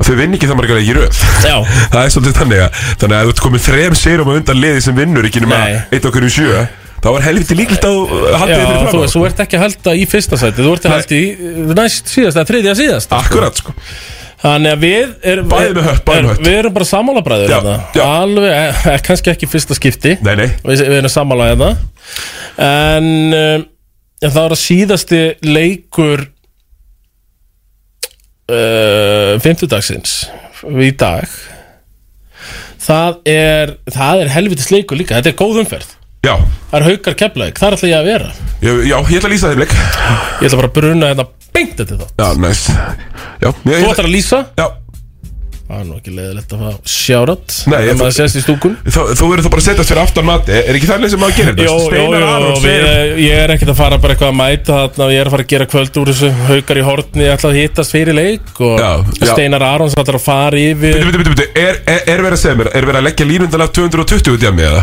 Speaker 2: að Þau vinn ekki það margar ekki röð
Speaker 1: Já
Speaker 2: Það er svolítið þannig að Þannig að ef þú ert komið þrem sérum á undan liði sem vinnur ekki nema eitt okkur um sjö Þá var helviti líklegt að þú haldið
Speaker 1: Já,
Speaker 2: þér fyrir
Speaker 1: þú,
Speaker 2: fram á.
Speaker 1: þú ert ekki að halda í fyrsta sæti Þú ert að halda í uh, næst síðasta, eh, þriðja síðasta
Speaker 2: Akkurat, sko
Speaker 1: Þannig að við erum
Speaker 2: Bæði með hött, bæði með hött.
Speaker 1: Við erum bara sammálabræður hérna Alveg, eh, eh, kannski ekki í fyrsta skipti Nei, nei Við, við erum sammála hérna En um, en það var að síðasti leikur uh, Fymtudagsins Í dag Það er Það er helvitis leikur líka Þetta er góð umferð
Speaker 2: Já
Speaker 1: Það er haukar keflaðik Þar ætla ég að vera
Speaker 2: Já, já, ég ætla að lýsa þeim leik Ég
Speaker 1: ætla bara að bruna þetta beint þetta þá
Speaker 2: Já, næs Já, ég,
Speaker 1: Þú ætlar að lýsa
Speaker 2: Já
Speaker 1: Það er nú ekki leiðilegt að fá sjárat
Speaker 2: Nei,
Speaker 1: Ef maður sést í stúkun
Speaker 2: Þú verður þá bara að setjast fyrir aftan mati Er ekki þannig sem maður gerir þetta?
Speaker 1: Jó, jó,
Speaker 2: Steinar
Speaker 1: jó,
Speaker 2: Arons
Speaker 1: við,
Speaker 2: segir-
Speaker 1: ég er ekkert að fara bara eitthvað að mæta þarna Ég er að fara að gera kvöld úr þessu haukar í hortni Ég ætla að hittast fyrir leik Og
Speaker 2: já.
Speaker 1: Steinar Arons ætlar að fara yfir
Speaker 2: Bíddu, bíddu, bíddu, bíddu, Er, er, er verið að segja mér, er verið að leggja línundan af 220 út í að mig eða?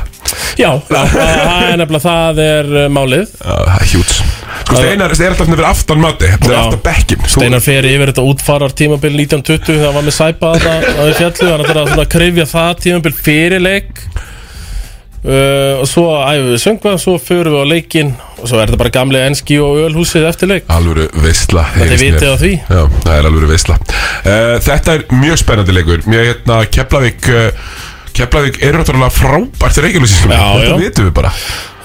Speaker 1: Já, það það er nefnilega það er uh, málið
Speaker 2: Það er hjút Sko Steinar er alltaf fyrir aftan mati Það er aftan bekkin
Speaker 1: Steinar fer yfir þetta útfarar tímabil 1920 þegar hann var með sæpa þarna á því fjallu hann ætlar að svona krifja það tímabil fyrir leik uh, og svo æfum við söngvað svo förum við á leikinn og svo er þetta bara gamli enski og ölhúsið eftir leik
Speaker 2: Alvöru veistla
Speaker 1: Þetta er vitið á því.
Speaker 2: Já, það er alvöru veistla uh, Þetta er mjög spennandi leikur Mjög hérna Keflavík uh, Keflavík er náttúrulega frábært reikjulisískum Þetta
Speaker 1: já.
Speaker 2: vitum við bara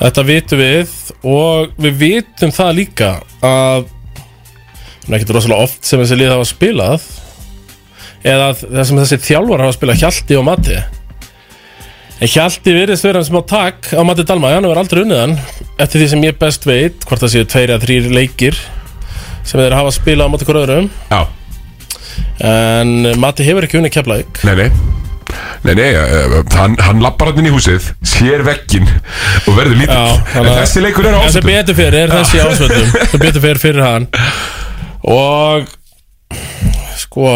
Speaker 1: Þetta vitum við og við vitum það líka að það er ekkert rosalega oft sem þessi lið hafa spilað eða að það sem þessi þjálfar hafa spilað Hjalti og Matti En Hjalti virðist vera sem á takk á Matti Dalma, hann hefur aldrei unnið hann eftir því sem ég best veit, hvort það séu tveir eða þrýr leikir sem þeir hafa spilað á Matti hver öðrum
Speaker 2: Já
Speaker 1: En Matti hefur ekki unnið Keflavík
Speaker 2: Nei, nei Nei, nei, uh, hann, hann lappar hann inn í húsið Sér veggin Og verður lítill En
Speaker 1: þannig að-
Speaker 2: þessi leikur er á
Speaker 1: En sem
Speaker 2: ásöndum
Speaker 1: betur fyrir er
Speaker 2: Já.
Speaker 1: þessi ásvöldum sem betur fyrir fyrir hann og sko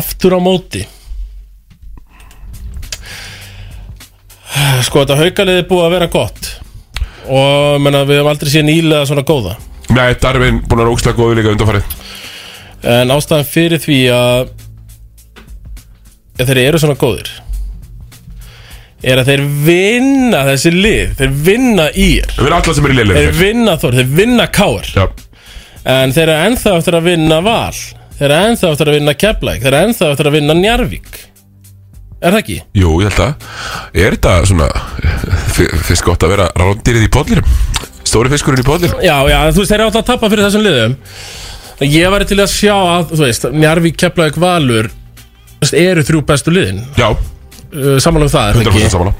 Speaker 1: aftur á móti sko þetta haukaliði búið að vera gott og menna, við hefum aldrei séð nýlega svona góða
Speaker 2: Nei, Darvin búin að vera ógstlega góðu líka undanfarið
Speaker 1: en ástæðan fyrir því að að þeir eru svona góðir er að þeir vinna þessi lið, þeir vinna ír
Speaker 2: Þeir vinna alla sem eru í liðinu.
Speaker 1: Þeir vinna þór, þeir vinna káir
Speaker 2: Já.
Speaker 1: En þeir eru ennþá eftir að vinna val Þeir eru ennþá eftir að vinna keflæk Þeir eru ennþá eftir að vinna njarvík Er það ekki?
Speaker 2: Jú, ég held að Er þetta svona f- Fyrst gott að vera rándýrið í podlirum Stóri fiskurinn í podlirum
Speaker 1: Já, já, en þú veist, þeir eru alltaf að tappa fyrir þessum liðum Ég væri til að sjá að, þú veist, njarvík, keflæk, valur þú veist, Eru þrjú bestu liðin
Speaker 2: Já
Speaker 1: Samanlega um það, er það
Speaker 2: 100%
Speaker 1: ekki?
Speaker 2: samanlá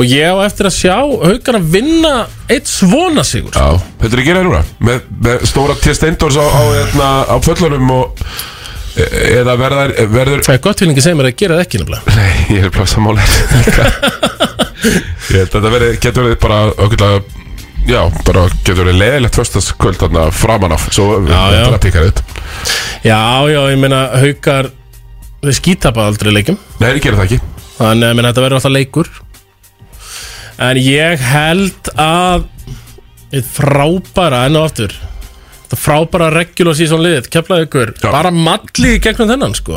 Speaker 1: Og ég á eftir að sjá haukar að vinna eitt svona sigur
Speaker 2: Já, þetta er að gera núna Með, með stóra testendors á, á, hérna, á föllunum og e- Eða verðar, verður
Speaker 1: Það er gott fylgningi segir mér að gera það ekki nefnilega
Speaker 2: Nei, ég er bara sammála Ég held að þetta verið, getur verið bara okkurlega Já, bara getur verið leiðilegt föstaskvöld þarna framan af Svo
Speaker 1: já.
Speaker 2: þetta pikkar upp
Speaker 1: Já, já, ég meina haukar Þau skítapa aldrei leikum
Speaker 2: Nei, þeir gera það ekki
Speaker 1: Þannig að meina, þetta verður alltaf leikur En ég held að Eitt frábæra enn og aftur Þetta frábæra regular season liðið Keflaði ykkur Bara malli í gegnum þennan sko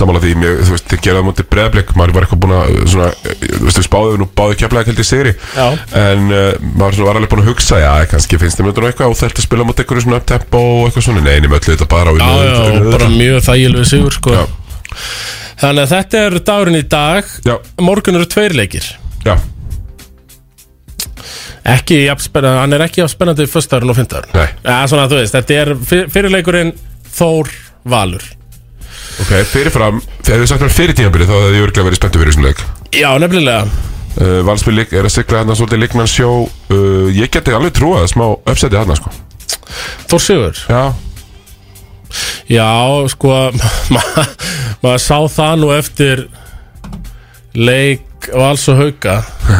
Speaker 2: Samála því, mjög, þú veist, þið gerðum mútið breðblik Maður var eitthvað búin að, svona, eh, þú veist, við spáðum nú báðu keflaði keldi sigri
Speaker 1: Já.
Speaker 2: En uh, maður svona var alveg búin að hugsa, já, kannski finnst þeim þetta nú eitthvað óþælt að spila mútið einhverju svona tempo og eitthvað svona Nei, nema öllu þetta bara og
Speaker 1: Já,
Speaker 2: unnu-
Speaker 1: já,
Speaker 2: unnu-
Speaker 1: og
Speaker 2: unnu-
Speaker 1: bara
Speaker 2: unnu-
Speaker 1: mjög þægilegu sigur sko Þannig að þetta er dagurinn í dag
Speaker 2: já.
Speaker 1: Morgun eru tveir leikir
Speaker 2: Já
Speaker 1: Ekki, jafn spennandi, hann er ekki jafn spennandi Föstaðurinn og fymtaðurinn
Speaker 2: Nei.
Speaker 1: ja, Svona þú veist, þetta er fyr- fyrirleikurinn Þór Valur
Speaker 2: Ok, fyrirfram, þegar þið sagt mér fyrir tímabilið þá hefði ég örglega verið spenntu fyrir þessum leik
Speaker 1: Já, nefnilega
Speaker 2: uh, Valsbyr leik er að sigla hérna svolítið leikmann sjó uh, Ég geti alveg trúað að smá uppseti hérna, sko
Speaker 1: Þór Sigur
Speaker 2: Já
Speaker 1: Já, sko ma maður sá það nú eftir leik og alls og hauka uh,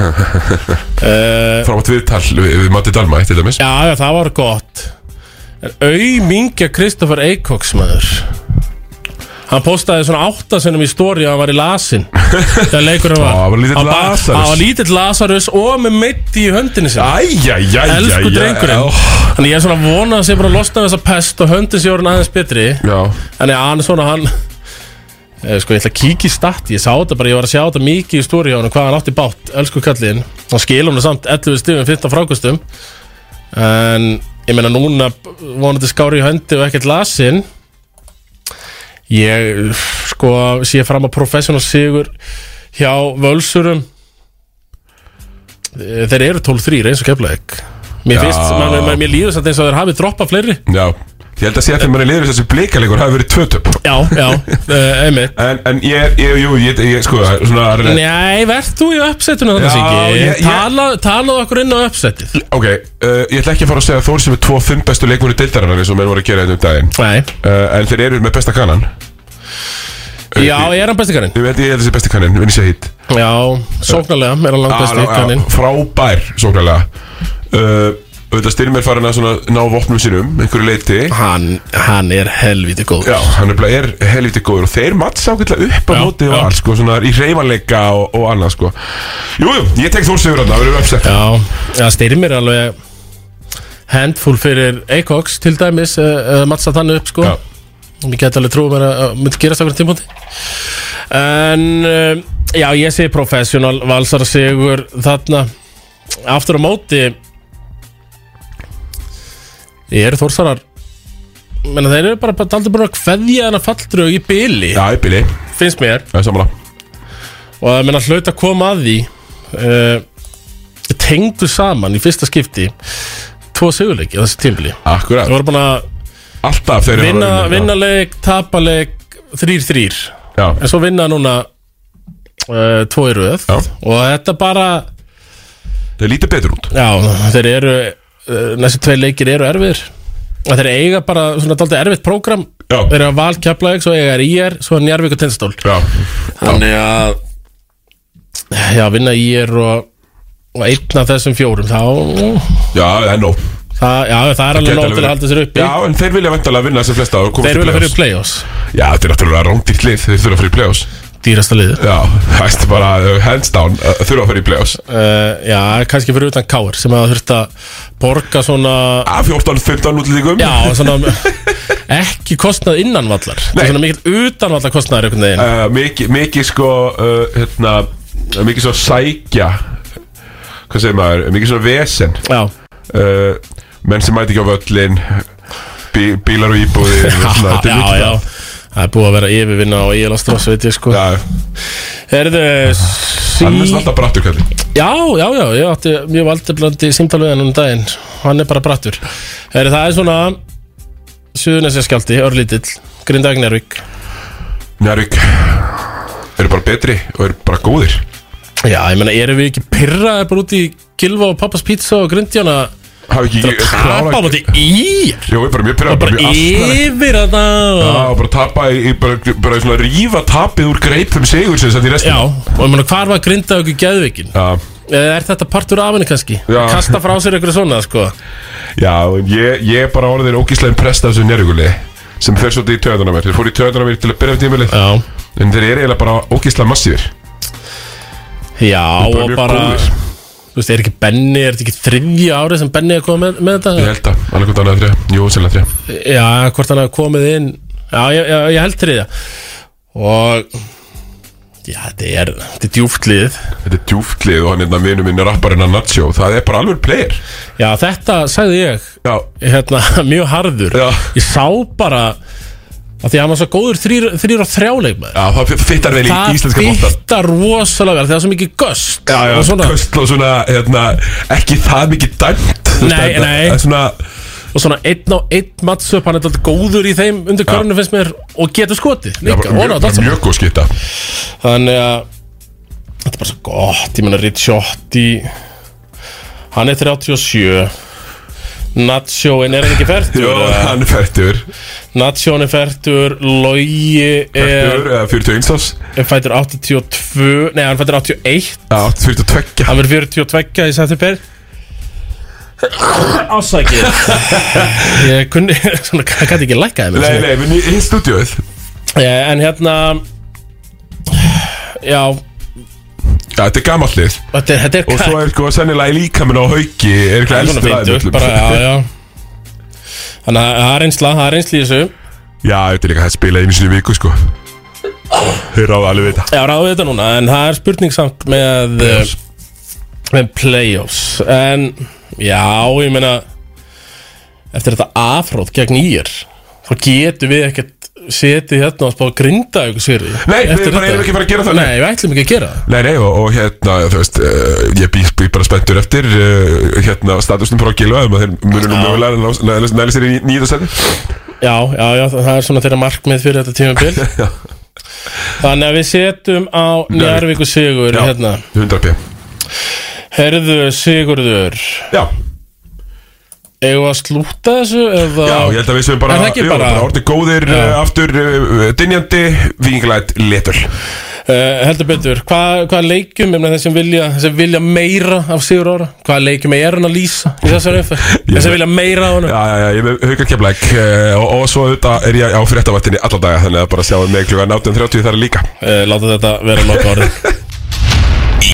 Speaker 2: Frátt viðtal við, við Matti Dalma, til dæmis
Speaker 1: Já, já, það var gott En auðmingja Kristoffer Eikóks maður Hann postaði svona áttasunum í stóri að hann var í lasin Þegar leikurinn var
Speaker 2: Já, hann var lítill
Speaker 1: Hann bara-
Speaker 2: Lazarus.
Speaker 1: Hann var lítill Lazarus og með meitti í höndinni sinni
Speaker 2: Æjæjæjæjæ
Speaker 1: Elsku drengurinn Þannig ég er svona að vona að sé bara að losna við þessa pest og höndin sé orðin aðeins betri
Speaker 2: Já
Speaker 1: Þannig að hann svona hann Eh, Sko ég ætla að kíkja í stati Ég sá þetta bara, ég var að sjá þetta mikið í stóri á hann Hvað hann átti bátt, elsku kallinn Hann skilur hann samt 11 stigum, 15 frákustum En ég meina núna Vonandi skári í höndi og ekkert lasin Ég sko sé fram að professional sigur hjá völsurum Eh, Þeir eru 12-3 eins og keflaðið Mér
Speaker 2: Já.
Speaker 1: finnst, man, man, mér líður samt eins og þeir hafið droppað fleiri
Speaker 2: Já, ég held að sé að þegar maður er liður þessi blikaleikur hafi verið tvötöp
Speaker 1: Já, já, uh, einmitt
Speaker 2: En, en ég, ég, jú, ég, ég sko, svona að reyna-
Speaker 1: Nei, verð þú í uppsetuna
Speaker 2: Já,
Speaker 1: þarna Siggi
Speaker 2: ég- ég-
Speaker 1: Tala, Talaðu okkur inn á uppsetið
Speaker 2: Ok, uh, ég ætla ekki að fara að segja að Þór sem er tvo fimm bestu leikmennu deildarinnar eins og menn voru að gera þetta um daginn
Speaker 1: Nei
Speaker 2: uh, En þeir eru með besta kannan
Speaker 1: Já, er hann besti kannin?
Speaker 2: Ég veit, ég held þessi besti kannin, vinn ég sé hitt
Speaker 1: Já, sóknarlega, er hann langt besti kannin
Speaker 2: Frábær, sóknarlega uh, Auðvitað styrmir farin að svona ná vopnum sínum, einhverju leiti
Speaker 1: Hann, hann er helviti góður
Speaker 2: Já, hann er, bara- er helviti góður og þeir mattsa ákveðlega upp á móti og allt, sko, svona í reyfanleika og, og annað, sko Jú, jú, ég tek Þór sigur þarna, við erum uppsett
Speaker 1: Já, já styrmir er alveg handful fyrir Acox til dæmis uh, uh, mattsa þannig upp sko Ég get alveg trúið mér að að myndi gerast okkur tímpóti En uh, já, ég segi professional valsar sigur þarna Aftur á móti Ég eru þórsarar Menna þeir eru bara aldrei búin að kveðja hennar falldrög í byli
Speaker 2: Já, í byli
Speaker 1: Finnst mér
Speaker 2: Já, samanlega
Speaker 1: Og það menna hlaut að koma að því uh, Tengdu saman í fyrsta skipti Tvo sigurleiki á þessi tímbili
Speaker 2: Akkurat
Speaker 1: Það voru búin að
Speaker 2: Alltaf þeir eru að
Speaker 1: vinna,
Speaker 2: vinna, já.
Speaker 1: vinna leik, tapa leik Þrýr, þrýr
Speaker 2: Já.
Speaker 1: En svo vinna núna uh, Tvo í röð Já. Og þetta bara
Speaker 2: Þeir lítið betur út
Speaker 1: Já, þeir eru uh, Næstu tvei leikir eru erfiðir Og þeir eiga bara svona daldið erfitt prógram Já. Þeir eru að valkjafla ekki, svo eiga er IR Svo er Njarvík og Tindstól
Speaker 2: Já.
Speaker 1: Þannig að Já, vinna IR og, og einn af þessum fjórum Þá
Speaker 2: Já, það er nóg
Speaker 1: það, Já, það er alveg
Speaker 2: gæti
Speaker 1: nóg til
Speaker 2: verið-
Speaker 1: að halda sér uppi
Speaker 2: Já, en þeir vilja vantarlega vinna sem flesta og komast
Speaker 1: Þeir
Speaker 2: í
Speaker 1: vilja fyrir play-offs
Speaker 2: Já, þetta er náttúrulega rándýrt lið Þeir þurfa að fyrir play-offs
Speaker 1: Dýrasta lið
Speaker 2: Já, það er bara uh, hands down uh, Þurfa að fyrir play-offs
Speaker 1: uh, Já, kannski fyrir utan Káir sem að þurft að borga svona
Speaker 2: Að 14-15 útlýtingum
Speaker 1: Já, svona ekki kostnað innanvallar Nei. Svona mikill utanvallar kostnaður einhvern veginn
Speaker 2: uh, Mikið miki, sko uh, hérna, Mikið svo sækja Hvað segir maður Mikið svo vesen
Speaker 1: Já
Speaker 2: uh, Menn sem mæti ekki á völlin bí, Bílar og íbúðir svona, þetta er
Speaker 1: já,
Speaker 2: mikið
Speaker 1: já
Speaker 2: það.
Speaker 1: Það er búið að vera yfirvinna á Ílastrós, veit ég sko
Speaker 2: Já
Speaker 1: Herðu,
Speaker 2: Hann er
Speaker 1: sí
Speaker 2: alltaf brattur kalli
Speaker 1: Já, já, já, ég átti mjög valdi blandi símtal við hann um daginn Hann er bara brattur Herðu, það er svona Suðunessi skjaldi, örlítill Grindag Njárvík
Speaker 2: Njárvík Eru bara betri og eru bara góðir
Speaker 1: Já, ég meina, erum við ekki pyrraðið bara út í Gilva og Pappas Pizza og Grindjana
Speaker 2: Hafi ekki
Speaker 1: Bara tapa á móti í
Speaker 2: Jó, ég er bara mjög pyrrað
Speaker 1: Bara yfir að það
Speaker 2: Já, bara tapa í, í- bara, bara svona rífa tapið úr greipum sigur sem þetta í restina
Speaker 1: Já, og ég meina, hvar var Grindavík í geðvikin?
Speaker 2: Já
Speaker 1: Eða er þetta partur af henni kannski?
Speaker 2: Já.
Speaker 1: Kasta frá sér einhverju svona, sko
Speaker 2: Já, ég, ég er bara orðin ógíslegin prest af þessu njörguli sem fer svolítið í töðuna mér Þeir fóru í töðuna mér til að byrja um tímilið
Speaker 1: Já
Speaker 2: En þeir eru eiginlega bara ógíslega massífir
Speaker 1: Já,
Speaker 2: Þeir eru bara
Speaker 1: og
Speaker 2: mjög
Speaker 1: bara
Speaker 2: góðir.
Speaker 1: Þú veist, er ekki Benni, er þetta ekki þriðja árið sem Benni er komið með, með þetta?
Speaker 2: Ég held að, annað hvort annað þrjá Jú, sennilega þrjá
Speaker 1: Já, hvort hann hafi komið inn Já, ég, ég, ég held þriðja Og Já, þetta er, þetta er djúft lið
Speaker 2: Þetta er djúft lið og hann er hérna vinur minn rapparinn að Nacho Það er bara alveg player
Speaker 1: Já, þetta sagði ég
Speaker 2: Já
Speaker 1: Hérna, mjög harður
Speaker 2: Já
Speaker 1: Ég sá bara að Því að hann var svo góður þrýr, þrýr og þrjáleik með
Speaker 2: Já, það fittar vel í íslenska bóttan
Speaker 1: Það bytta rosalega vel, það er svo mikið göst
Speaker 2: Já, já,
Speaker 1: og svona,
Speaker 2: köstl og svona, hérna, ekki það mikið dæmt þú veist,
Speaker 1: Nei,
Speaker 2: þetta-
Speaker 1: nei.
Speaker 2: þetta er Svona,
Speaker 1: og svona einn á einn matsup, hann er alltaf góður í þeim undir körnu finnst mér og getur skotið
Speaker 2: Já,
Speaker 1: líka,
Speaker 2: bara
Speaker 1: og
Speaker 2: mjög-
Speaker 1: nátt allt
Speaker 2: bara
Speaker 1: saman
Speaker 2: mjög góð skita
Speaker 1: Þannig að þetta er bara svo gott, ég meina Ricciotti hann er 37 Nacho, en er hann ekki færtur?
Speaker 2: Jó, hann er færtur
Speaker 1: Nacho hann er færtur, Logi
Speaker 2: Færtur,
Speaker 1: er,
Speaker 2: eða 41 árs
Speaker 1: er fættur 82, nei hann er fættur 81
Speaker 2: Já, 42
Speaker 1: Hann verður 42 í september Ásækið Ég kunni, svona, hann gæti ekki lækkaði
Speaker 2: Nei, nei, við erum í stúdíóið
Speaker 1: En hérna Já,
Speaker 2: Já, þetta er gamalt lið
Speaker 1: þetta er, þetta er
Speaker 2: Og svo er sko sennilega í líkaminn á hauki Er eitthvað
Speaker 1: Svona
Speaker 2: elstur
Speaker 1: fínt upp bara, já, já Þannig að það er einsla, það er einsla í þessu
Speaker 2: Já, þetta er líka að spila einu sinni í viku, sko Þeir ráða alveg við þetta
Speaker 1: Já, ráðu þetta núna, en það er spurning samt með Playoffs Með playoffs En, já, ég meina Eftir þetta afróð gegn ír Þá getum við ekkert setið hérna og spá að grinda ykkur sér
Speaker 2: Nei, við bara erum ekki að fara að gera það, nei.
Speaker 1: Nei, við ætlum ekki að gera það
Speaker 2: Nei, nei, og, og hérna, þú veist, uh, ég býð bý bara spenntur eftir uh, hérna, statusnum frá Gilva um að þeir munur nú
Speaker 1: Já.
Speaker 2: mögulega ná- næ- næ- næli sér í nýjönda seti
Speaker 1: Já, já, já, það það er svona þeirra markmið fyrir þetta tímabil Þannig að við setjum á Njarvík og Sigur
Speaker 2: Já,
Speaker 1: hérna
Speaker 2: 100p
Speaker 1: Herðu Sigurður
Speaker 2: Já
Speaker 1: Eða að slúta þessu eða
Speaker 2: Já, ég held að við séum bara,
Speaker 1: Er það ekki
Speaker 2: jú,
Speaker 1: bara,
Speaker 2: bara orðið góðir
Speaker 1: Já.
Speaker 2: uh, aftur uh, dynjandi, vinglætt, letur
Speaker 1: Uh, heldur betur, Hva, hvaða leikjum ég meina, þeir sem vilja, þeir sem vilja meira af Sigur Ára, hvaða leikjum er hann að lýsa í þessari umferð, þeir sem vilja meira af hann
Speaker 2: Já, já, já, ég er með haugar kemleik uh, og, og svo auðvitað er um ég á fréttavættinni alla daga þannig að bara sjáum mig klukkan 18.30 þar líka
Speaker 1: uh, Láta þetta Eh, vera loka orðið